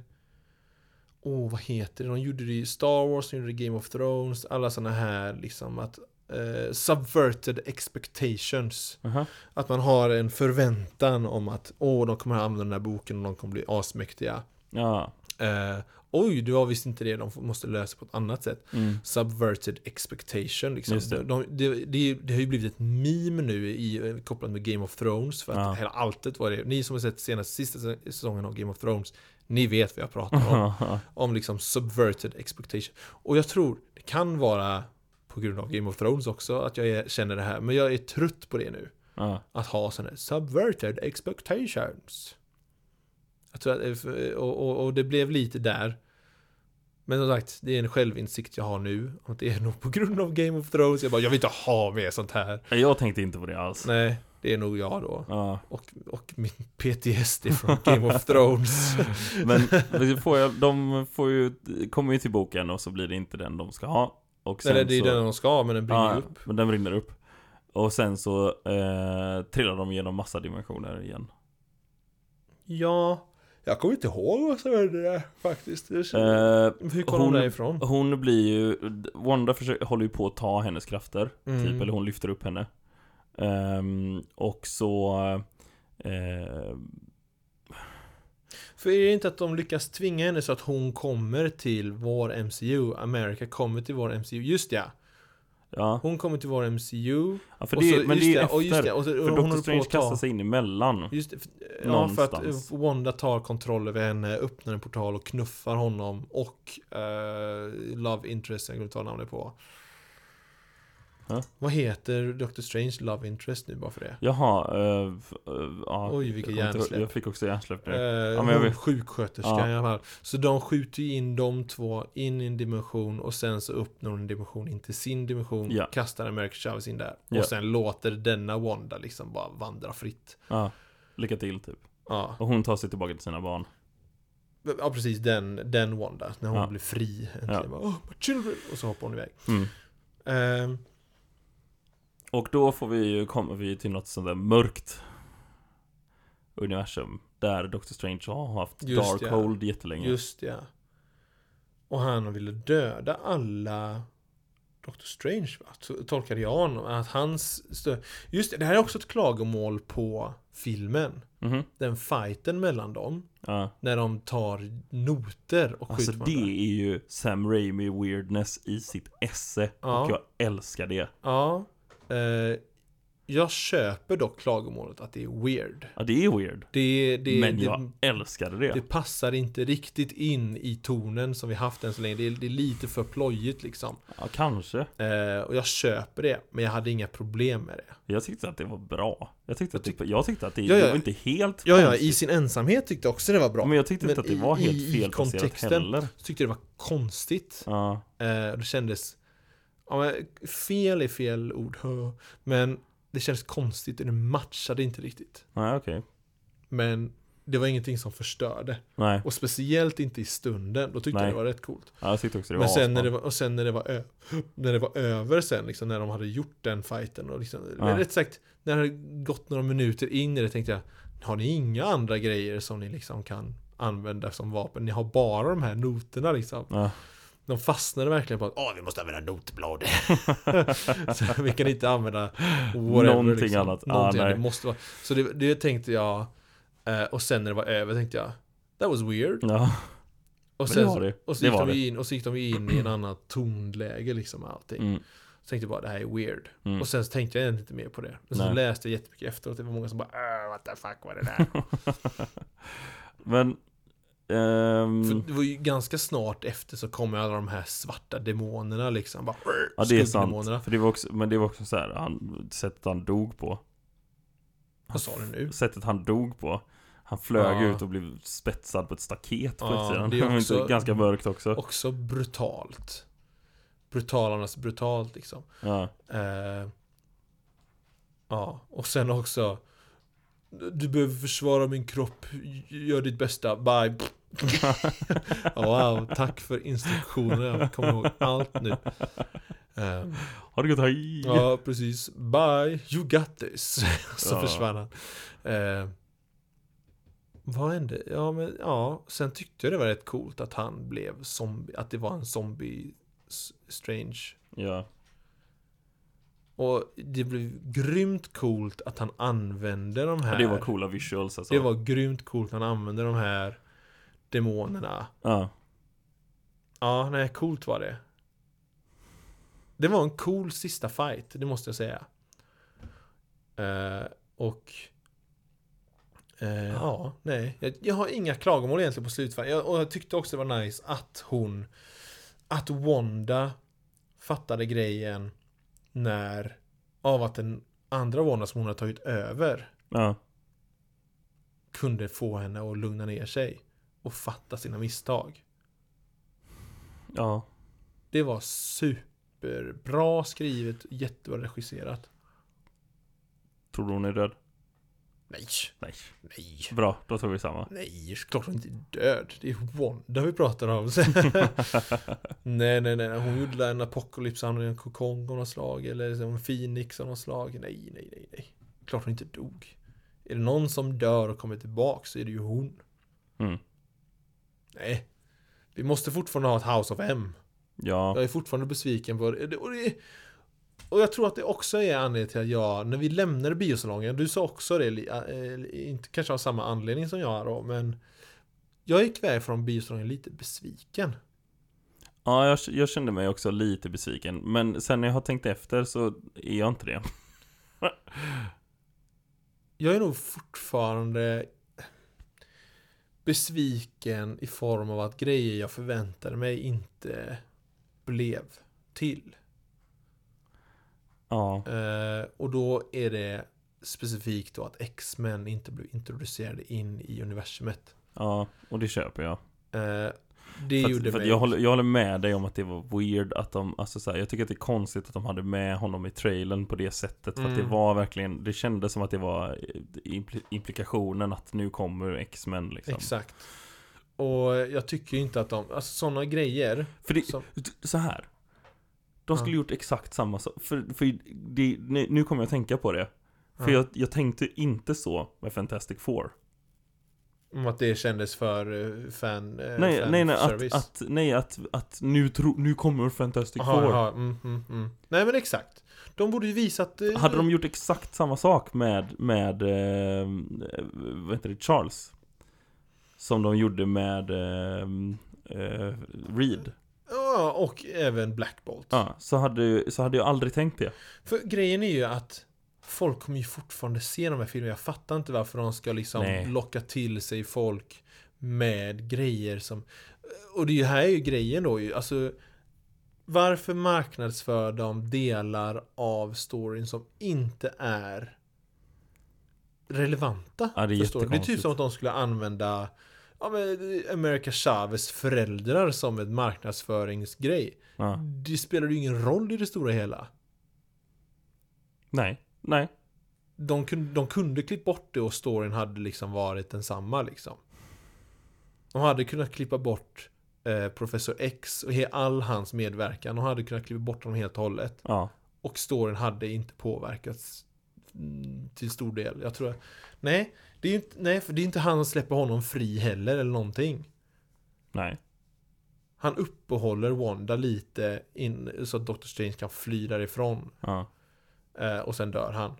Speaker 2: åh vad heter det, de gjorde det i Star Wars, de gjorde det i Game of Thrones, alla såna här liksom att eh, subverted expectations.
Speaker 1: Aha.
Speaker 2: Att man har en förväntan om att åh, de kommer att använda den här boken och de kommer bli asmäktiga.
Speaker 1: Ja.
Speaker 2: Eh, oj, du har visst inte det, de måste lösa på ett annat sätt.
Speaker 1: Mm.
Speaker 2: Subverted expectation liksom.
Speaker 1: Just det.
Speaker 2: De, de, det, det, det har ju blivit ett meme nu i, kopplat med Game of Thrones. För att
Speaker 1: Ja.
Speaker 2: hela alltet var det. Ni som har sett senaste, sista sä- säsongen av Game of Thrones, ni vet vad jag pratar om. om liksom subverted expectation. Och jag tror det kan vara på grund av Game of Thrones också att jag är, känner det här. Men jag är trött på det nu.
Speaker 1: ja.
Speaker 2: Att ha sådana här subverted expectations. Jag tror att, eh, och, och, och det blev lite där. Men som sagt, det är en självinsikt jag har nu. Och det är nog på grund av Game of Thrones. Jag bara, jag vill inte ha mer sånt här.
Speaker 1: Jag tänkte inte på det alls.
Speaker 2: Nej, det är nog jag då.
Speaker 1: Ja.
Speaker 2: Och, och min PTSD från Game of Thrones.
Speaker 1: Men men får jag, de får ju, kommer ju till boken och så blir det inte den de ska ha. Och sen
Speaker 2: Eller det är
Speaker 1: så, Ah,
Speaker 2: ju den de ska ha, men den brinner
Speaker 1: Ja,
Speaker 2: ju upp.
Speaker 1: Men den brinner upp. Och sen så eh, trillar de genom massa dimensioner igen.
Speaker 2: Ja, jag kommer inte ihåg vad som hände där faktiskt. Det känner-
Speaker 1: Eh,
Speaker 2: Hur kom hon
Speaker 1: hon-
Speaker 2: därifrån?
Speaker 1: hon blir ju, Wanda försöker, håller ju på att ta hennes krafter. Typ,
Speaker 2: Mm.
Speaker 1: eller hon lyfter upp henne. Ehm, och så... Eh,
Speaker 2: För är det inte att de lyckas tvinga henne så att hon kommer till vår MCU? America kommer till vår MCU, just ja!
Speaker 1: Ja,
Speaker 2: Hon kommer till vår MCU.
Speaker 1: ja för
Speaker 2: och
Speaker 1: det,
Speaker 2: så,
Speaker 1: men
Speaker 2: just
Speaker 1: det är
Speaker 2: och just
Speaker 1: efter.
Speaker 2: det, och så,
Speaker 1: för
Speaker 2: hon
Speaker 1: Doctor
Speaker 2: håller på
Speaker 1: Strange
Speaker 2: att ta-
Speaker 1: kastar sig in emellan.
Speaker 2: Just det, för, ja, för att
Speaker 1: Någonstans.
Speaker 2: eh, Wanda tar kontroll över henne, öppnar en portal och knuffar honom och eh, Love Interest, jag glömde ta namnet på.
Speaker 1: Ja.
Speaker 2: Vad heter Doctor Strange Love Interest nu bara för det?
Speaker 1: Jaha, uh, uh, ja.
Speaker 2: Oj, vilket
Speaker 1: Jag kommer inte ihåg-
Speaker 2: hjärnsläpp.
Speaker 1: Jag fick också hjärnsläpp
Speaker 2: Eh,
Speaker 1: nu. men jag
Speaker 2: hon
Speaker 1: vet.
Speaker 2: sjuksköterskan
Speaker 1: Ja.
Speaker 2: i alla fall. Så de skjuter ju in de två in i en dimension och sen så uppnår en dimension in till sin dimension.
Speaker 1: Ja.
Speaker 2: Kastar America Chavez in där.
Speaker 1: Ja.
Speaker 2: Och sen låter denna Wanda liksom bara vandra fritt.
Speaker 1: Ja, lycka till typ.
Speaker 2: Ja,
Speaker 1: Och hon tar sig tillbaka till sina barn.
Speaker 2: ja precis den, den Wanda. När hon
Speaker 1: Ja.
Speaker 2: blir fri.
Speaker 1: Ja.
Speaker 2: Ja. Bara, oh, my children! Och så hoppar hon iväg.
Speaker 1: Mm.
Speaker 2: Ehm,
Speaker 1: Och då får vi ju, kommer vi till något sånt där mörkt universum. Där Doctor Strange har haft
Speaker 2: Just
Speaker 1: Darkhold
Speaker 2: ja.
Speaker 1: jättelänge.
Speaker 2: just ja. Och han ville döda alla Doctor Strange va? Så Tolkade jag honom. Att hans stö- Just det, det här är också ett klagomål på filmen.
Speaker 1: Mhm.
Speaker 2: den fighten mellan dem
Speaker 1: Ja.
Speaker 2: när de tar noter och
Speaker 1: Alltså
Speaker 2: skjuter
Speaker 1: det
Speaker 2: varandra.
Speaker 1: är ju Sam Raimi weirdness i sitt esse.
Speaker 2: Ja.
Speaker 1: Och jag älskar det.
Speaker 2: Ja. Eh, jag köper dock klagomålet att det är weird.
Speaker 1: Ja, det är weird.
Speaker 2: Det, det,
Speaker 1: Men
Speaker 2: det,
Speaker 1: jag älskade det.
Speaker 2: det passar inte riktigt in i tonen som vi haft än så länge. Det är, det är lite för plojigt liksom.
Speaker 1: Ja, kanske.
Speaker 2: Eh, och jag köper det, men jag hade inga problem med det.
Speaker 1: Jag tyckte att det var bra. Jag tyckte att det, jag tyckte att det,
Speaker 2: Ja, ja.
Speaker 1: det var inte helt
Speaker 2: Ja, ja,
Speaker 1: konstigt.
Speaker 2: i sin ensamhet tyckte jag också det var bra.
Speaker 1: Men jag tyckte
Speaker 2: Men
Speaker 1: inte att det
Speaker 2: i-
Speaker 1: var helt
Speaker 2: i- i
Speaker 1: felplacerat
Speaker 2: kontexten.
Speaker 1: heller.
Speaker 2: Så tyckte jag det var konstigt.
Speaker 1: Ja,
Speaker 2: Eh, och det kändes... Ja, men fel är fel ord. hö. Men det kändes konstigt och det matchade inte riktigt.
Speaker 1: nej okej.
Speaker 2: Men det var ingenting som förstörde.
Speaker 1: Nej,
Speaker 2: Och speciellt inte i stunden. Då tyckte
Speaker 1: Nej.
Speaker 2: jag det var rätt coolt.
Speaker 1: ja, jag tyckte också det var
Speaker 2: Men sen när
Speaker 1: asbra.
Speaker 2: det var, och sen när det var, ö, när det var över sen, liksom, när de hade gjort den fighten. Och liksom,
Speaker 1: Ja.
Speaker 2: eller Rätt sagt, när det hade gått några minuter in i det tänkte jag, har ni inga andra grejer som ni liksom kan använda som vapen? Ni har bara de här noterna liksom.
Speaker 1: Ja.
Speaker 2: De fastnade verkligen på att Åh, vi måste använda notblad. så vi kan inte använda whatever, liksom.
Speaker 1: Någonting annat. Ah,
Speaker 2: Någonting
Speaker 1: nej.
Speaker 2: annat. Det måste vara. Så det, det tänkte jag. eh, Och sen när det var över tänkte jag That was weird.
Speaker 1: Ja,
Speaker 2: Och
Speaker 1: det
Speaker 2: sen,
Speaker 1: var det.
Speaker 2: Och så,
Speaker 1: Det
Speaker 2: gick
Speaker 1: var
Speaker 2: de ju in, och så gick de ju in i en annan tonläge liksom allting.
Speaker 1: mm,
Speaker 2: Så tänkte jag bara det här är weird.
Speaker 1: mm.
Speaker 2: Och sen så tänkte jag egentligen inte mer på det. Men så
Speaker 1: Nej.
Speaker 2: läste jag jättemycket efteråt. Det var många som bara "Ah, What the fuck var det där?
Speaker 1: Men... ehm,
Speaker 2: För det var ju ganska snart efter så kom ju alla de här svarta demonerna liksom. Bara,
Speaker 1: ja, det är
Speaker 2: skuggdemonerna.
Speaker 1: sant. För det var också, men det var också så här, han, sättet han dog på.
Speaker 2: Vad sa du nu?
Speaker 1: Sättet han dog på. Han flög
Speaker 2: Ja.
Speaker 1: ut och blev spetsad på ett staket på
Speaker 2: Ja,
Speaker 1: utsidan.
Speaker 2: det är
Speaker 1: Det var
Speaker 2: också-
Speaker 1: inte ganska mörkt också.
Speaker 2: Också brutalt. Brutalarnas brutalt liksom.
Speaker 1: Ja.
Speaker 2: Eh, ja, och sen också. Du behöver försvara min kropp. Gör ditt bästa. Bye. wow, tack för instruktionerna. Jag kommer ihåg allt nu. Eh,
Speaker 1: Har du gått hej?
Speaker 2: ja, precis. Bye. You got this. Så
Speaker 1: Ja.
Speaker 2: försvann han. Eh, vad hände? Ja, men ja. Sen tyckte jag det var rätt coolt att han blev zombie. Att det var en zombie s- strange.
Speaker 1: Ja.
Speaker 2: Och det blev grymt coolt att han använde de här.
Speaker 1: Det var coola visuals alltså.
Speaker 2: Äh. Det var grymt coolt att han använde de här demonerna.
Speaker 1: Ja.
Speaker 2: Ja, nej, coolt var det. Det var en cool sista fight, det måste jag säga. Eh, och... eh, ja, nej. Jag, jag har inga klagomål egentligen på slutfighten. Jag, och jag tyckte också det var nice att hon... Att Wanda fattade grejen när... Av att den andra Wanda som hon har tagit över
Speaker 1: Ja.
Speaker 2: kunde få henne att lugna ner sig. Och fatta sina misstag.
Speaker 1: Ja.
Speaker 2: Det var superbra skrivet, jättebra regisserat.
Speaker 1: Tror du hon är död?
Speaker 2: Nej,
Speaker 1: Nej.
Speaker 2: nej,
Speaker 1: Bra, då tar vi samma.
Speaker 2: nej, klart hon inte är död. Det är Wanda vi pratar om. nej, nej, nej, hon gjorde en apokalyps, han är en kokong av något slag eller liksom en phoenix av något slag. Nej, nej, nej, nej. Klart hon inte dog. Är det någon som dör och kommer tillbaka så är det ju hon.
Speaker 1: Mm.
Speaker 2: Nej. Vi måste fortfarande ha ett House of M.
Speaker 1: Ja.
Speaker 2: Jag är fortfarande besviken på det. Och, det, och jag tror att det också är anledningen till att jag, när vi lämnade biosalongen, du sa också det, li- eh, inte kanske av samma anledning som jag då, men jag gick iväg från biosalongen lite besviken.
Speaker 1: Ja, jag, jag kände mig också lite besviken. Men sen när jag har tänkt efter så är jag inte det.
Speaker 2: Jag är nog fortfarande besviken i form av att grejer jag förväntade mig inte blev till.
Speaker 1: Ja,
Speaker 2: Eh, och då är det specifikt då att X-Men inte blev introducerade in i universumet.
Speaker 1: ja, och det köper jag.
Speaker 2: Eh, det
Speaker 1: För
Speaker 2: gjorde
Speaker 1: att, för att
Speaker 2: mig...
Speaker 1: jag, håller, jag håller med dig om att det var weird att de, alltså så här, jag tycker att det är konstigt att de hade med honom i trailern på det sättet. För att det
Speaker 2: Mm.
Speaker 1: var verkligen, det kändes som att det var eh, impli- implikationen att nu kommer X-Men liksom.
Speaker 2: Exakt. Och jag tycker ju inte att de... Alltså sådana grejer.
Speaker 1: För det,
Speaker 2: Som,
Speaker 1: så här. De skulle
Speaker 2: Ja.
Speaker 1: gjort exakt samma sak. För, för det, nu nu kommer jag att tänka på det. För
Speaker 2: Ja. Eh,
Speaker 1: jag, jag tänkte inte så med Fantastic Four.
Speaker 2: om att det kändes för eh, fan... eh,
Speaker 1: nej,
Speaker 2: fan
Speaker 1: nej, nej, att,
Speaker 2: service.
Speaker 1: att, nej, att, att nu, tro, nu kommer Fantastic
Speaker 2: Aha,
Speaker 1: Four.
Speaker 2: aha, mm, mm, mm. Nej men exakt. De borde ju visat... eh,
Speaker 1: Hade de gjort exakt samma sak med, med eh, vad heter det, Charles? Som de gjorde med eh, eh, Reed.
Speaker 2: Ja, och även Black Bolt.
Speaker 1: Ja, så, hade, så hade jag aldrig tänkt det.
Speaker 2: För grejen är ju att folk kommer ju fortfarande se de här filmerna. Jag fattar inte varför de ska liksom
Speaker 1: Nej.
Speaker 2: locka till sig folk med grejer som... Och det är ju- här är ju grejen då ju. Alltså, varför marknadsför de delar av storyn som inte är relevanta?
Speaker 1: Ja, det är
Speaker 2: för storyn? det är typ
Speaker 1: jättekonstigt.
Speaker 2: som att de skulle använda ja, men, America Chavez föräldrar som ett marknadsföringsgrej.
Speaker 1: Ja.
Speaker 2: Det spelar ju ingen roll i det stora hela.
Speaker 1: Nej, nej.
Speaker 2: de kunde, de kunde klippt bort det och storyn hade liksom varit densamma liksom. De hade kunnat klippa bort eh, Professor X och he, all hans medverkan. De hade kunnat klippa bort honom helt och hållet.
Speaker 1: Ja.
Speaker 2: Och storyn hade inte påverkats mm, till stor del. Jag tror... Nej, det är ju inte, nej, för det är inte han som släpper honom fri heller eller någonting.
Speaker 1: Nej.
Speaker 2: Han uppehåller Wanda lite in, så att Dr. Strange kan fly därifrån.
Speaker 1: Ja.
Speaker 2: Eh, och sen dör han.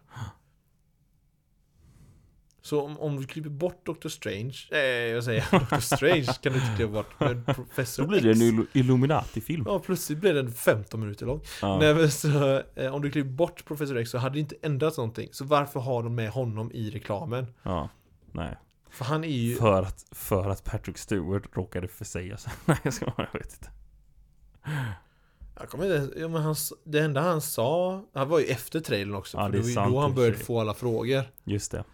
Speaker 2: Så om, om du klipper bort Dr. Strange, eh, vad säger jag? Dr. Strange kan du inte klippa bort, men Professor
Speaker 1: Då blir
Speaker 2: X.
Speaker 1: det en Ill- Illuminati-film.
Speaker 2: Ja, plötsligt blir den 15 minuter lång.
Speaker 1: Ja.
Speaker 2: Nej, men så, eh, om du klipper bort Professor X så hade det inte ändrat någonting. Så varför har de med honom i reklamen?
Speaker 1: Ja. Nej.
Speaker 2: För han är ju...
Speaker 1: För att, för att Patrick Stewart råkade försäga sig. Nej, jag ska bara, jag vet inte.
Speaker 2: Jag kommer inte ens- ja, men han, s- det enda han sa, han var ju efter trailern också.
Speaker 1: Ja,
Speaker 2: för
Speaker 1: det
Speaker 2: det
Speaker 1: är
Speaker 2: var ju
Speaker 1: sant i
Speaker 2: då
Speaker 1: och
Speaker 2: han
Speaker 1: för
Speaker 2: började
Speaker 1: sig.
Speaker 2: få alla frågor.
Speaker 1: Just det.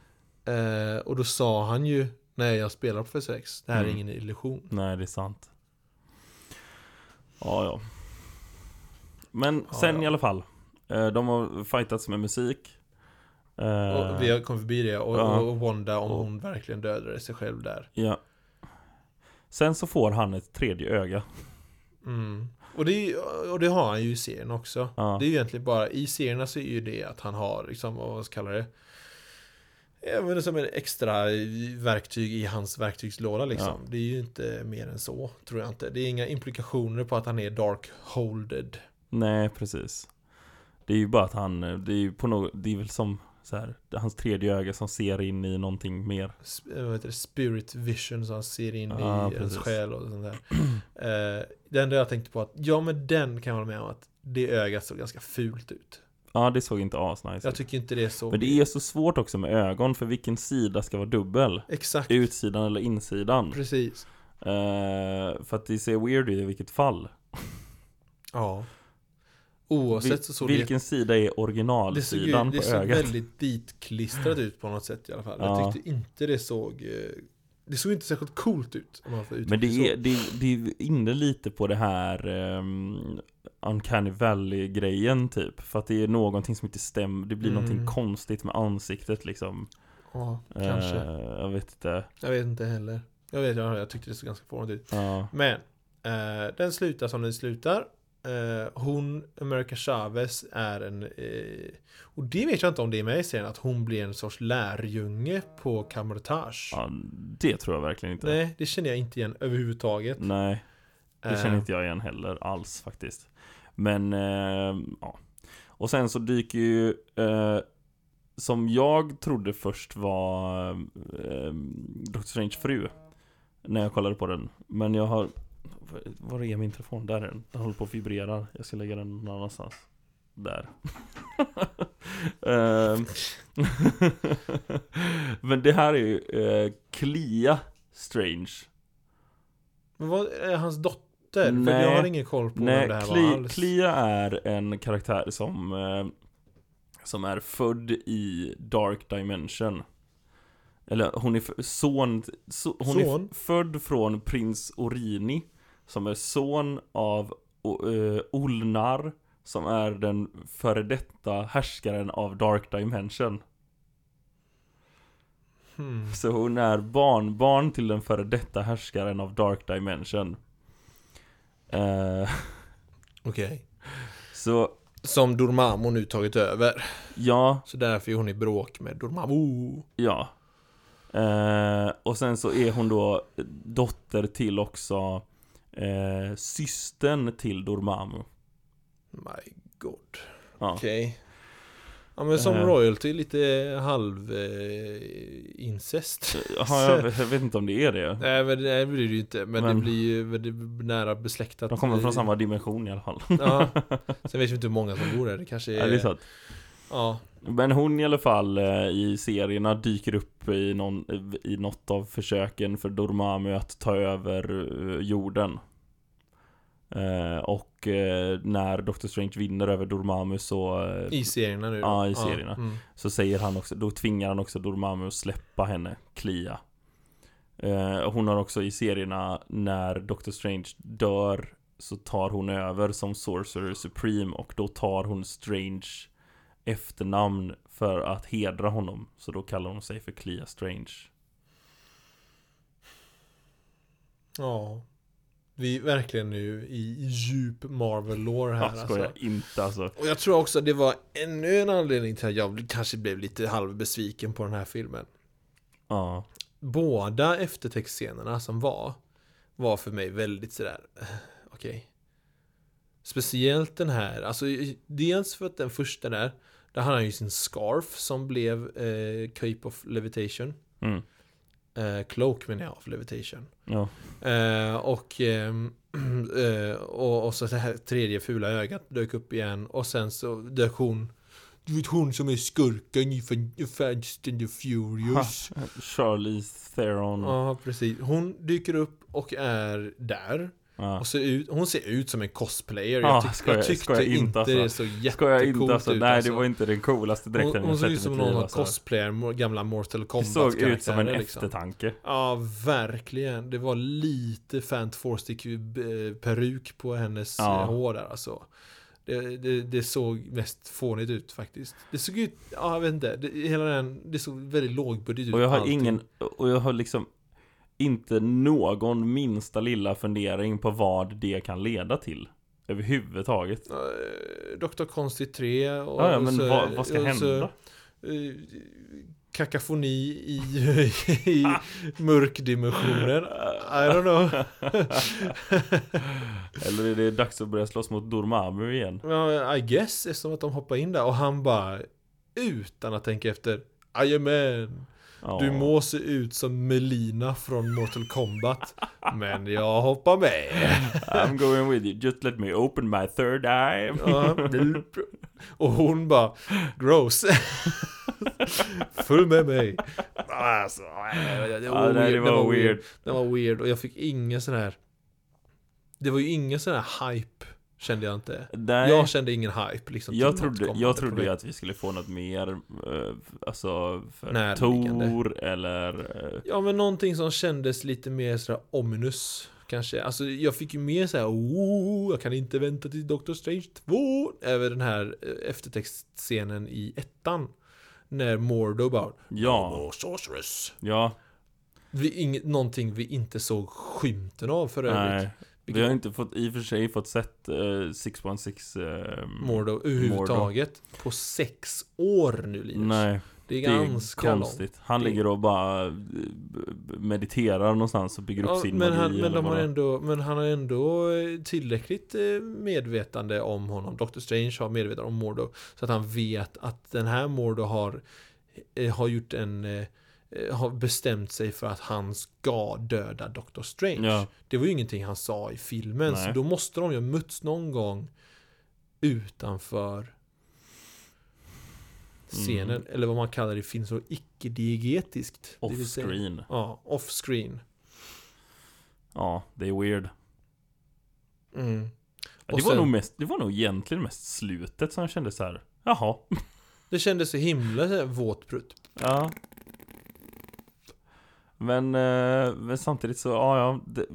Speaker 2: Eh, och då sa han ju, nej jag spelar Professor X, det här
Speaker 1: Mm.
Speaker 2: är ingen illusion.
Speaker 1: Nej, det är sant. Ja, ja. Men
Speaker 2: Ja,
Speaker 1: sen
Speaker 2: ja.
Speaker 1: i alla fall. eh, De har fightats med musik. Eh,
Speaker 2: Och vi har kommit förbi det och,
Speaker 1: Ja.
Speaker 2: och Wanda om
Speaker 1: Och-
Speaker 2: hon verkligen dödade sig själv där.
Speaker 1: Ja. Sen så får han ett tredje öga.
Speaker 2: Mm. Och, det, är ju- och det har han ju i serien också.
Speaker 1: Ja.
Speaker 2: Det är ju egentligen bara, i serierna så är ju det att han har liksom, vad man ska kalla det, även som en extra verktyg i hans verktygslåda liksom. Det är ju inte mer än så, tror jag inte. Det är inga implikationer på att han är dark-holded.
Speaker 1: Nej, precis. Det är ju bara att han, eh, det är ju på något, det är väl som så här, det är hans tredje öga som ser in i någonting mer.
Speaker 2: sp- eh, vad heter det, spirit vision som han ser in
Speaker 1: Ja,
Speaker 2: i ens
Speaker 1: precis.
Speaker 2: själ och sånt där. Eh, det enda jag tänkte på att, ja men den kan jag hålla med om att det ögat såg ganska fult ut.
Speaker 1: Ja, det såg inte asnice
Speaker 2: Jag
Speaker 1: ut.
Speaker 2: tycker inte det såg...
Speaker 1: Men det är så svårt också med ögon, för vilken sida ska vara dubbel?
Speaker 2: Exakt,
Speaker 1: Utsidan eller insidan?
Speaker 2: precis.
Speaker 1: Eh, för att det ser weird ut i vilket fall.
Speaker 2: Ja. Oavsett så såg
Speaker 1: vilken sida är
Speaker 2: det... Det såg, ju,
Speaker 1: originalsidan
Speaker 2: det
Speaker 1: på
Speaker 2: såg
Speaker 1: ögat?
Speaker 2: väldigt ditklistrat ut på något sätt i alla fall.
Speaker 1: Ja.
Speaker 2: Jag tyckte inte det såg... eh, Det såg inte särskilt coolt ut. Om man får uttrycka
Speaker 1: Men det
Speaker 2: så.
Speaker 1: är, det, är- det är inne lite på det här um, Uncanny Valley-grejen typ. För att det är någonting som inte stämmer. Det blir
Speaker 2: Mm.
Speaker 1: någonting konstigt med ansiktet liksom.
Speaker 2: Ja, kanske.
Speaker 1: Eh, jag vet inte.
Speaker 2: Jag vet inte heller. Jag vet, jag, jag tyckte det såg ganska fånigt ut.
Speaker 1: Ja,
Speaker 2: Men eh, den slutar som den slutar. Eh, hon, America Chavez, är en... Eh, och det vet jag inte om det är med i serien, att hon blir en sorts lärjunge på Camertage.
Speaker 1: ja, det tror jag verkligen inte.
Speaker 2: Nej, det känner jag inte igen överhuvudtaget.
Speaker 1: Nej, det känner
Speaker 2: Eh,
Speaker 1: inte jag igen heller alls faktiskt. Men, eh, ja. Och sen så dyker ju, eh, som jag trodde först var eh, Dr. Strange fru. När jag kollade på den. Men jag har Var är min telefon? Där är den. Den håller på att vibrera. Jag ska lägga den någon annanstans. Där. Ehm. Men det här är ju eh, Clea Strange.
Speaker 2: Eh, Men vad är hans dotter? För
Speaker 1: Nej.
Speaker 2: jag har ingen koll på vem
Speaker 1: Nej,
Speaker 2: det här
Speaker 1: Clea,
Speaker 2: var alls.
Speaker 1: Clea är en karaktär som eh, Som är född i Dark Dimension Eller hon är f- son so, Hon är
Speaker 2: Son?
Speaker 1: f- född från prins Orini Som är son av o, eh, Olnar Som är den före detta härskaren av Dark Dimension
Speaker 2: Hmm.
Speaker 1: Så hon är barnbarn till den före detta härskaren av Dark Dimension eh,
Speaker 2: Okej.
Speaker 1: Så
Speaker 2: Som Dormammu nu tagit över.
Speaker 1: ja
Speaker 2: Så därför är hon i bråk med Dormammu. Oh
Speaker 1: Ja. Eh, och sen så är hon då dotter till också eh, systern till Dormammu.
Speaker 2: My god.
Speaker 1: Ja.
Speaker 2: Okej. Ja men som
Speaker 1: Eh.
Speaker 2: royalty, lite halv eh, incest.
Speaker 1: Jaha, jag, jag vet inte om det är det.
Speaker 2: Nej men det blir det ju inte, men, det
Speaker 1: Men-
Speaker 2: blir ju väldigt nära besläktat. eh,
Speaker 1: De kommer från samma dimension i alla fall.
Speaker 2: Ja. Sen vet vi inte hur många som bor där, det kanske är...
Speaker 1: Ja, det är sant.
Speaker 2: Ja.
Speaker 1: Men hon i alla fall eh, i serierna dyker upp i, någon, i något av försöken för Dormammu att ta över eh, jorden. Eh, och eh, när Doctor Strange vinner över Dormammu så eh,
Speaker 2: I serierna nu då.
Speaker 1: Ja, i serierna.
Speaker 2: mm.
Speaker 1: Så säger han också, då tvingar han också Dormammu att släppa henne, Clea. Eh, och hon har också i serierna, när Doctor Strange dör, så tar hon över som Sorcerer Supreme och då tar hon Strange efternamn för att hedra honom. Så då kallar hon sig för Clea Strange.
Speaker 2: Ja. Vi är verkligen nu i djup Marvel-lore här
Speaker 1: Jag
Speaker 2: alltså.
Speaker 1: Ah, skojar inte alltså.
Speaker 2: Och jag tror också att det var ännu en anledning till att jag kanske blev lite halvbesviken på den här filmen.
Speaker 1: Ja.
Speaker 2: Båda eftertextscenerna som var, var för mig väldigt sådär, eh, okej. Speciellt den här, alltså i- dels för att den första där, där hade han ju sin scarf som blev eh, Cape of Levitation.
Speaker 1: Mm.
Speaker 2: Eh, cloak menar jag, of Levitation.
Speaker 1: Ja.
Speaker 2: Eh, och, ehm, eh, och, och så det här tredje fula ögat dök upp igen och sen så dök hon Du vet hon som är skurken i Fan- Fast and the Furious
Speaker 1: Charlize Theron. Ja.
Speaker 2: Ja precis, hon dyker upp och är där och ser ut, Hon ser ut som en cosplayer
Speaker 1: Ja,
Speaker 2: Jag, tyck,
Speaker 1: skojar-
Speaker 2: jag tyckte
Speaker 1: skojar
Speaker 2: inte
Speaker 1: inte, alltså.
Speaker 2: det såg
Speaker 1: Skojar
Speaker 2: jättecoolt
Speaker 1: inte alltså.
Speaker 2: ut
Speaker 1: Nej,
Speaker 2: alltså.
Speaker 1: det var inte den coolaste dräkten
Speaker 2: Hon, hon såg ut som någon som
Speaker 1: alltså.
Speaker 2: cosplayar mo- gamla Mortal
Speaker 1: Det
Speaker 2: Kombat
Speaker 1: såg ut som en
Speaker 2: karaktärer,
Speaker 1: eftertanke.
Speaker 2: Ja, verkligen. Det var lite Fantastic eh, peruk på hennes
Speaker 1: Ja.
Speaker 2: eh, hår där alltså. Det, det, det såg mest fånigt ut faktiskt. Det såg ut, ja jag vet inte, det, hela den, det såg väldigt lågbudget ut.
Speaker 1: Och jag har
Speaker 2: Typ allting.
Speaker 1: ingen, och jag har liksom inte någon minsta lilla fundering på vad det kan leda till. Överhuvudtaget.
Speaker 2: Eh, Dr. Konstigt 3 och
Speaker 1: Ja, ja men
Speaker 2: så-
Speaker 1: vad, vad ska
Speaker 2: och så,
Speaker 1: hända?
Speaker 2: eh, kakafoni i, i mörkdimensioner. I don't know.
Speaker 1: Eller är det dags att börja slåss mot Dormammu igen?
Speaker 2: Ja, I guess, eftersom att de hoppar in där och han bara utan att tänka efter Jajamän,
Speaker 1: Ja.
Speaker 2: du må se ut som Melina från Mortal Kombat Men jag hoppar med
Speaker 1: I'm going with you, just let me open my third eye.
Speaker 2: Ja. Och hon bara Gross Följ med mig alltså, det,
Speaker 1: Ja, nej, det var weird.
Speaker 2: Det var weird och jag fick ingen sån här Det var ju ingen sån här hype Kände jag inte
Speaker 1: Nej, jag,
Speaker 2: Jag kände ingen hype liksom till något
Speaker 1: trodde, jag
Speaker 2: kommande
Speaker 1: trodde
Speaker 2: projekt.
Speaker 1: ju att vi skulle få något mer, eh, alltså, för
Speaker 2: Närliggande.
Speaker 1: Tor eller... eh,
Speaker 2: Ja men någonting som kändes lite mer sådär ominous Kanske, alltså jag fick ju mer såhär oh, jag kan inte vänta till Doctor Strange 2 Över den här eh, eftertextscenen i ettan När Mordo bara
Speaker 1: Ja,
Speaker 2: "Oh, sorceress
Speaker 1: ja,
Speaker 2: vi, inget, Någonting vi inte såg skymten av för övrigt
Speaker 1: nej. Vi har inte fått, i och för sig fått sett eh, 616 eh,
Speaker 2: Mordo överhuvudtaget På sex år nu Linus
Speaker 1: Nej,
Speaker 2: Det är
Speaker 1: det är
Speaker 2: ganska långt
Speaker 1: konstigt. Han
Speaker 2: Det-
Speaker 1: ligger och bara eh, b- b- mediterar någonstans och bygger upp
Speaker 2: Ja,
Speaker 1: sin
Speaker 2: men,
Speaker 1: magi
Speaker 2: han, men,
Speaker 1: eller
Speaker 2: de har
Speaker 1: vad det-
Speaker 2: ändå, men han har ändå eh, tillräckligt eh, medvetande om honom. Dr. Strange har medvetande om Mordo. Så att han vet att den här Mordo har, eh, har gjort en, eh, eh, har bestämt sig för att han ska döda Doctor Strange.
Speaker 1: Ja.
Speaker 2: Det var ju ingenting han sa i filmen, så
Speaker 1: Nej.
Speaker 2: då måste de ju ha mötts någon gång
Speaker 1: Mm.
Speaker 2: utanför scenen, eller vad man kallar det i film, så icke-diegetiskt. Det vill säga-
Speaker 1: Off-screen.
Speaker 2: Ja, off-screen.
Speaker 1: Ja, det är weird.
Speaker 2: Mm.
Speaker 1: Ja,
Speaker 2: Och
Speaker 1: Det var,
Speaker 2: sen-
Speaker 1: nog mest, det var nog egentligen mest slutet som jag kände så här. jaha.
Speaker 2: Det kändes så himla så här våtprutt.
Speaker 1: Ja. Men, eh, men samtidigt så, ja, ja det,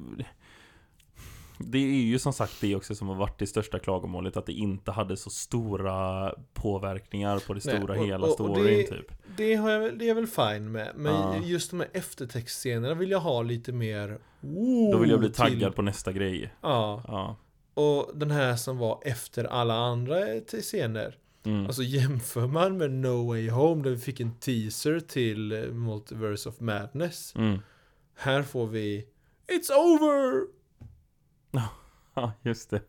Speaker 1: det är ju som sagt det också som har varit det största klagomålet Att det inte hade så stora påverkningar på det
Speaker 2: Nej,
Speaker 1: stora
Speaker 2: och-
Speaker 1: hela
Speaker 2: och- och
Speaker 1: storyn
Speaker 2: det-
Speaker 1: typ
Speaker 2: Det, har jag, väl- det är jag väl fine med. Men
Speaker 1: Ja.
Speaker 2: just de här eftertextscenerna vill jag ha lite mer...
Speaker 1: Då vill jag bli
Speaker 2: "Ooh"
Speaker 1: taggad
Speaker 2: till.
Speaker 1: på nästa grej
Speaker 2: Ja.
Speaker 1: Ja,
Speaker 2: Och den här som var efter alla andra eh, till scener.
Speaker 1: mm.
Speaker 2: Alltså jämför man med No Way Home där vi fick en teaser till eh, Multiverse of Madness.
Speaker 1: Mm.
Speaker 2: Här får vi It's over!
Speaker 1: ja just det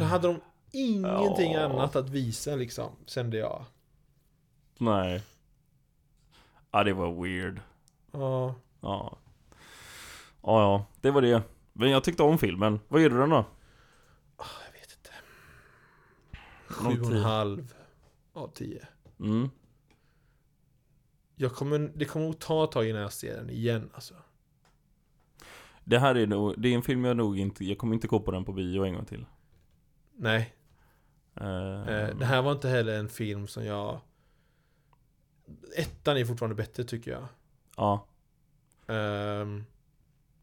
Speaker 2: Då hade de ingenting
Speaker 1: Ja.
Speaker 2: annat att visa liksom, kände jag.
Speaker 1: Nej Ja det var weird
Speaker 2: Ja.
Speaker 1: Ja Ja ja, det var det Men jag tyckte om filmen, vad ger du den då?
Speaker 2: Jag vet inte.
Speaker 1: Någon
Speaker 2: Sju och en
Speaker 1: tid.
Speaker 2: halv av tio.
Speaker 1: Mm.
Speaker 2: Jag kommer, det kommer nog ta ett tag innan jag ser den igen alltså.
Speaker 1: Det här är nog, det är en film jag nog inte, jag kommer inte gå på den på bio en gång till.
Speaker 2: Nej,
Speaker 1: Eh,
Speaker 2: eh, det här var inte heller en film som jag... Ettan är fortfarande bättre tycker jag.
Speaker 1: Ja,
Speaker 2: Ehm,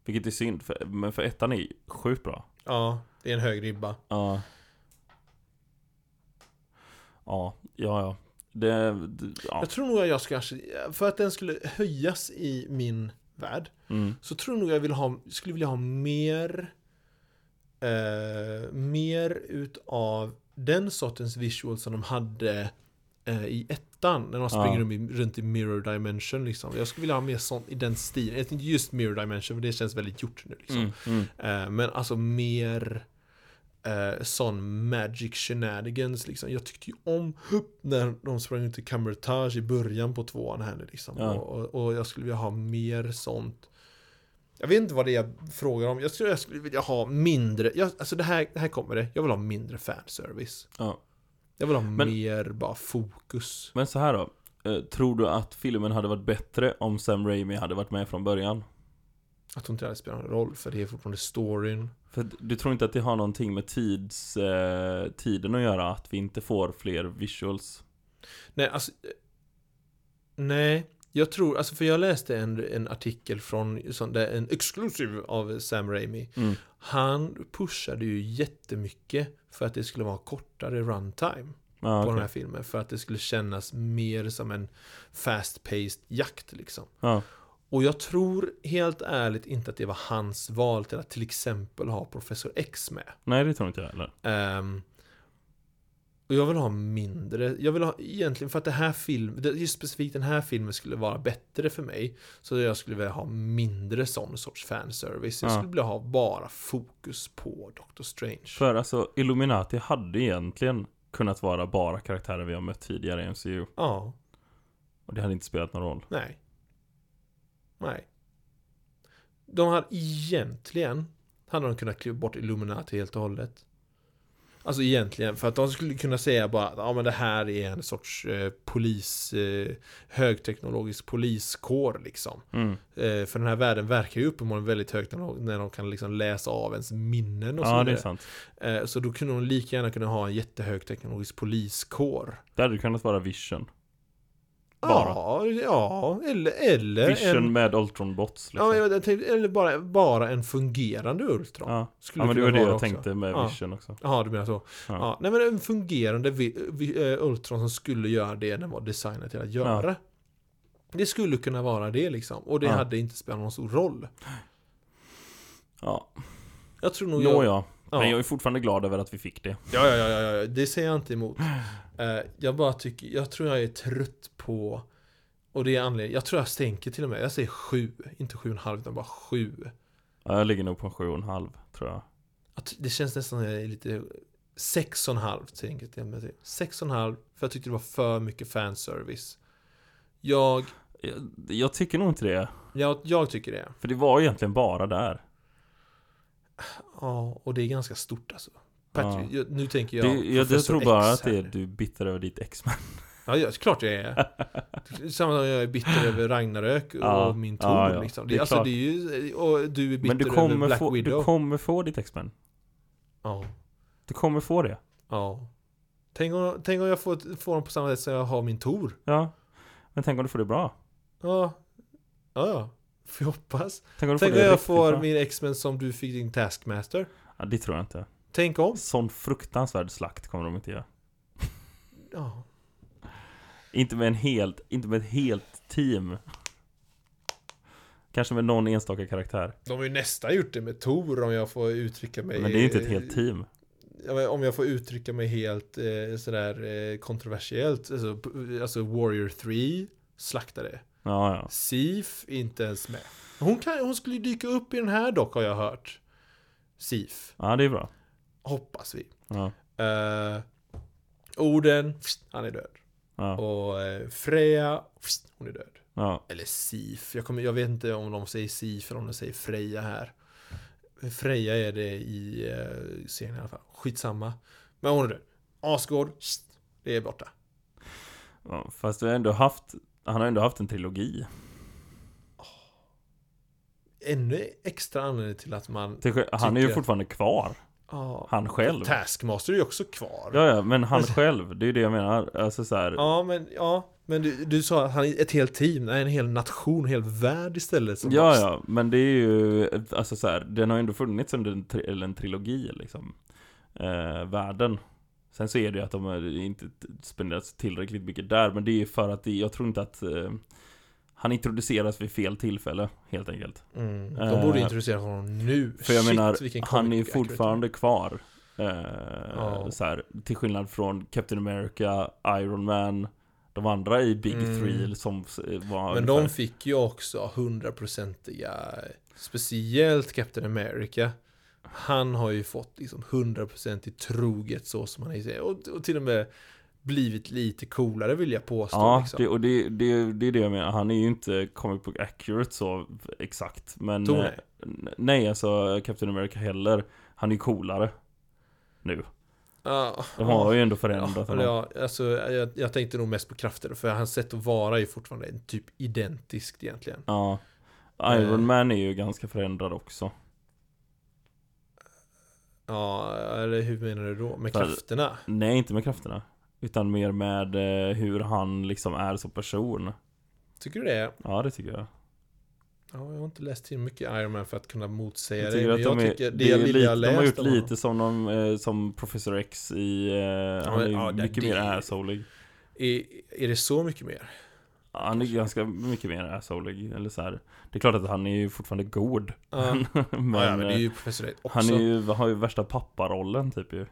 Speaker 1: vilket är synd, för, men för ettan är sjukt bra.
Speaker 2: ja, det är en hög ribba.
Speaker 1: Ja. Ja, ja, ja. Det, det- ja.
Speaker 2: Jag tror nog att jag ska, för att den skulle höjas i min värld,
Speaker 1: Mm.
Speaker 2: så tror nog jag vill ha, skulle vilja ha mer, eh, mer utav den sortens visuals som de hade eh, i ettan, när de springer
Speaker 1: Ja.
Speaker 2: runt, i, runt i mirror dimension liksom. Jag skulle vilja ha mer sånt i den stilen, jag tänkte just mirror dimension, för det känns väldigt gjort nu liksom.
Speaker 1: Mm, mm.
Speaker 2: Eh, men alltså mer eh, sån magic shenanigans liksom. Jag tyckte ju om när de sprang ut i Camertage i början på tvåan här nu liksom.
Speaker 1: Ja.
Speaker 2: Och, och, och jag skulle vilja ha mer sånt. Jag vet inte vad det är jag frågar om. Jag skulle, jag skulle vilja ha mindre, jag, alltså det här, här kommer det. Jag vill ha mindre fanservice.
Speaker 1: Ja.
Speaker 2: Jag vill ha
Speaker 1: Men-
Speaker 2: mer bara fokus.
Speaker 1: Men så här då. Eh, tror du att filmen hade varit bättre om Sam Raimi hade varit med från början?
Speaker 2: Jag tror inte det här spelar någon roll för det är fortfarande storyn.
Speaker 1: För att du tror inte att det har någonting med tids, eh, tiden att göra? Att vi inte får fler visuals?
Speaker 2: Nej, alltså... eh, Nej, jag tror... Alltså för jag läste en, en artikel från... Sån där, en exclusive av Sam Raimi.
Speaker 1: Mm.
Speaker 2: Han pushade ju jättemycket för att det skulle vara kortare runtime
Speaker 1: Ja,
Speaker 2: på
Speaker 1: okej.
Speaker 2: den här filmen. För att det skulle kännas mer som en fast-paced jakt liksom.
Speaker 1: ja.
Speaker 2: Och jag tror helt ärligt inte att det var hans val till att till exempel ha Professor X med.
Speaker 1: Nej, det tror inte jag heller.
Speaker 2: Ehm, och jag vill ha mindre, jag vill ha egentligen för att det här film, det- just specifikt den här filmen skulle vara bättre för mig. Så jag skulle vilja ha mindre sån sorts fanservice. Jag
Speaker 1: Ja.
Speaker 2: skulle vilja ha bara fokus på Doctor Strange.
Speaker 1: För alltså, Illuminati hade egentligen kunnat vara bara karaktärer vi har mött tidigare i MCU.
Speaker 2: Ja,
Speaker 1: Och det hade inte spelat någon roll.
Speaker 2: nej. Nej. De hade egentligen, hade de kunnat kliva bort Illuminati helt och hållet. Alltså egentligen, för att de skulle kunna säga bara att ja, men det här är en sorts eh, polis, eh, högteknologisk poliskår liksom.
Speaker 1: Mm.
Speaker 2: Eh, för den här världen verkar ju uppenbarligen väldigt högteknologisk när de kan liksom läsa av ens minnen och så
Speaker 1: Ja, det är
Speaker 2: vidare.
Speaker 1: sant.
Speaker 2: eh, Så då kunde de lika gärna kunna ha en jättehögteknologisk poliskår.
Speaker 1: Det hade kunnat vara Vision. Bara.
Speaker 2: Ja, ja, eller, eller
Speaker 1: Vision
Speaker 2: Ah, en...
Speaker 1: med Ultron-bots.
Speaker 2: Ja,
Speaker 1: Liksom.
Speaker 2: jag tänkte, eller bara, bara en fungerande Ultron.
Speaker 1: ja.
Speaker 2: Skulle
Speaker 1: ja, men det
Speaker 2: kunna
Speaker 1: var det
Speaker 2: vara
Speaker 1: jag
Speaker 2: också.
Speaker 1: tänkte med
Speaker 2: Ja.
Speaker 1: Vision också.
Speaker 2: Ja, du menar så. Ja.
Speaker 1: Ja.
Speaker 2: nej, men en fungerande vi, vi, eh, Ultron som skulle göra det den var designad till att göra. Det skulle kunna vara det liksom. Och det
Speaker 1: Ja.
Speaker 2: hade inte spelat någon stor roll.
Speaker 1: Ja,
Speaker 2: Jag tror nog... jag,
Speaker 1: nåja.
Speaker 2: Ja.
Speaker 1: Men jag är fortfarande glad över att vi fick det.
Speaker 2: Ja, ja, ja, ja, ja, det säger jag inte emot. Eh, jag bara tycker, jag tror jag är trött på och det är anledningen, jag tror jag stänker till och med, jag säger sju, inte sju och en halv utan bara sju.
Speaker 1: Ja, Jag ligger nog på en sju och en halv, tror jag.
Speaker 2: Att det känns nästan som jag är lite Sex och en halv tänker jag till och med till. Sex och en halv, för jag tyckte det var för mycket fanservice. Jag,
Speaker 1: Jag, jag tycker nog inte det.
Speaker 2: jag, jag tycker det.
Speaker 1: För det var egentligen bara där.
Speaker 2: Ja, och det är ganska stort alltså. Patrick,
Speaker 1: Ja.
Speaker 2: jag, nu tänker
Speaker 1: Ja,
Speaker 2: jag...
Speaker 1: det, jag, jag
Speaker 2: Professor
Speaker 1: tror bara
Speaker 2: X
Speaker 1: att det är
Speaker 2: här.
Speaker 1: du bitter över ditt X-Men.
Speaker 2: Ja, ja, klart jag är. Samma som jag är bitter över Ragnarök och
Speaker 1: Ja,
Speaker 2: min ton.
Speaker 1: ja, ja.
Speaker 2: Liksom.
Speaker 1: Det
Speaker 2: Det,
Speaker 1: är
Speaker 2: alltså,
Speaker 1: klart.
Speaker 2: det är ju, och du är bitter
Speaker 1: Men du
Speaker 2: över
Speaker 1: kommer,
Speaker 2: Black
Speaker 1: få,
Speaker 2: Widow.
Speaker 1: du kommer få ditt X-Men.
Speaker 2: Ja,
Speaker 1: Du kommer få det.
Speaker 2: ja. Tänk om, tänk om jag får, får dem på samma sätt som jag har min Tor.
Speaker 1: Ja. Men tänk om du får det bra.
Speaker 2: Ja, ja, ja. Får jag hoppas.
Speaker 1: Tänk om du får
Speaker 2: Tänk om
Speaker 1: det
Speaker 2: jag
Speaker 1: riktigt
Speaker 2: får
Speaker 1: bra.
Speaker 2: min X-Men som du fick din Taskmaster.
Speaker 1: Ja, det tror jag inte.
Speaker 2: Tänk om.
Speaker 1: Sån fruktansvärd slakt kommer de inte göra.
Speaker 2: Ja.
Speaker 1: Inte med en helt, inte med ett helt team. Kanske med någon enstaka karaktär.
Speaker 2: De har ju nästan gjort det med Tor om jag får uttrycka mig.
Speaker 1: Men det är ju inte ett helt team.
Speaker 2: Ja, men Om jag får uttrycka mig helt eh, sådär eh, kontroversiellt. Alltså, p- alltså Warrior 3 slaktade.
Speaker 1: Ja, ja.
Speaker 2: Sif är inte ens med. Hon, kan, hon skulle ju dyka upp i den här dock har jag hört. Sif.
Speaker 1: Ja, det är bra.
Speaker 2: Hoppas vi.
Speaker 1: Ja,
Speaker 2: Eh, Oden, pst, han är död.
Speaker 1: ja,
Speaker 2: Och eh, Freja, pst, hon är död.
Speaker 1: ja.
Speaker 2: Eller Sif. Jag, kommer, jag vet inte om de säger Sif eller om de säger Freja här. Freja är det i eh, serien i alla fall. Skitsamma. Men hon är död. Asgård, pst, det är borta.
Speaker 1: ja. Fast du har ändå haft, han har ändå haft en trilogi.
Speaker 2: Ännu extra anledning till att man...
Speaker 1: Till- Han är ju
Speaker 2: Tycker jag.
Speaker 1: fortfarande kvar.
Speaker 2: Ja.
Speaker 1: Han själv.
Speaker 2: Taskmaster är ju också kvar.
Speaker 1: Ja, ja, men han själv. Det är ju det jag menar. Alltså så här,
Speaker 2: Ja, men, ja, men du, du sa att han är ett helt team, nej, en hel nation, en hel värld istället. Som
Speaker 1: Ja, ja, men det är ju, alltså så här, den har ju ändå funnits under en, tri- eller en trilogi liksom. Eh, världen. Sen så är det ju att de har inte t- spenderat tillräckligt mycket där, men det är ju för att det, jag tror inte att eh, han introduceras vid fel tillfälle, helt enkelt.
Speaker 2: Mm,
Speaker 1: Eh,
Speaker 2: de borde introducera honom nu.
Speaker 1: För jag
Speaker 2: Shit, vilken
Speaker 1: menar, han är ju
Speaker 2: comic accurate.
Speaker 1: fortfarande kvar. Eh,
Speaker 2: Ja.
Speaker 1: så här, till skillnad från Captain America, Iron Man, de andra i Big
Speaker 2: Mm.
Speaker 1: Three som s- var
Speaker 2: Men
Speaker 1: ungefär-
Speaker 2: de fick ju också hundraprocentiga, speciellt Captain America. Han har ju fått liksom hundraprocentigt troget så som han är. i serien. Och, och till och med blivit lite coolare vill jag påstå.
Speaker 1: Ja,
Speaker 2: liksom.
Speaker 1: det, och det, det, det är det jag menar. Han är ju inte comic book accurate så exakt. Men
Speaker 2: Tror ni?
Speaker 1: eh, n- nej, alltså Captain America heller. Han är ju coolare. Nu.
Speaker 2: Ja,
Speaker 1: De
Speaker 2: ja.
Speaker 1: har ju ändå förändrat
Speaker 2: Ja,
Speaker 1: honom.
Speaker 2: ja, alltså, jag, jag tänkte nog mest på krafter, för hans sätt att vara är ju fortfarande en typ identiskt egentligen.
Speaker 1: Ja.
Speaker 2: Eh.
Speaker 1: Iron Man är ju ganska förändrad också.
Speaker 2: Ja, eller hur menar du då? Med
Speaker 1: För-
Speaker 2: krafterna?
Speaker 1: Nej, inte med krafterna. Utan mer med eh, hur han liksom är som person.
Speaker 2: Tycker du det?
Speaker 1: Ja, det tycker jag.
Speaker 2: Ja, jag har inte läst tillräckligt mycket Iron Man för att kunna motsäga
Speaker 1: Jag
Speaker 2: dig,
Speaker 1: tycker
Speaker 2: men
Speaker 1: att
Speaker 2: jag
Speaker 1: de är,
Speaker 2: tycker det,
Speaker 1: det är
Speaker 2: jag lilla
Speaker 1: lite,
Speaker 2: jag
Speaker 1: de har
Speaker 2: läst
Speaker 1: gjort
Speaker 2: om honom-
Speaker 1: lite som, de, eh, som Professor X i... Eh, han
Speaker 2: men,
Speaker 1: är ju
Speaker 2: ja, det-
Speaker 1: mycket mer
Speaker 2: det-
Speaker 1: assholig.
Speaker 2: Är, är det så mycket mer?
Speaker 1: Ja, Han är ganska mycket mer assholig, eller så här. Det är klart att han är ju fortfarande god.
Speaker 2: Ja.
Speaker 1: men
Speaker 2: ja, ja, men det är
Speaker 1: eh,
Speaker 2: ju Professor X också.
Speaker 1: han är ju, har ju värsta papparollen typ ju.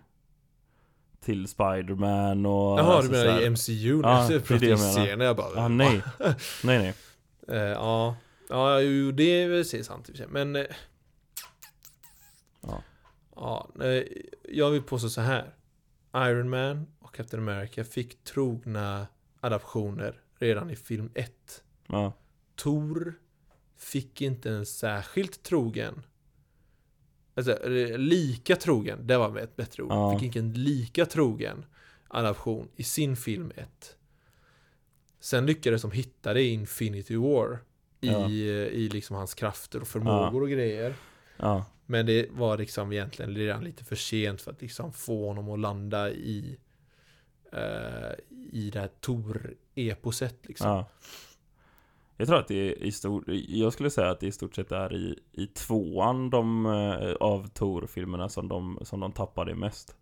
Speaker 1: Till Spiderman och...
Speaker 2: Jaha,
Speaker 1: alltså
Speaker 2: du
Speaker 1: så
Speaker 2: menar
Speaker 1: här-
Speaker 2: i MCU?
Speaker 1: Ja,
Speaker 2: Ja,
Speaker 1: det är
Speaker 2: jag pratar
Speaker 1: det
Speaker 2: i
Speaker 1: jag menar.
Speaker 2: serien, jag bara...
Speaker 1: Ja, nej. Nej, nej.
Speaker 2: Eh, ja, ja jo, det är väl precis sant i och för sig. Men... eh,
Speaker 1: Ja.
Speaker 2: ja nej, jag vill påstå så här. Iron Man och Captain America fick trogna adaptioner redan i film 1.
Speaker 1: Ja.
Speaker 2: Thor fick inte en särskilt trogen. Alltså, eh, lika trogen, det var ett bättre ord.
Speaker 1: Ja.
Speaker 2: Fick inte en lika trogen adaption i sin film 1. Sen lyckades de hitta det i Infinity War. I,
Speaker 1: Ja.
Speaker 2: i liksom hans krafter och förmågor och grejer.
Speaker 1: Ja.
Speaker 2: Men det var liksom egentligen redan lite för sent för att liksom få honom att landa i eh, i det här Tor-eposet liksom.
Speaker 1: ja. Jag tror att det är i stort... Jag skulle säga att det i stort sett är i, i tvåan de, eh, av Tor-filmerna som de, som de tappade mest.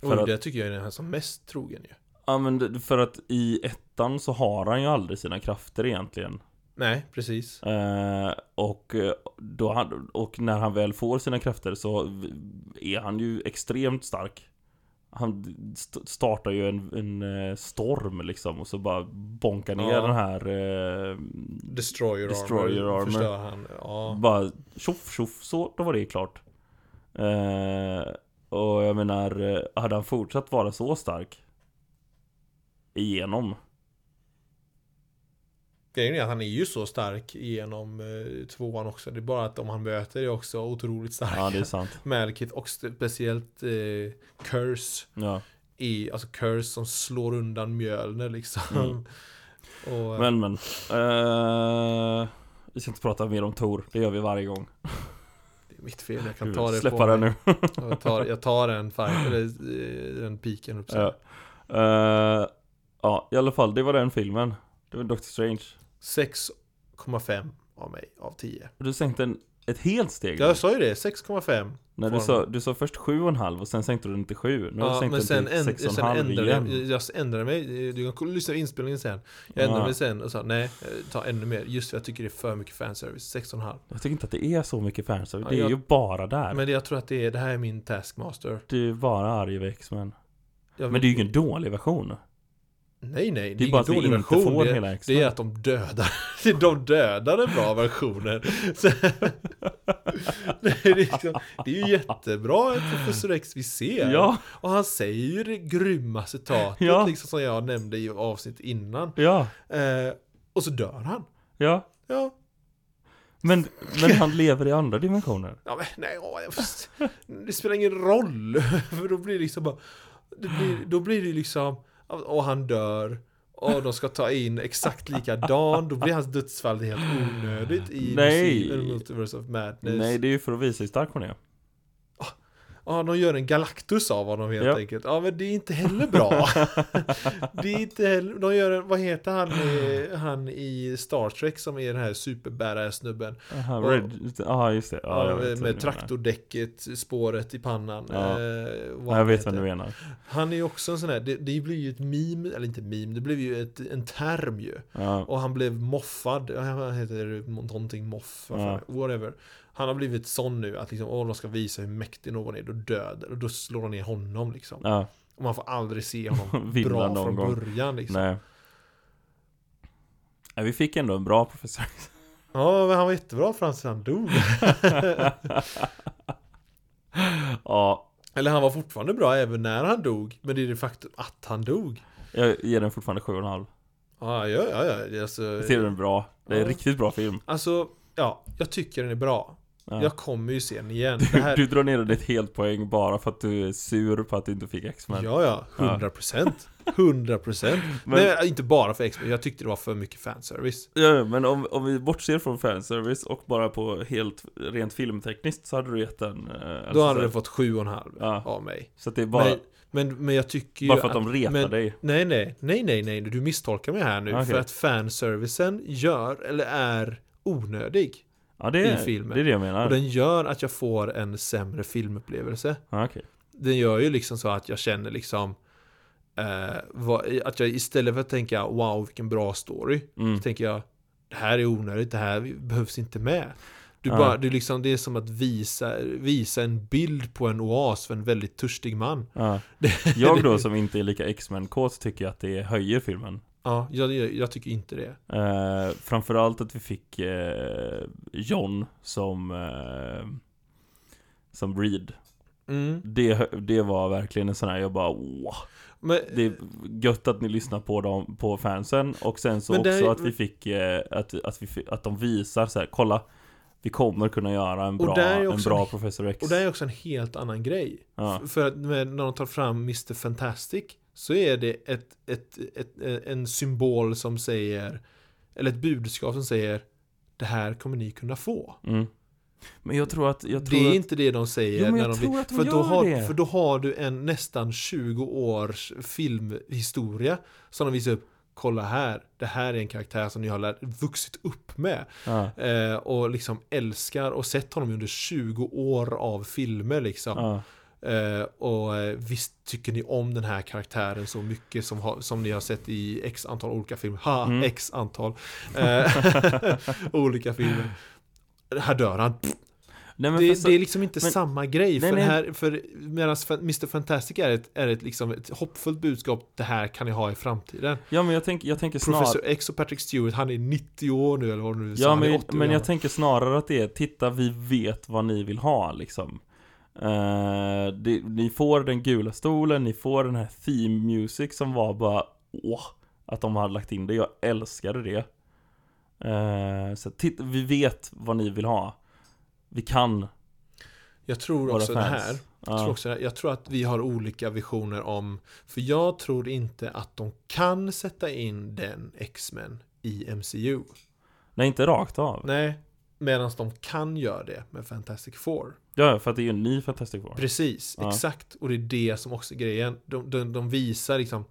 Speaker 1: För
Speaker 2: och
Speaker 1: att-
Speaker 2: det tycker jag är den här som mest trogen ju.
Speaker 1: Ja, men det- för att i ettan så har han ju aldrig sina krafter egentligen.
Speaker 2: Nej, precis.
Speaker 1: Eh, och, eh, då han, och när han väl får sina krafter så v- är han ju extremt stark. Han st startar ju en, en eh, storm liksom och så bara bonkar ner
Speaker 2: Ja.
Speaker 1: den här eh,
Speaker 2: Destroyer,
Speaker 1: Destroyer
Speaker 2: armor,
Speaker 1: armor.
Speaker 2: förstör han. Ja.
Speaker 1: Bara tjoff tjoff så, då var det klart. Eh, Och jag menar, eh, hade han fortsatt vara så stark igenom
Speaker 2: Grejen är att han är ju så stark genom eh, tvåan också. Det är bara att om han möter är också otroligt starka.
Speaker 1: Ja, det är sant.
Speaker 2: Malekith och st- speciellt eh, Curse.
Speaker 1: Ja.
Speaker 2: I, alltså Curse som slår undan Mjölner liksom.
Speaker 1: Mm.
Speaker 2: Och,
Speaker 1: Men, men. eh, vi ska inte prata mer om Tor. Det gör vi varje gång.
Speaker 2: det är mitt fel, jag kan
Speaker 1: Du,
Speaker 2: ta det
Speaker 1: Släppa
Speaker 2: på
Speaker 1: den
Speaker 2: mig.
Speaker 1: nu.
Speaker 2: Jag tar, jag tar den, fight, eller, eh, den piken upp så.
Speaker 1: Ja. Eh, ja, i alla fall. Det var den filmen. Det var Doctor Strange.
Speaker 2: 6,5 av mig, av 10.
Speaker 1: Du sänkte en, ett helt steg.
Speaker 2: Jag sa ju det, 6,5.
Speaker 1: När du, sa, du sa först 7,5 och sen sänkte du den till 7. Nu har du
Speaker 2: Ja,
Speaker 1: sänkt
Speaker 2: men
Speaker 1: den
Speaker 2: sen,
Speaker 1: till
Speaker 2: änd, sen
Speaker 1: 6,5
Speaker 2: ändrade jag,
Speaker 1: igen.
Speaker 2: jag ändrade mig. Du kan kolla- lyssna på inspelningen sen. Jag ändrade
Speaker 1: Ja.
Speaker 2: mig sen och sa nej, eh, ta ännu mer. Just för jag tycker det är för mycket fanservice. 6,5.
Speaker 1: Jag tycker inte att det är så mycket fanservice.
Speaker 2: Ja,
Speaker 1: det är
Speaker 2: jag-
Speaker 1: ju bara där.
Speaker 2: Men det, jag tror att det är, det här är min taskmaster.
Speaker 1: Du är bara arg över X-Men.
Speaker 2: Jag
Speaker 1: Men det är ju ingen dålig version.
Speaker 2: Nej, nej.
Speaker 1: Det
Speaker 2: Det
Speaker 1: är
Speaker 2: är
Speaker 1: bara
Speaker 2: ingen
Speaker 1: att vi
Speaker 2: dålig
Speaker 1: inte
Speaker 2: version.
Speaker 1: får
Speaker 2: Det,
Speaker 1: hela
Speaker 2: är-
Speaker 1: X-Men.
Speaker 2: det är att de dödar. De dödar den bra versionen. Så, det, är liksom, det är ju jättebra att Professor X vi ser.
Speaker 1: Ja,
Speaker 2: Och han säger ju det grymma citatet
Speaker 1: Ja.
Speaker 2: liksom som jag nämnde i avsnitt innan.
Speaker 1: ja,
Speaker 2: Eh, och så dör han.
Speaker 1: ja.
Speaker 2: Ja.
Speaker 1: Men, men han lever i andra dimensioner.
Speaker 2: Ja men nej, åh, jag, fast, det spelar ingen roll. För då blir det liksom bara, det blir, då blir det liksom, och han dör. Och de ska ta in exakt likadan, då blir hans dödsfall helt onödigt i
Speaker 1: Nej.
Speaker 2: Multi- Multiverse of Madness.
Speaker 1: Nej, det är ju för att visa hur stark hon är.
Speaker 2: Ja, de gör en Galactus av honom helt
Speaker 1: Ja.
Speaker 2: enkelt. Ja, men det är inte heller bra. det är inte heller, de gör en, vad heter han, eh, han i Star Trek som är den här superbärare-snubben?
Speaker 1: Aha,
Speaker 2: Och-
Speaker 1: Red, aha, just det. Ja, jag
Speaker 2: Ja,
Speaker 1: vet vad du menar.
Speaker 2: med traktordäcket, spåret i pannan.
Speaker 1: Ja.
Speaker 2: eh, vad
Speaker 1: Ja,
Speaker 2: han
Speaker 1: jag vet
Speaker 2: heter.
Speaker 1: vem du menar.
Speaker 2: Han är ju också en sån här, det, det blir ju ett meme, eller inte meme, det blev ju ett, en term ju.
Speaker 1: Ja.
Speaker 2: Och han blev moffad, Ja, han heter någonting moff, vad fan, whatever. Han har blivit sån nu att liksom, åh, de ska visa hur mäktig någon är, då dödar, och då slår de ner honom liksom.
Speaker 1: Ja,
Speaker 2: Och man får aldrig se honom
Speaker 1: Vinna
Speaker 2: bra
Speaker 1: någon
Speaker 2: från
Speaker 1: gång.
Speaker 2: början liksom.
Speaker 1: nej. Ja, vi fick ändå en bra professor.
Speaker 2: Ja, men han var jättebra fram tills han dog.
Speaker 1: Ja,
Speaker 2: eller han var fortfarande bra även när han dog, men det är det faktum att han dog.
Speaker 1: jag ger den fortfarande 7,5.
Speaker 2: Ja, ja, ja, ja. det är Alltså,
Speaker 1: Jag tycker den är bra. Det är en
Speaker 2: Ja.
Speaker 1: riktigt bra film.
Speaker 2: alltså, ja, jag tycker den är bra.
Speaker 1: Ja.
Speaker 2: Jag kommer ju se den igen. Det
Speaker 1: Du,
Speaker 2: här,
Speaker 1: du drar ner den ett helt poäng bara för att du är sur på att du inte fick X-Men.
Speaker 2: ja, ja, 100 procent. 100 procent.
Speaker 1: Men-
Speaker 2: Nej, inte bara för X-Men. Jag tyckte det var för mycket fanservice.
Speaker 1: Ja, men om, om vi bortser från fanservice och bara på helt rent filmtekniskt så hade du gett den... Eh,
Speaker 2: Då hade den fått 7,5
Speaker 1: Ja.
Speaker 2: av mig.
Speaker 1: Så att det är bara,
Speaker 2: Men, men, men jag tycker ju
Speaker 1: bara för att de retar
Speaker 2: men-
Speaker 1: dig.
Speaker 2: Nej, nej, nej, nej, nej, du misstolkar mig här nu.
Speaker 1: Okej.
Speaker 2: För att fanservicen gör, eller är, onödig.
Speaker 1: Ja, det är,
Speaker 2: i filmen.
Speaker 1: det är det jag menar.
Speaker 2: Och den gör att jag får en sämre filmupplevelse.
Speaker 1: Ja, okej.
Speaker 2: Den gör ju liksom så att jag känner liksom eh, vad, att jag istället för att tänka wow vilken bra story
Speaker 1: Mm.
Speaker 2: Så tänker jag Det här är onödigt, det här behövs inte med du
Speaker 1: Ja.
Speaker 2: bara, du liksom, Det är som att visa, visa en bild på en oas för en väldigt törstig man
Speaker 1: Ja. Jag då som inte är lika X-Men-kåt tycker jag att det höjer filmen.
Speaker 2: Ja, jag, jag tycker inte det
Speaker 1: Eh, framförallt att vi fick eh, John som eh, som Reed.
Speaker 2: mm.
Speaker 1: Det, hö- det var verkligen en sån här, jag bara wow.
Speaker 2: Men,
Speaker 1: Det är gött att ni lyssnar på dem, på fansen. Och sen så
Speaker 2: Men det
Speaker 1: också
Speaker 2: här-
Speaker 1: att vi fick, eh, att, att, vi, fi- att de visar så här, kolla. Vi kommer kunna göra en
Speaker 2: Och
Speaker 1: bra,
Speaker 2: där är
Speaker 1: en
Speaker 2: också
Speaker 1: bra
Speaker 2: en-
Speaker 1: Professor X.
Speaker 2: Och det är också en helt annan grej.
Speaker 1: Ja.
Speaker 2: F- För att med- när de tar fram Mr. Fantastic så är det ett, ett, ett, en symbol som säger, eller ett budskap som säger det här kommer ni kunna få.
Speaker 1: mm. Men jag tror att, jag tror
Speaker 2: Det är
Speaker 1: att,
Speaker 2: inte det de säger
Speaker 1: Jo, men jag
Speaker 2: när de
Speaker 1: tror
Speaker 2: blir-
Speaker 1: att de
Speaker 2: för, då
Speaker 1: gör
Speaker 2: har,
Speaker 1: det.
Speaker 2: för då har du en nästan 20 års filmhistoria som de visar upp. Kolla här, det här är en karaktär som ni har lärt, vuxit upp med.
Speaker 1: ja,
Speaker 2: Eh, och liksom älskar och sett honom under 20 år av filmer liksom.
Speaker 1: ja.
Speaker 2: Eh, och eh, visst tycker ni om den här karaktären så mycket som, har, som ni har sett i x antal olika filmer. Ha,
Speaker 1: Mm.
Speaker 2: x antal eh, olika filmer. Här dör han.
Speaker 1: Nej, men för
Speaker 2: Det,
Speaker 1: så-
Speaker 2: det är liksom inte
Speaker 1: men-
Speaker 2: samma grej.
Speaker 1: Nej,
Speaker 2: för
Speaker 1: nej.
Speaker 2: här, för medan Fa- Mr. Fantastic är ett, är ett, liksom ett hoppfullt budskap. Det här kan ni ha i framtiden.
Speaker 1: Ja men jag, tänk, jag tänker
Speaker 2: Professor
Speaker 1: snarare
Speaker 2: X och Patrick Stewart, han är 90 år nu eller vad nu
Speaker 1: Ja
Speaker 2: han är
Speaker 1: men,
Speaker 2: 80 år
Speaker 1: men jag
Speaker 2: gammal.
Speaker 1: tänker snarare att det är Titta vi vet vad ni vill ha liksom Eh, det, ni får den gula stolen, ni får den här theme music som var bara åh, att de hade lagt in det. Jag älskade det. Eh, så titt, vi vet vad ni vill ha. Vi kan
Speaker 2: Jag tror
Speaker 1: våra
Speaker 2: också det
Speaker 1: fans.
Speaker 2: här. Jag tror, också det här. jag tror att vi har olika visioner om... För jag tror inte att de kan sätta in den X-Men i MCU.
Speaker 1: Nej, inte rakt av.
Speaker 2: Nej. Medan de kan göra det med Fantastic Four.
Speaker 1: Ja, för att det är ju en ny Fantastic Four.
Speaker 2: Precis,
Speaker 1: Ja.
Speaker 2: exakt. Och det är det som också är grejen. De, de, de visar liksom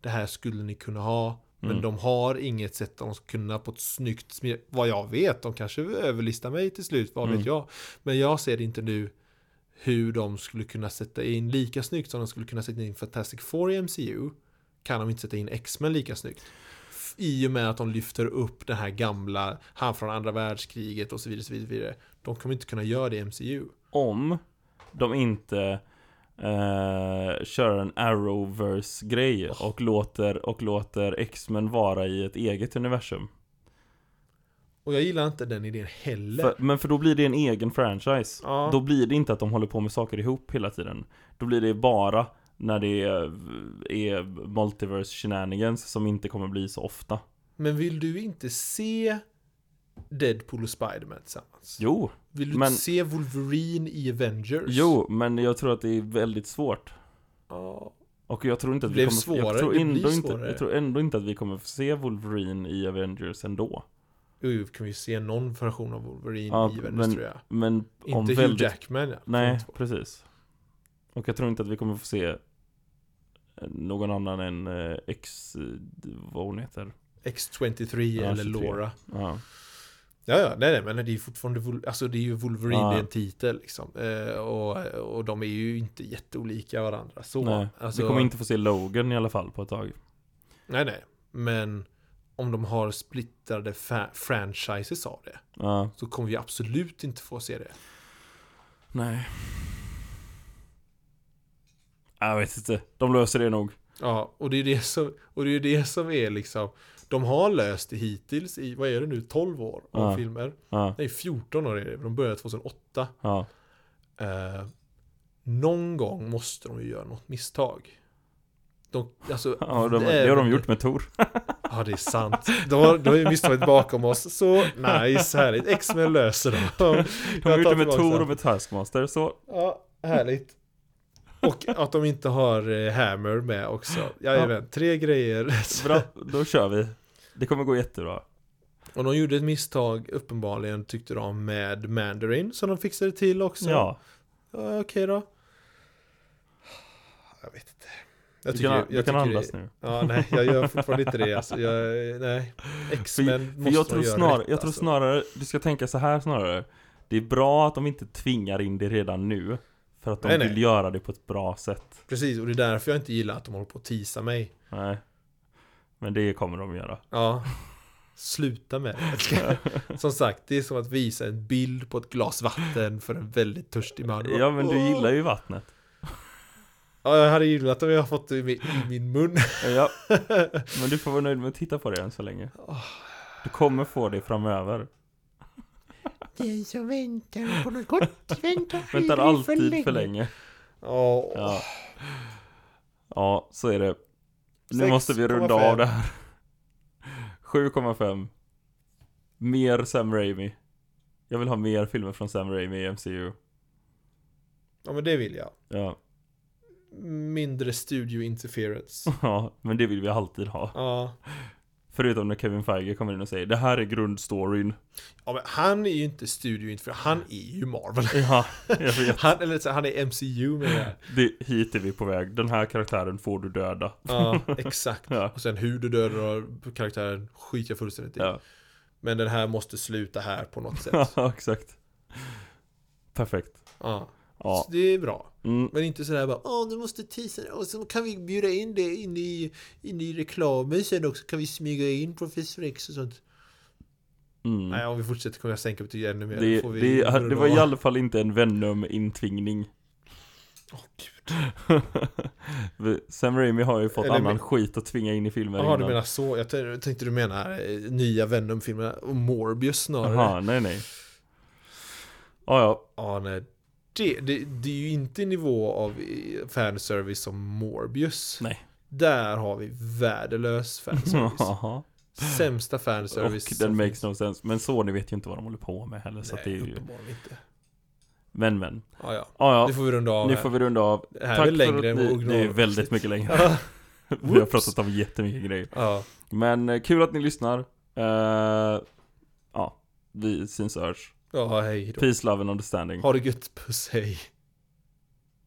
Speaker 2: det här skulle ni kunna ha. Men
Speaker 1: Mm.
Speaker 2: de har inget sätt de ska kunna på ett snyggt smidigt. Vad jag vet, de kanske överlistar mig till slut, vad
Speaker 1: Mm.
Speaker 2: vet jag. Men jag ser inte nu hur de skulle kunna sätta in lika snyggt som de skulle kunna sätta in Fantastic Four i MCU. Kan de inte sätta in X-Men lika snyggt. F- I och med att de lyfter upp den här gamla, han från andra världskriget och så vidare. Så vidare, så vidare. De kommer inte kunna göra det i MCU.
Speaker 1: Om de inte eh, kör en Arrowverse-grej
Speaker 2: Oh.
Speaker 1: och låter, och låter X-Men vara i ett eget universum.
Speaker 2: Och jag gillar inte den idén heller.
Speaker 1: För, men för då blir det en egen franchise.
Speaker 2: Ja.
Speaker 1: Då blir det inte att de håller på med saker ihop hela tiden. Då blir det bara när det är, är multiverse shenanigans som inte kommer bli så ofta.
Speaker 2: Men vill du inte se Deadpool och Spiderman tillsammans?
Speaker 1: Jo,
Speaker 2: vill du
Speaker 1: men-
Speaker 2: inte se Wolverine i Avengers?
Speaker 1: jo, men jag tror att det är väldigt svårt.
Speaker 2: Ja.
Speaker 1: Och jag tror inte att
Speaker 2: Det
Speaker 1: vi
Speaker 2: blev
Speaker 1: kommer, jag
Speaker 2: svårare,
Speaker 1: tror
Speaker 2: det blir
Speaker 1: ändå inte,
Speaker 2: svårare.
Speaker 1: jag tror ändå inte att vi kommer få se Wolverine i Avengers ändå.
Speaker 2: Jo, jo, kan vi se någon version av Wolverine
Speaker 1: Ja,
Speaker 2: i Avengers
Speaker 1: men
Speaker 2: tror jag.
Speaker 1: Men om
Speaker 2: Inte
Speaker 1: väldigt...
Speaker 2: Hugh Jackman. Ja.
Speaker 1: Nej,
Speaker 2: Från två.
Speaker 1: precis. Och jag tror inte att vi kommer få se eh, någon annan än eh, X, eh, vad hon heter.
Speaker 2: X-23
Speaker 1: Ja,
Speaker 2: eller
Speaker 1: 23.
Speaker 2: Laura.
Speaker 1: Ja.
Speaker 2: Ja, ja, nej, nej, men det är ju fortfarande Vol- alltså det är ju Wolverine,
Speaker 1: Ja.
Speaker 2: det är en titel liksom. Eh, och, och de är ju inte jätteolika varandra. Så,
Speaker 1: Nej,
Speaker 2: alltså,
Speaker 1: vi kommer inte få se Logan i alla fall på ett tag.
Speaker 2: Nej, nej. Men om de har splittrade fa- franchises av det.
Speaker 1: Ja,
Speaker 2: så kommer vi absolut inte få se det.
Speaker 1: nej. Jag vet inte, de löser det nog.
Speaker 2: Ja, och det är det som, och det är det som är liksom, de har löst det hittills i, vad är det nu, 12 år av
Speaker 1: Ja.
Speaker 2: filmer?
Speaker 1: Ja,
Speaker 2: Nej, 14 år är det, de började 2008.
Speaker 1: ja.
Speaker 2: Eh, någon gång måste de ju göra något misstag. De, alltså,
Speaker 1: ja de, det har de gjort med Tor.
Speaker 2: Ja, det är sant. Då har, då är misstaget bakom oss. Så nice, härligt. X-Men löser dem.
Speaker 1: De har gjort det med Tor och med Taskmaster, så
Speaker 2: Ja, härligt. Och att de inte har eh, Hammer med också. Jajamän, tre grejer.
Speaker 1: bra, då kör vi. Det kommer gå jättebra.
Speaker 2: Och de gjorde ett misstag, uppenbarligen tyckte de, med Mandarin. Som de fixade till också.
Speaker 1: Ja,
Speaker 2: Ja, Okej då. Jag vet inte. Jag
Speaker 1: du kan, du kan
Speaker 2: tycker det-
Speaker 1: andas nu.
Speaker 2: Ja, nej, jag gör fortfarande inte det. Alltså, jag, nej. X-Men måste
Speaker 1: För jag
Speaker 2: de
Speaker 1: tror,
Speaker 2: göra
Speaker 1: snar,
Speaker 2: rätt,
Speaker 1: jag tror
Speaker 2: alltså.
Speaker 1: snarare, du ska tänka så här snarare Det är bra att de inte tvingar in det redan nu För att de
Speaker 2: Nej, nej.
Speaker 1: vill göra det på ett bra sätt
Speaker 2: Precis, och det är därför jag inte gillar att de håller på att tisa mig.
Speaker 1: Nej Men det kommer de göra
Speaker 2: Ja. Sluta med det. Som sagt, det är som att visa en bild på ett glas vatten för en väldigt törstig man.
Speaker 1: Ja men du gillar ju vattnet
Speaker 2: Ja, jag hade gillat om jag fått det i min, i min mun.
Speaker 1: Ja Men du får vara nöjd med att titta på det än så länge Du kommer få det framöver
Speaker 4: Den som väntar på något gott väntar
Speaker 1: Väntar
Speaker 4: aldrig
Speaker 1: alltid för länge
Speaker 2: Ja.
Speaker 1: Ja Ja, så är det Nu
Speaker 2: Sex
Speaker 1: måste vi runda
Speaker 2: komma fem.
Speaker 1: av det här 7,5 Mer Sam Raimi Jag vill ha mer filmer från Sam Raimi i MCU
Speaker 2: ja, men det vill jag.
Speaker 1: Ja,
Speaker 2: Mindre studio interference.
Speaker 1: ja men det vill vi alltid ha
Speaker 2: Ja.
Speaker 1: Förutom när Kevin Feige kommer in och säger Det här är grundstoryn
Speaker 2: ja, men han är ju inte studio interference. Han är ju Marvel.
Speaker 1: Ja, jag vet
Speaker 2: Han, eller så, han är MCU med det här.
Speaker 1: det, Hit är vi på väg Den här karaktären får du döda
Speaker 2: Ja, exakt.
Speaker 1: Ja.
Speaker 2: Och sen hur du dödar karaktären skiter jag fullständigt i.
Speaker 1: Ja,
Speaker 2: Men den här måste sluta här på något sätt.
Speaker 1: ja exakt Perfekt
Speaker 2: Ja.
Speaker 1: Ja,
Speaker 2: Så det är bra.
Speaker 1: mm,
Speaker 2: Men inte sådär bara Åh, nu måste tisa det." och så kan vi bjuda in det in i, in i reklamen sen också. Kan vi smyga in Professor X och sånt?
Speaker 1: mm.
Speaker 2: Nej, om vi fortsätter kommer jag sänka betyg ännu mer.
Speaker 1: Det,
Speaker 2: Då får vi
Speaker 1: det, det var i
Speaker 2: Åh
Speaker 1: alla fall inte en Venom-intvingning
Speaker 2: gud.
Speaker 1: Sam Raimi har ju fått
Speaker 2: Eller
Speaker 1: annan
Speaker 2: men-
Speaker 1: skit att tvinga in i filmer
Speaker 2: Jaha, du
Speaker 1: innan
Speaker 2: menar så. Jag tänkte- jag tänkte du menar eh, nya Venom-filmerna och Morbius snarare.
Speaker 1: Jaha, nej nej Ja, ja,
Speaker 2: Ja, nej. det, det, det är ju inte i nivå av eh, fanservice som Morbius.
Speaker 1: Nej.
Speaker 2: Där har vi värdelös fanservice.
Speaker 1: Jaha.
Speaker 2: Sämsta fanservice
Speaker 1: Och den makes no sense. Men Sony vet ju inte vad de håller på med heller. Så
Speaker 2: Nej,
Speaker 1: att det är ju...
Speaker 2: uppenbarligen inte.
Speaker 1: Men men.
Speaker 2: Ja, ja.
Speaker 1: Ah,
Speaker 2: Nu
Speaker 1: ja,
Speaker 2: får vi runda av
Speaker 1: nu
Speaker 2: här.
Speaker 1: får vi runda av.
Speaker 2: Det här är väl längre än vår
Speaker 1: ni, Det är
Speaker 2: original-
Speaker 1: väldigt mycket längre.
Speaker 2: Ja.
Speaker 1: vi har
Speaker 2: Whoops.
Speaker 1: pratat om jättemycket grejer.
Speaker 2: Ja.
Speaker 1: Men eh, kul att ni lyssnar. Eh, ja, vi syns och hörs.
Speaker 2: Ja, hej då.
Speaker 1: Peace, love and understanding.
Speaker 2: Ha det gött, puss, hej.